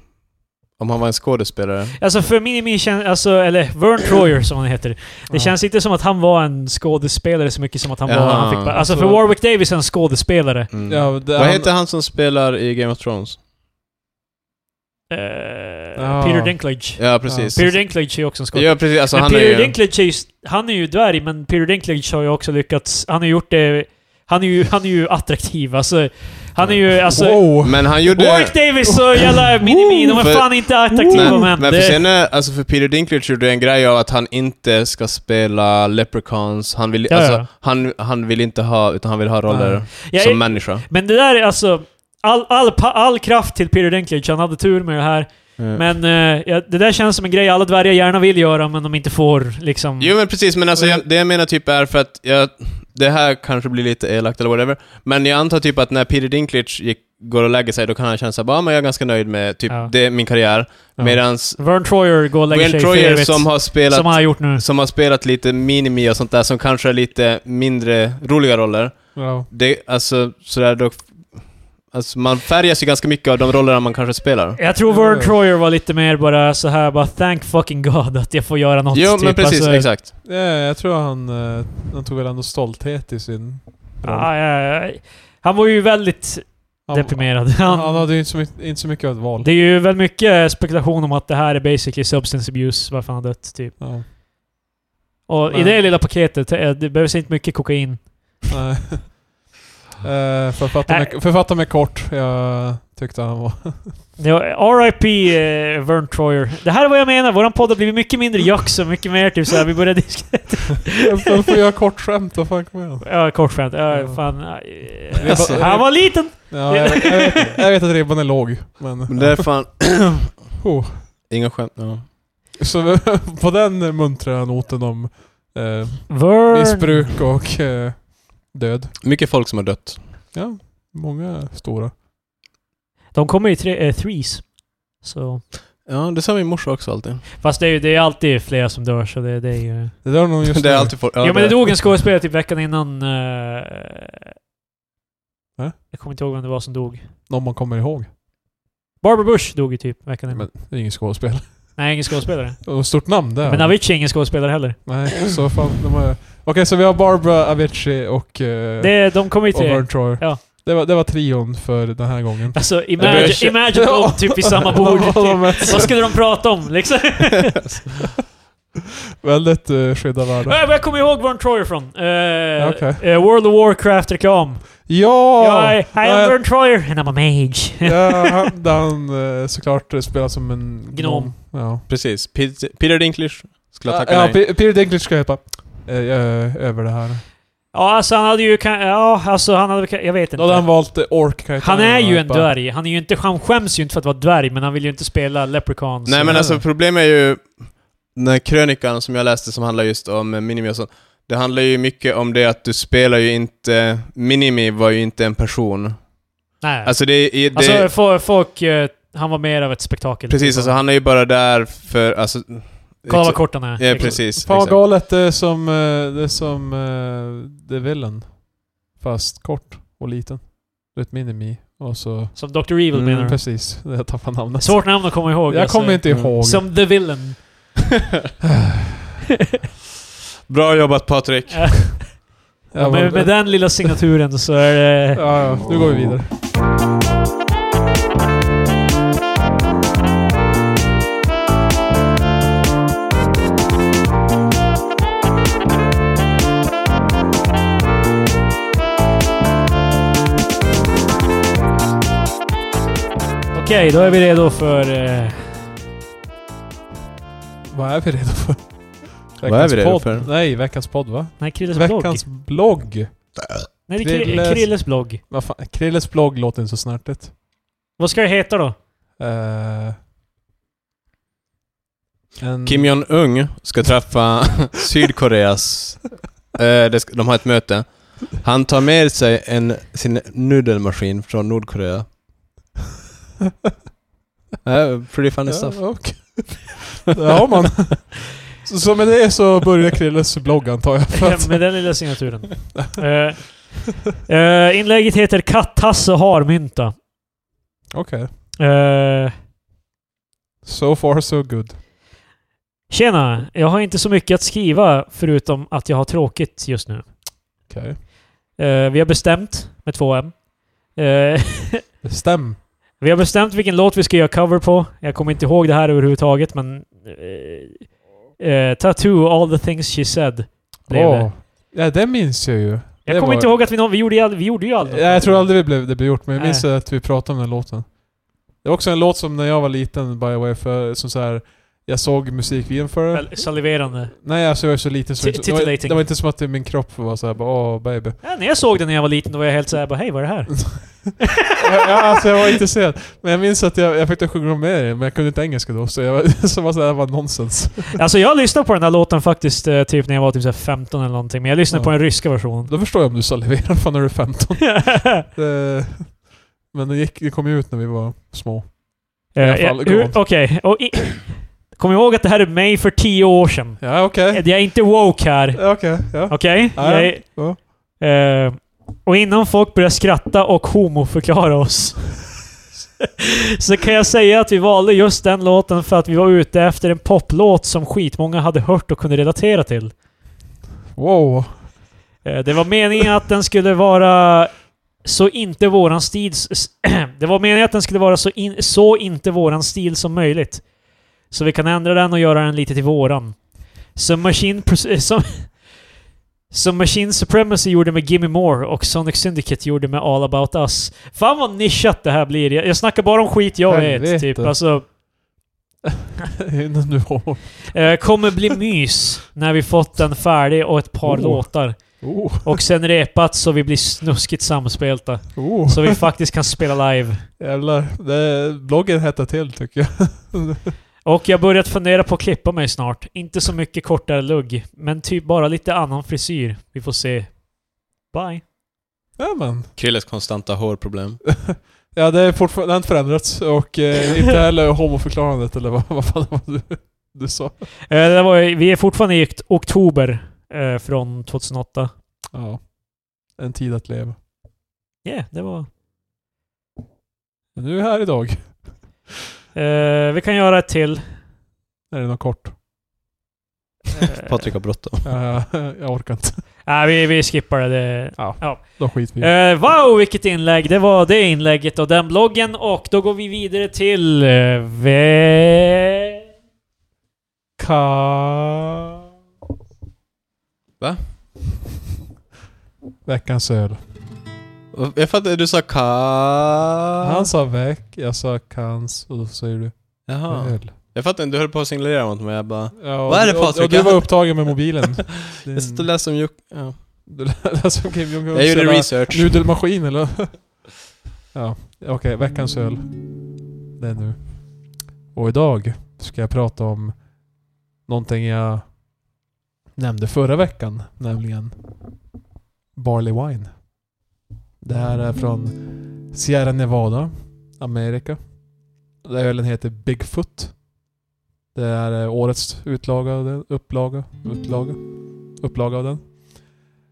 Speaker 2: Om han var en skådespelare?
Speaker 1: Alltså för Minimi känns, alltså, eller Vern Troyer som han heter. Det
Speaker 3: Ja.
Speaker 1: känns inte som att han var en skådespelare så mycket som att han
Speaker 2: Ja,
Speaker 1: var... Han fick bara, alltså
Speaker 3: så-
Speaker 1: för Warwick Davis är en skådespelare.
Speaker 2: Mm.
Speaker 3: Ja, det,
Speaker 2: Vad
Speaker 3: han,
Speaker 2: heter han som spelar i Game of Thrones?
Speaker 1: Eh,
Speaker 3: Ja.
Speaker 1: Peter Dinklage.
Speaker 2: Ja, precis.
Speaker 1: Peter Dinklage är också en skådespelare.
Speaker 2: Ja, precis. Alltså
Speaker 1: men
Speaker 2: han
Speaker 1: Peter
Speaker 2: är ju...
Speaker 1: Dinklage är ju, han är ju dvärg, men Peter Dinklage har ju också lyckats... Han har gjort det... Han är ju, han är ju attraktiv, alltså. Han är ju, alltså...
Speaker 3: Wow!
Speaker 2: Men han gjorde...
Speaker 1: Warwick Davis och jävla Minimi, de är
Speaker 2: För-
Speaker 1: fan inte attraktiva män.
Speaker 2: Men, men för
Speaker 1: Det-
Speaker 2: sen är, alltså för Peter Dinklage gjorde en grej av att han inte ska spela leprechauns. Han vill,
Speaker 1: Ja,
Speaker 2: alltså,
Speaker 1: ja.
Speaker 2: Han, han vill inte ha, utan han vill ha roller
Speaker 3: Nej.
Speaker 1: jag,
Speaker 2: som människa.
Speaker 1: men det där är alltså... All, all, pa- all kraft till Peter Dinklage, han hade tur med det här. Men eh, ja, det där känns som en grej alla dvärgar gärna vill göra, men de inte får liksom...
Speaker 2: Jo men precis, men alltså
Speaker 3: Och
Speaker 2: jag,
Speaker 3: jag-
Speaker 2: det jag menar typ är för att jag, det här kanske blir lite elakt eller whatever, men jag antar typ att när Peter Dinklage gick, går och lägger sig, då kan han känna såhär bara, "Ah, men jag är ganska nöjd med typ,
Speaker 1: Ja.
Speaker 2: det är min karriär.
Speaker 3: Ja.
Speaker 2: Medans
Speaker 1: Vern Troyer går och lägger
Speaker 2: Wayne
Speaker 1: sig
Speaker 2: Troyer
Speaker 1: i
Speaker 2: som
Speaker 1: som,
Speaker 2: har spelat
Speaker 1: som han har gjort nu.
Speaker 2: som har spelat lite minimi och sånt där som kanske är lite mindre roliga roller.
Speaker 3: Ja.
Speaker 2: Det, alltså sådär då... Alltså man färgas ju ganska mycket av de rollerna man kanske spelar.
Speaker 1: Jag tror Vern Troyer var lite mer bara så här bara thank fucking god att jag får göra något.
Speaker 2: Jo
Speaker 1: typ.
Speaker 2: men precis,
Speaker 1: alltså,
Speaker 2: exakt.
Speaker 3: Ja, jag tror han, eh, han tog väl ändå stolthet i sin roll.
Speaker 1: Ja, ja, ja. Han var ju väldigt
Speaker 3: han,
Speaker 1: deprimerad.
Speaker 3: Han,
Speaker 1: Han,
Speaker 3: han hade ju inte så mycket, inte så mycket av ett val.
Speaker 1: det är ju väldigt mycket spekulation om att det här är basically substance abuse, varför han har dött typ.
Speaker 3: Ja.
Speaker 1: Och i
Speaker 3: Men-
Speaker 1: det lilla paketet, eh, det behövs inte mycket kokain.
Speaker 3: Nej. Eh, för att fatta mig- för att fatta mig kort. Jag tyckte han var...
Speaker 1: Det var RIP eh, Vern Troyer. Det här är vad jag menar, våran podd har blivit mycket mindre jax och mycket mer typ såhär, vi börjar diskutera...
Speaker 3: Då får jag kort skämt, vad fan kommer jag ihåg?
Speaker 1: Ja, kort skämt. Ja,
Speaker 3: Ja.
Speaker 1: fan. eh,
Speaker 3: Det är
Speaker 1: Alltså,
Speaker 3: bara-
Speaker 1: han var liten!
Speaker 3: Ja, jag, vet- jag, vet, jag vet att ribban är låg, men...
Speaker 2: Men det är fan...
Speaker 3: Oh.
Speaker 2: Inga skämt. Ja.
Speaker 3: Så på den muntra noten om eh,
Speaker 1: Vern...
Speaker 3: missbruk och eh, död.
Speaker 2: Mycket folk som har dött.
Speaker 3: Ja, många stora.
Speaker 1: De kommer i tre, eh, threes. Så...
Speaker 2: Ja, det sa min morsa också alltid.
Speaker 1: Fast det är ju det är alltid flera som dör, så det, det är ju...
Speaker 3: Det där är nog just
Speaker 2: det är
Speaker 3: nu.
Speaker 2: alltid folk...
Speaker 1: Ja, men det dog en skådespelare typ veckan innan... eh,
Speaker 3: Va?
Speaker 1: Jag kommer inte ihåg vem det var som dog.
Speaker 3: någon man kommer ihåg.
Speaker 2: Mm.
Speaker 1: Barbara Bush dog ju typ veckan innan.
Speaker 3: Men det är ingen skådespel.
Speaker 1: Nej, ingen skådespelare.
Speaker 3: Och stort namn där.
Speaker 1: Men Avicii är ingen skådespelare heller.
Speaker 3: Nej, så fan. De är... Okej, så vi har Barbara, Avicii och... Eh,
Speaker 1: Det, de kommer i
Speaker 3: och
Speaker 1: tre.
Speaker 3: Vern Troyer.
Speaker 1: Ja.
Speaker 3: Det, var, det var trion för den här gången.
Speaker 1: Alltså
Speaker 2: börjar
Speaker 1: imagine,
Speaker 2: kä-
Speaker 1: imagine om de typ i samma bord.
Speaker 3: Ja,
Speaker 1: typ.
Speaker 3: de är
Speaker 1: Vad skulle de prata om liksom?
Speaker 3: väldigt uh, skydda världar.
Speaker 1: Äh, Jag kommer ihåg var de Troyer från. Eh,
Speaker 3: Okej.
Speaker 1: eh, World of Warcraft-reklam.
Speaker 3: Ja!
Speaker 1: Jag är- I
Speaker 3: Ja,
Speaker 1: am Vern Troyer and I'm a mage.
Speaker 3: ja, han, där han eh, såklart spelar som en...
Speaker 1: Gnom.
Speaker 3: Ja.
Speaker 2: Precis. Peter Peter Dinklage skulle ha tackat
Speaker 3: ja,
Speaker 2: nej.
Speaker 3: Pe- Peter Dinklage ska heta. Eh, jag är över det här.
Speaker 1: Ja, alltså han hade ju kan- Ja, alltså han hade kan- Jag vet
Speaker 3: Då hade han
Speaker 1: inte.
Speaker 3: valt eh, Ork. kan jag
Speaker 1: Han
Speaker 3: ta
Speaker 1: är
Speaker 3: den
Speaker 1: ju
Speaker 3: här
Speaker 1: en
Speaker 3: bara.
Speaker 1: dvärg. Han, är ju inte, han skäms ju inte för att vara dvärg, men han vill ju inte spela leprechauns.
Speaker 2: Nej men
Speaker 3: är
Speaker 2: alltså
Speaker 3: det.
Speaker 2: problemet är ju, den här krönikan som jag läste som handlar just om eh, Minimi och sånt, det handlar ju mycket om det att du spelar ju inte, Minimi var ju inte en person.
Speaker 1: Nej. Alltså,
Speaker 2: Alltså det, är- det
Speaker 1: fo- folk... eh, han var mer av ett spektakel.
Speaker 2: precis, alltså han är ju bara där för, alltså...
Speaker 1: Kolla vad kort han är.
Speaker 2: Ja precis.
Speaker 3: Fan vad
Speaker 2: exakt.
Speaker 3: galet, det är som, eh, det är som eh, The Villain. Fast kort och liten. Det är ett minimi. Och så...
Speaker 1: Som Dr. Evil
Speaker 2: Mm,
Speaker 1: menar du?
Speaker 3: Precis, jag tappade namnet.
Speaker 1: Svårt namn att komma ihåg.
Speaker 3: jag
Speaker 1: alltså.
Speaker 3: kommer inte
Speaker 2: Mm.
Speaker 3: ihåg.
Speaker 1: Som The Villain.
Speaker 2: Bra jobbat Patrik.
Speaker 1: Ja,
Speaker 3: Ja,
Speaker 1: med, med den lilla signaturen så är det...
Speaker 3: ja, ja, nu går vi vidare.
Speaker 1: Okej, då är vi redo för... eh,
Speaker 3: Vad är vi redo för?
Speaker 2: Vad är vi redo
Speaker 3: podd.
Speaker 2: för?
Speaker 3: Nej, veckans podd va?
Speaker 1: nej, Krilles blogg.
Speaker 3: Veckans blogg.
Speaker 1: Nej, det är Kri-
Speaker 3: Krilles-
Speaker 1: Krilles blogg.
Speaker 3: Vad fan, Krilles blogg låter inte så snärtigt.
Speaker 1: Vad ska det heta då?
Speaker 3: Eh, en,
Speaker 2: Kim Jong-Un ska träffa Sydkoreas Eh, det ska- De har ett möte. Han tar med sig en, sin nudelmaskin från Nordkorea. Eh, pretty funny stuff.
Speaker 3: Ja, och- det har man. Så, så med det så börjar Krilles blogg antar jag. För
Speaker 1: Ja,
Speaker 3: att,
Speaker 1: Med den lilla signaturen. Eh, eh, inlägget heter Katt-Hasse Harmynta.
Speaker 3: Okej.
Speaker 1: Eh,
Speaker 3: So far so good.
Speaker 1: Tjena! Jag har inte så mycket att skriva förutom att jag har tråkigt just nu.
Speaker 3: Okej.
Speaker 1: Eh, vi har bestämt, med två M. Eh,
Speaker 3: Stäm.
Speaker 1: vi har bestämt vilken låt vi ska göra cover på. Jag kommer inte ihåg det här överhuvudtaget, men... eh, eh, tattoo, all the things she said. Blev
Speaker 3: Åh.
Speaker 1: det.
Speaker 3: Ja, det minns jag ju.
Speaker 1: Jag
Speaker 3: det
Speaker 1: kommer
Speaker 3: var-
Speaker 1: inte ihåg att vi, nå- vi, gjorde, ju aldrig- vi gjorde ju aldrig
Speaker 3: Ja,
Speaker 1: något.
Speaker 3: jag tror aldrig det blev, det blev gjort, men jag
Speaker 1: Nej.
Speaker 3: minns att vi pratade om den låten. Det var också en låt som när jag var liten, by the way, för, som så här, jag såg musikvideon för det.
Speaker 1: Väl, Saliverande.
Speaker 3: Nej, alltså jag är så liten så
Speaker 1: Ti-
Speaker 3: det, var,
Speaker 1: titillating.
Speaker 3: det var inte som att det- min kropp var såhär bara åh baby.
Speaker 1: Ja, när jag såg den när jag var liten då var jag helt såhär bara hej vad är det här?
Speaker 3: jag, jag, alltså jag var intresserad. Men jag minns att jag, jag försökte sjunga med det, men jag kunde inte engelska då, så jag var, så var såhär, det var nonsens.
Speaker 1: Alltså jag lyssnade på den här låten faktiskt eh, typ när jag var typ så här 15 eller någonting, men jag lyssnade
Speaker 3: Ja.
Speaker 1: på den ryska versionen. Eh,
Speaker 3: Då förstår jag om du saliverar fan när du är 15. Det, men det, gick, det kom ju ut när vi var små.
Speaker 1: Eh,
Speaker 3: alla fall,
Speaker 1: eh,
Speaker 3: gå
Speaker 1: hur-
Speaker 3: on.
Speaker 1: Okej, och i- kom ihåg att det här är mig för 10 år sedan.
Speaker 3: Ja okej.
Speaker 1: Jag är inte woke här.
Speaker 3: Ja, Okej, ja.
Speaker 1: Okej?
Speaker 3: Ja,
Speaker 1: Jag är-
Speaker 3: ja.
Speaker 1: Eh, och innan folk börjar skratta och homoförklara oss så kan jag säga att vi valde just den låten för att vi var ute efter en poplåt som skitmånga hade hört och kunde relatera till.
Speaker 3: Wow.
Speaker 1: Eh, Det var meningen att den skulle vara så inte våran stil... s- Det var meningen att den skulle vara så, in, så inte våran stil som möjligt. Så vi kan ändra den och göra den lite till våran. Som Machine... Pres- eh, Som, som Machine Supremacy gjorde med Gimme More och Sonic Syndicate gjorde med All About Us. Fan vad nischat det här blir. Jag, jag snackar bara om skit jag
Speaker 3: Helvete.
Speaker 1: vet, typ. Alltså,
Speaker 3: Innan du har...
Speaker 1: eh, kommer bli mys när vi fått den färdig och ett par
Speaker 3: Oh.
Speaker 1: låtar.
Speaker 3: Oh,
Speaker 1: Och sen repat så vi blir snuskigt samspelta.
Speaker 3: oh.
Speaker 1: Så vi faktiskt kan spela live.
Speaker 3: Jävlar. Det, bloggen hettar till tycker jag.
Speaker 1: Och jag har börjat fundera på att klippa mig snart. Inte så mycket kortare lugg, men typ bara lite annan frisyr. Vi får se. Bye.
Speaker 3: Ja, men.
Speaker 2: Krilles konstanta hårproblem.
Speaker 3: Ja, det är fortfarande det har inte förändrats och eh, inte heller homoförklarandet eller vad, vad fan var du, du sa.
Speaker 1: Eh, det där var, ju- vi är fortfarande i okt- oktober eh, från 2008.
Speaker 3: Ja. En tid att leva.
Speaker 1: Yeah, det var...
Speaker 3: Men nu är vi här idag.
Speaker 1: Eh, vi kan göra ett till.
Speaker 3: Är det något kort?
Speaker 1: Eh,
Speaker 2: Patrik har bråttom.
Speaker 3: Ja, Eh, jag orkar inte.
Speaker 1: Nej, vi, vi skippar det. det.
Speaker 3: Då skiter vi i det.
Speaker 1: Eh, wow, vilket inlägg! Det var det inlägget och den bloggen. Och då går vi vidare till... Eh, ve-
Speaker 3: Ka...
Speaker 2: Va?
Speaker 3: Veckans öl.
Speaker 2: Jag fattar, du sa ka...
Speaker 3: Han sa veck, jag sa kans och då säger du
Speaker 2: Jaha.
Speaker 3: öl.
Speaker 2: Jag fattar inte, du höll på att signalera mot mig. Jag bara...
Speaker 3: Ja, och
Speaker 2: Vad är det,
Speaker 3: du- och-
Speaker 2: Patrik?
Speaker 3: Och du
Speaker 2: Jag-
Speaker 3: var upptagen med mobilen. Din-
Speaker 2: Jag satt och läste om Juk... Ja.
Speaker 3: Du lät som Kim Jong-Un.
Speaker 2: Jag gjorde
Speaker 3: Sådär
Speaker 2: research.
Speaker 3: Nudelmaskin eller? ja, okej. veckans öl. Det är nu. Och idag ska jag prata om någonting jag nämnde förra veckan. Nämligen Barley Wine. Det här är från Sierra Nevada, Amerika. Den här ölen heter Bigfoot. Det är eh, årets utlaga av den. Upplaga. Utlaga. Upplaga av den.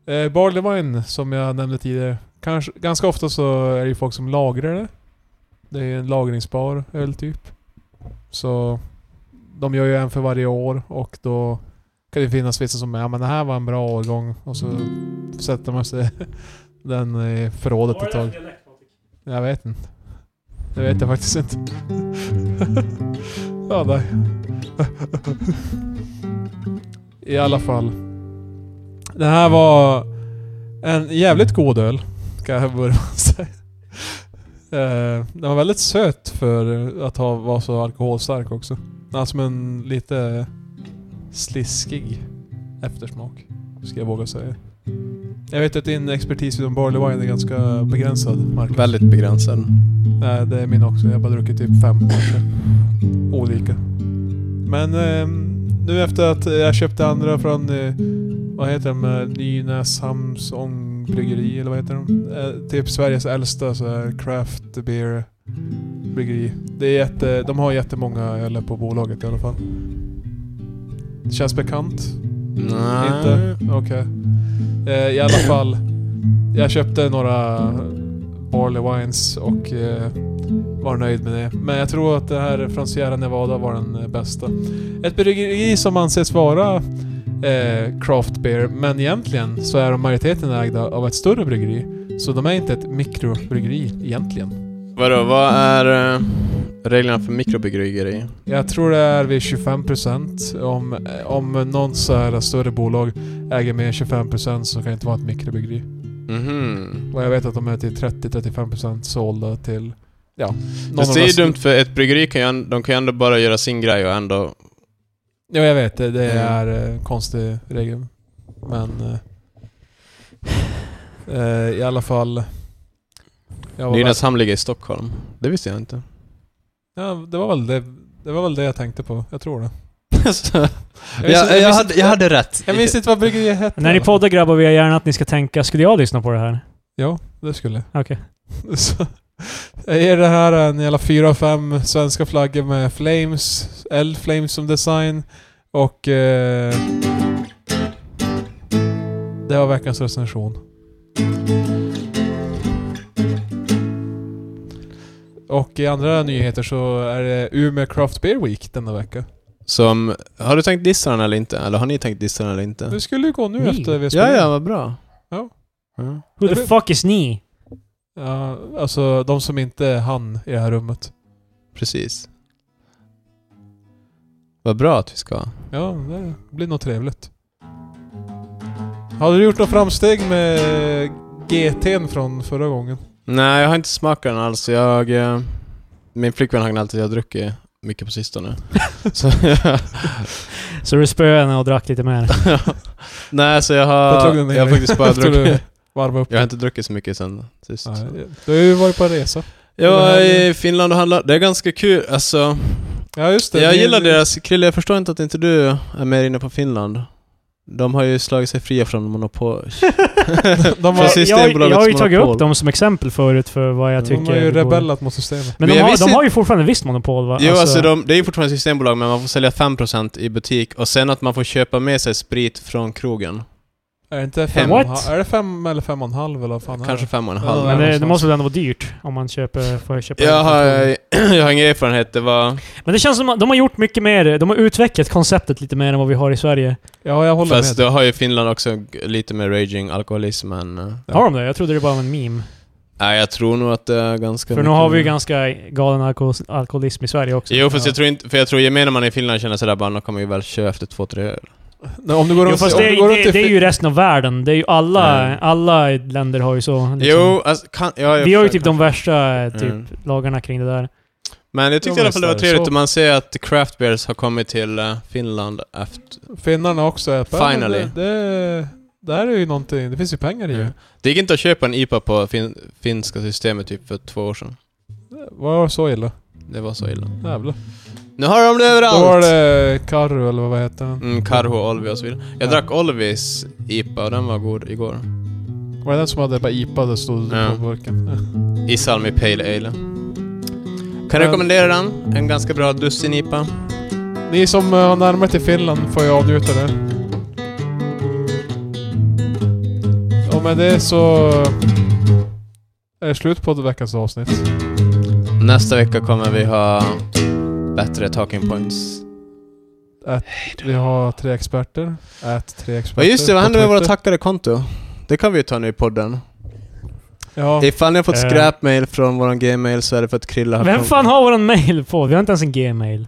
Speaker 3: Eh, barley wine, som jag nämnde tidigare. Kanske, ganska ofta så är det ju folk som lagrar det. Det är ju en lagringsbar öltyp. Så de gör ju en för varje år och då kan det finnas vissa som är ja men det här var en bra årgång och så sätter man sig den i förrådet ett tag. Jag vet inte. Det vet jag faktiskt inte. ja, nej. I alla fall. Det här var en jävligt god öl. Kan jag börja med att säga. Eh, Den var väldigt söt för att ha, vara så alkoholstark också. Alltså men lite sliskig eftersmak. Ska jag våga säga. Jag vet att din expertis inom barley wine är ganska begränsad, Marcus.
Speaker 2: Väldigt begränsad.
Speaker 3: Nej, det är min också. Jag har bara druckit typ fem kanske. ehm, Olika. Men eh, nu efter att eh, jag köpte andra från eh, vad heter de? eh, Nynäshamns ångbryggeri eller vad heter de? Eh, typ Sveriges äldsta så här craft beer bryggeri. Det är jätte, de har jättemånga öl på bolaget i alla fall. Känns bekant?
Speaker 2: Nej.
Speaker 3: Inte? Okej. Eh, I alla fall. Jag köpte några Barley Wines och eh, var nöjd med det. Men jag tror att det här från Sierra Nevada var den eh, bästa. Ett bryggeri som anses vara eh, craft beer, men egentligen så är de majoriteten ägda av ett större bryggeri. Så de är inte ett mikrobryggeri egentligen.
Speaker 2: Vadå, vad är eh, reglerna för mikrobryggeri?
Speaker 3: Jag tror det är vid 25% om, eh, om någon så här större bolag äger mer än 25% så kan det inte vara ett mikrobryggeri.
Speaker 2: Mhm.
Speaker 3: Och jag vet att de är till 30-35% sålda till... Ja. någon
Speaker 2: Fast
Speaker 3: av
Speaker 2: det är ju
Speaker 3: dessa-
Speaker 2: dumt för ett bryggeri kan ju, änd- de kan ju ändå bara göra sin grej och ändå...
Speaker 3: Ja, jag vet. Det, det
Speaker 2: Mm.
Speaker 3: är eh, konstig regel. Men... eh, eh, I alla fall... Jag var väl,
Speaker 2: Nynäshamn ligger i Stockholm. Det visste jag inte.
Speaker 3: ja, det var väl det. Det var väl det jag tänkte på. Jag tror det.
Speaker 2: Så-
Speaker 3: minns-
Speaker 2: jag, jag,
Speaker 3: minns
Speaker 2: hade,
Speaker 3: inte-
Speaker 2: jag hade rätt.
Speaker 3: Jag minns inte vad bryggeriet hette.
Speaker 1: När ni poddar grabbar vill jag gärna att ni ska tänka, skulle jag lyssna på det här?
Speaker 3: Ja, det skulle
Speaker 1: Okej.
Speaker 3: Så, är det här en jävla 4-5 svenska flaggor med flames, eldflames som design och... Eh, det var veckans recension. Och i andra nyheter så är det Umeå Craft Beer Week denna vecka.
Speaker 2: Som, har du tänkt dissa den eller inte? Eller har ni tänkt dissa den eller inte?
Speaker 3: Det skulle ju gå nu
Speaker 1: Ni?
Speaker 3: efter vi har
Speaker 2: Ja,
Speaker 3: spelat
Speaker 2: ja,
Speaker 3: in.
Speaker 2: vad bra.
Speaker 3: Ja.
Speaker 2: Ja.
Speaker 1: Who
Speaker 3: Det
Speaker 1: the
Speaker 3: blir-
Speaker 1: fuck is ni?
Speaker 3: ja. Alltså de som inte är han i det här rummet.
Speaker 2: Precis. Vad bra att vi ska.
Speaker 3: Ja, det blir nog trevligt. Har du gjort något framsteg med GT'n från förra gången?
Speaker 2: Nej, jag har inte smakat den alls. Jag... eh, Min flickvän har alltid jag har druckit mycket på sistone. så,
Speaker 1: Så du spöade henne och drack lite mer?
Speaker 2: nej, så jag
Speaker 3: Jag
Speaker 2: har...
Speaker 3: tog den
Speaker 2: Jag,
Speaker 3: ner.
Speaker 2: har faktiskt bara
Speaker 3: Efter du
Speaker 2: druckit...
Speaker 3: varvade upp
Speaker 2: Jag har inte druckit så mycket sen sist.
Speaker 3: den. Nej, Du har ju varit på en resa.
Speaker 2: Jag var
Speaker 3: Det här-
Speaker 2: i Finland och handlade. Det är ganska kul. Alltså,
Speaker 3: Ja, just det.
Speaker 2: jag
Speaker 3: Ni-
Speaker 2: gillar deras... Krille, jag förstår inte att inte du är mer inne på Finland. De har ju slagit sig fria från monopol.
Speaker 3: De har,
Speaker 2: Precis.
Speaker 1: jag, jag, jag har ju
Speaker 2: Systembolagets
Speaker 1: tagit
Speaker 2: monopol.
Speaker 1: upp dem som exempel förut för vad jag tycker.
Speaker 3: de har ju
Speaker 1: det går-
Speaker 3: rebellat mot systemet.
Speaker 1: Men
Speaker 2: Men
Speaker 1: de
Speaker 2: jag
Speaker 1: har,
Speaker 2: visste
Speaker 1: de har ju fortfarande visst monopol va?
Speaker 2: Jo, alltså de, det är ju fortfarande Systembolag, men man får sälja 5% i butik och sen att man får köpa med sig sprit från krogen.
Speaker 3: Är det inte fem,
Speaker 1: What?
Speaker 3: och en halv- är det fem eller fem och en halv eller vad fan
Speaker 2: Kanske
Speaker 3: är
Speaker 2: 5,5.
Speaker 3: Ja,
Speaker 1: Men det, det
Speaker 3: någonstans.
Speaker 1: måste väl ändå vara dyrt om man köper, får köpa
Speaker 2: Jag
Speaker 1: en
Speaker 2: har,
Speaker 1: kontroll.
Speaker 2: jag har ingen erfarenhet, det var...
Speaker 1: Men det känns som att de har gjort mycket mer. De har utvecklat konceptet lite mer än vad vi har i Sverige.
Speaker 3: det? Ja, jag håller
Speaker 2: Fast
Speaker 3: med.
Speaker 2: då har ju Finland också g- lite mer raging alkoholism än... eh,
Speaker 1: Har de det? Jag trodde det bara var en meme.
Speaker 2: Nej, jag tror nog att det är ganska
Speaker 1: För nu
Speaker 2: mycket
Speaker 1: har vi ju
Speaker 2: mer.
Speaker 1: ganska galen alko- alkoholism i Sverige också.
Speaker 2: Jo, fast
Speaker 3: Ja.
Speaker 2: jag tror inte... För jag tror gemene man i Finland känner sådär bara, nu kommer ju väl köra efter två, tre öl.
Speaker 3: Nej, om du går
Speaker 1: Jo,
Speaker 3: runt,
Speaker 1: fast
Speaker 3: om
Speaker 1: det,
Speaker 3: du går runt
Speaker 1: det,
Speaker 3: i
Speaker 1: det är
Speaker 3: Fi-
Speaker 1: ju resten av världen. Det är ju alla,
Speaker 2: Mm.
Speaker 1: alla länder har ju så. liksom.
Speaker 2: Jo, alltså, kan, ja, jag
Speaker 1: vi har ju
Speaker 2: försöker.
Speaker 1: typ de värsta eh, typ,
Speaker 2: Mm.
Speaker 1: lagarna kring det där.
Speaker 2: Men jag tyckte
Speaker 3: Ja,
Speaker 2: i alla
Speaker 3: men
Speaker 2: fall det var
Speaker 3: visst är det
Speaker 2: trevligt
Speaker 3: så.
Speaker 2: och man ser att craft beers har kommit till eh, Finland efter...
Speaker 3: Finnarna också. Är,
Speaker 2: Finally.
Speaker 3: Det, det, det här är ju någonting. Det finns ju pengar i det.
Speaker 2: Mm. Det gick inte att köpa en IPA på fin finska systemet typ för två år sedan.
Speaker 3: Var så illa?
Speaker 2: Det var så illa.
Speaker 1: Mm.
Speaker 3: Jävlar.
Speaker 2: Nu har de det
Speaker 3: Då var
Speaker 2: överallt!
Speaker 3: det Karro eller vad heter den?
Speaker 2: Mm, Karho, Olvi och så vidare. Jag
Speaker 3: Ja.
Speaker 2: drack Olvis IPA och den var god igår.
Speaker 3: Var det den som hade bara IPA det stod
Speaker 2: Ja.
Speaker 3: på burken? Ja.
Speaker 2: I Salmi Pale Ale. Kan
Speaker 3: Men-
Speaker 2: rekommendera den. En ganska bra dussin IPA.
Speaker 3: Ni som eh, har närmare till Finland får ju avnjuta det. Och med det så är det slut på veckans avsnitt.
Speaker 2: Nästa vecka kommer vi ha bättre talking points.
Speaker 3: Vi har tre experter. Ät tre experter.
Speaker 2: Ja just det, vad
Speaker 3: på
Speaker 2: händer med våra
Speaker 3: Twitter.
Speaker 2: tackade konto? Det kan vi ju ta nu i podden.
Speaker 3: Ja,
Speaker 2: Ifall ni har fått
Speaker 1: Eh.
Speaker 2: skräpmail från våran gmail så är det för att Krilla har
Speaker 1: Vem
Speaker 2: konto.
Speaker 1: fan har våran mail på? Vi har inte ens en gmail.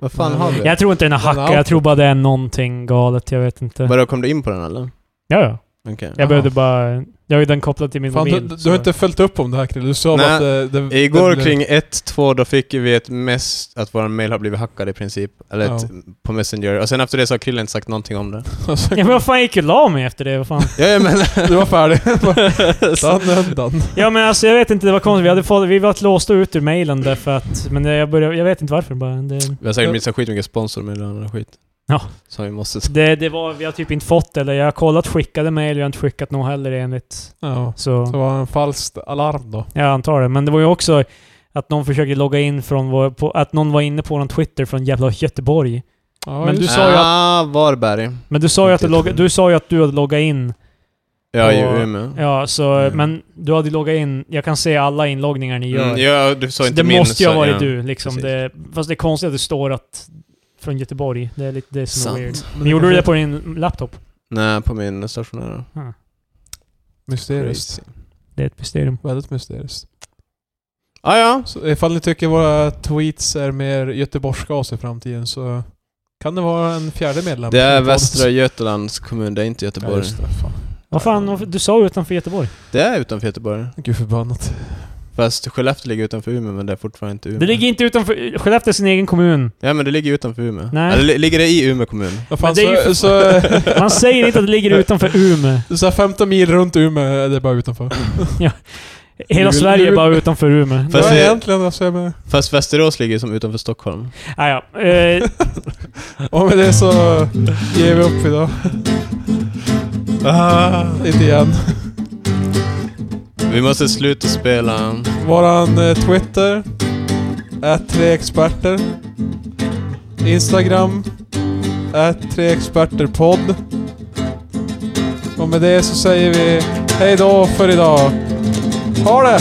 Speaker 2: Vad fan har vi?
Speaker 1: Jag tror inte den har
Speaker 3: Den är
Speaker 1: hackat. Jag tror bara det är någonting galet. Jag vet inte.
Speaker 2: Vadå, kom du in på den eller?
Speaker 1: Ja, ja.
Speaker 2: Okej.
Speaker 1: Jag behövde bara... Jag har ju den kopplad till min
Speaker 3: fan, du,
Speaker 1: mobil.
Speaker 3: du
Speaker 1: så-
Speaker 3: har inte följt upp om det här Krille. Du
Speaker 2: Nej.
Speaker 3: sa bara att det, det,
Speaker 2: Mm. Igår
Speaker 3: det,
Speaker 2: kring 1-2 då fick vi ett mess att vår mail har blivit hackad i princip. Eller ett, på Messenger. Och sen efter det så har Krille inte sagt någonting om det.
Speaker 1: Ja men vad fan jag gick ju och la mig efter det? Vad fan?
Speaker 2: Ja, ja men...
Speaker 3: Alltså, Du var färdig. Dan, dan, dan.
Speaker 1: Ja men alltså jag vet inte, det var konstigt. Vi, hade fått, vi var låsta ut ur mailen därför att... Men jag, började, jag vet inte varför bara. Det,
Speaker 2: Vi har säkert missat skitmycket sponsor med den här skit.
Speaker 1: Ja.
Speaker 2: Som vi måste...
Speaker 1: Det, det var, vi har typ inte fått det, eller jag har kollat skickade mejl, jag har inte skickat något heller enligt.
Speaker 3: Ja.
Speaker 1: Så
Speaker 3: Så var det en falskt alarm då.
Speaker 1: jag antar det. Men det var ju också att någon försökte logga in från vår, på, att någon var inne på vår Twitter från jävla Göteborg.
Speaker 3: Ja,
Speaker 1: Men
Speaker 3: just
Speaker 1: du
Speaker 3: det.
Speaker 1: sa ju att-
Speaker 2: Ah, Varberg.
Speaker 1: Men du sa ju att du, logga, du, sa ju att du hade loggat in.
Speaker 2: Ja,
Speaker 1: Och-
Speaker 2: i Umeå.
Speaker 1: Ja, så,
Speaker 2: Mm.
Speaker 1: men du hade loggat in. Jag kan se alla inloggningar ni gör.
Speaker 2: Mm, ja, du sa
Speaker 1: Så
Speaker 2: inte
Speaker 1: det
Speaker 2: min,
Speaker 1: måste ju ha
Speaker 2: så-
Speaker 1: varit
Speaker 2: ja.
Speaker 1: du. Liksom.
Speaker 2: precis.
Speaker 1: Det, fast det är konstigt att det står att från Göteborg. Det är lite det som
Speaker 2: Sant.
Speaker 1: är weird.
Speaker 3: Men
Speaker 1: Men gjorde du det på din laptop?
Speaker 2: Nej, på min stationära.
Speaker 3: Mysteriskt.
Speaker 1: Det är ett mysterium.
Speaker 3: Väldigt mysteriskt.
Speaker 2: Ah, ja,
Speaker 3: Så ifall ni tycker våra tweets är mer göteborgskas i framtiden så kan det vara en fjärde medlem.
Speaker 2: det är
Speaker 3: som får oss.
Speaker 2: Västra Götalands kommun, det är inte
Speaker 3: Ja,
Speaker 2: Göteborg.
Speaker 3: just det. Fan.
Speaker 1: Vad fan, varför- du sa ju utanför Göteborg.
Speaker 2: det är utanför Göteborg.
Speaker 3: Gud förbannat.
Speaker 2: Fast Skellefteå ligger utanför Umeå, men det är fortfarande inte Umeå.
Speaker 1: Det ligger inte utanför... Skellefteå är sin egen kommun.
Speaker 2: Ja, men det ligger utanför Umeå.
Speaker 1: Nej.
Speaker 2: Eller li- ligger det i Umeå kommun?
Speaker 3: Vad fan,
Speaker 1: det är ju
Speaker 3: så,
Speaker 1: för-
Speaker 3: så,
Speaker 1: Man säger inte att det ligger utanför Umeå.
Speaker 3: så, här 15 mil runt Umeå, är det bara utanför.
Speaker 1: Hela
Speaker 3: Ul-
Speaker 1: Sverige är bara utanför Umeå.
Speaker 2: Fast
Speaker 3: ja,
Speaker 2: det-
Speaker 3: egentligen alltså, jag menar,
Speaker 2: Fast Västerås ligger som utanför Stockholm.
Speaker 1: Ah, ja. eh,
Speaker 3: Och med det så ger vi upp idag. Inte igen.
Speaker 2: Vi måste sluta spela...
Speaker 3: Våran eh, Twitter är tre experter. Instagram är tre experter podd. Och med det så säger vi hej då för idag. Ha det!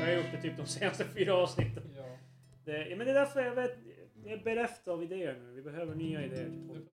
Speaker 1: Jag har gjort det typ de senaste fyra avsnitten. Det, ja, men det är därför jag, vet, jag är bereft av idéer nu. Vi behöver nya idéer.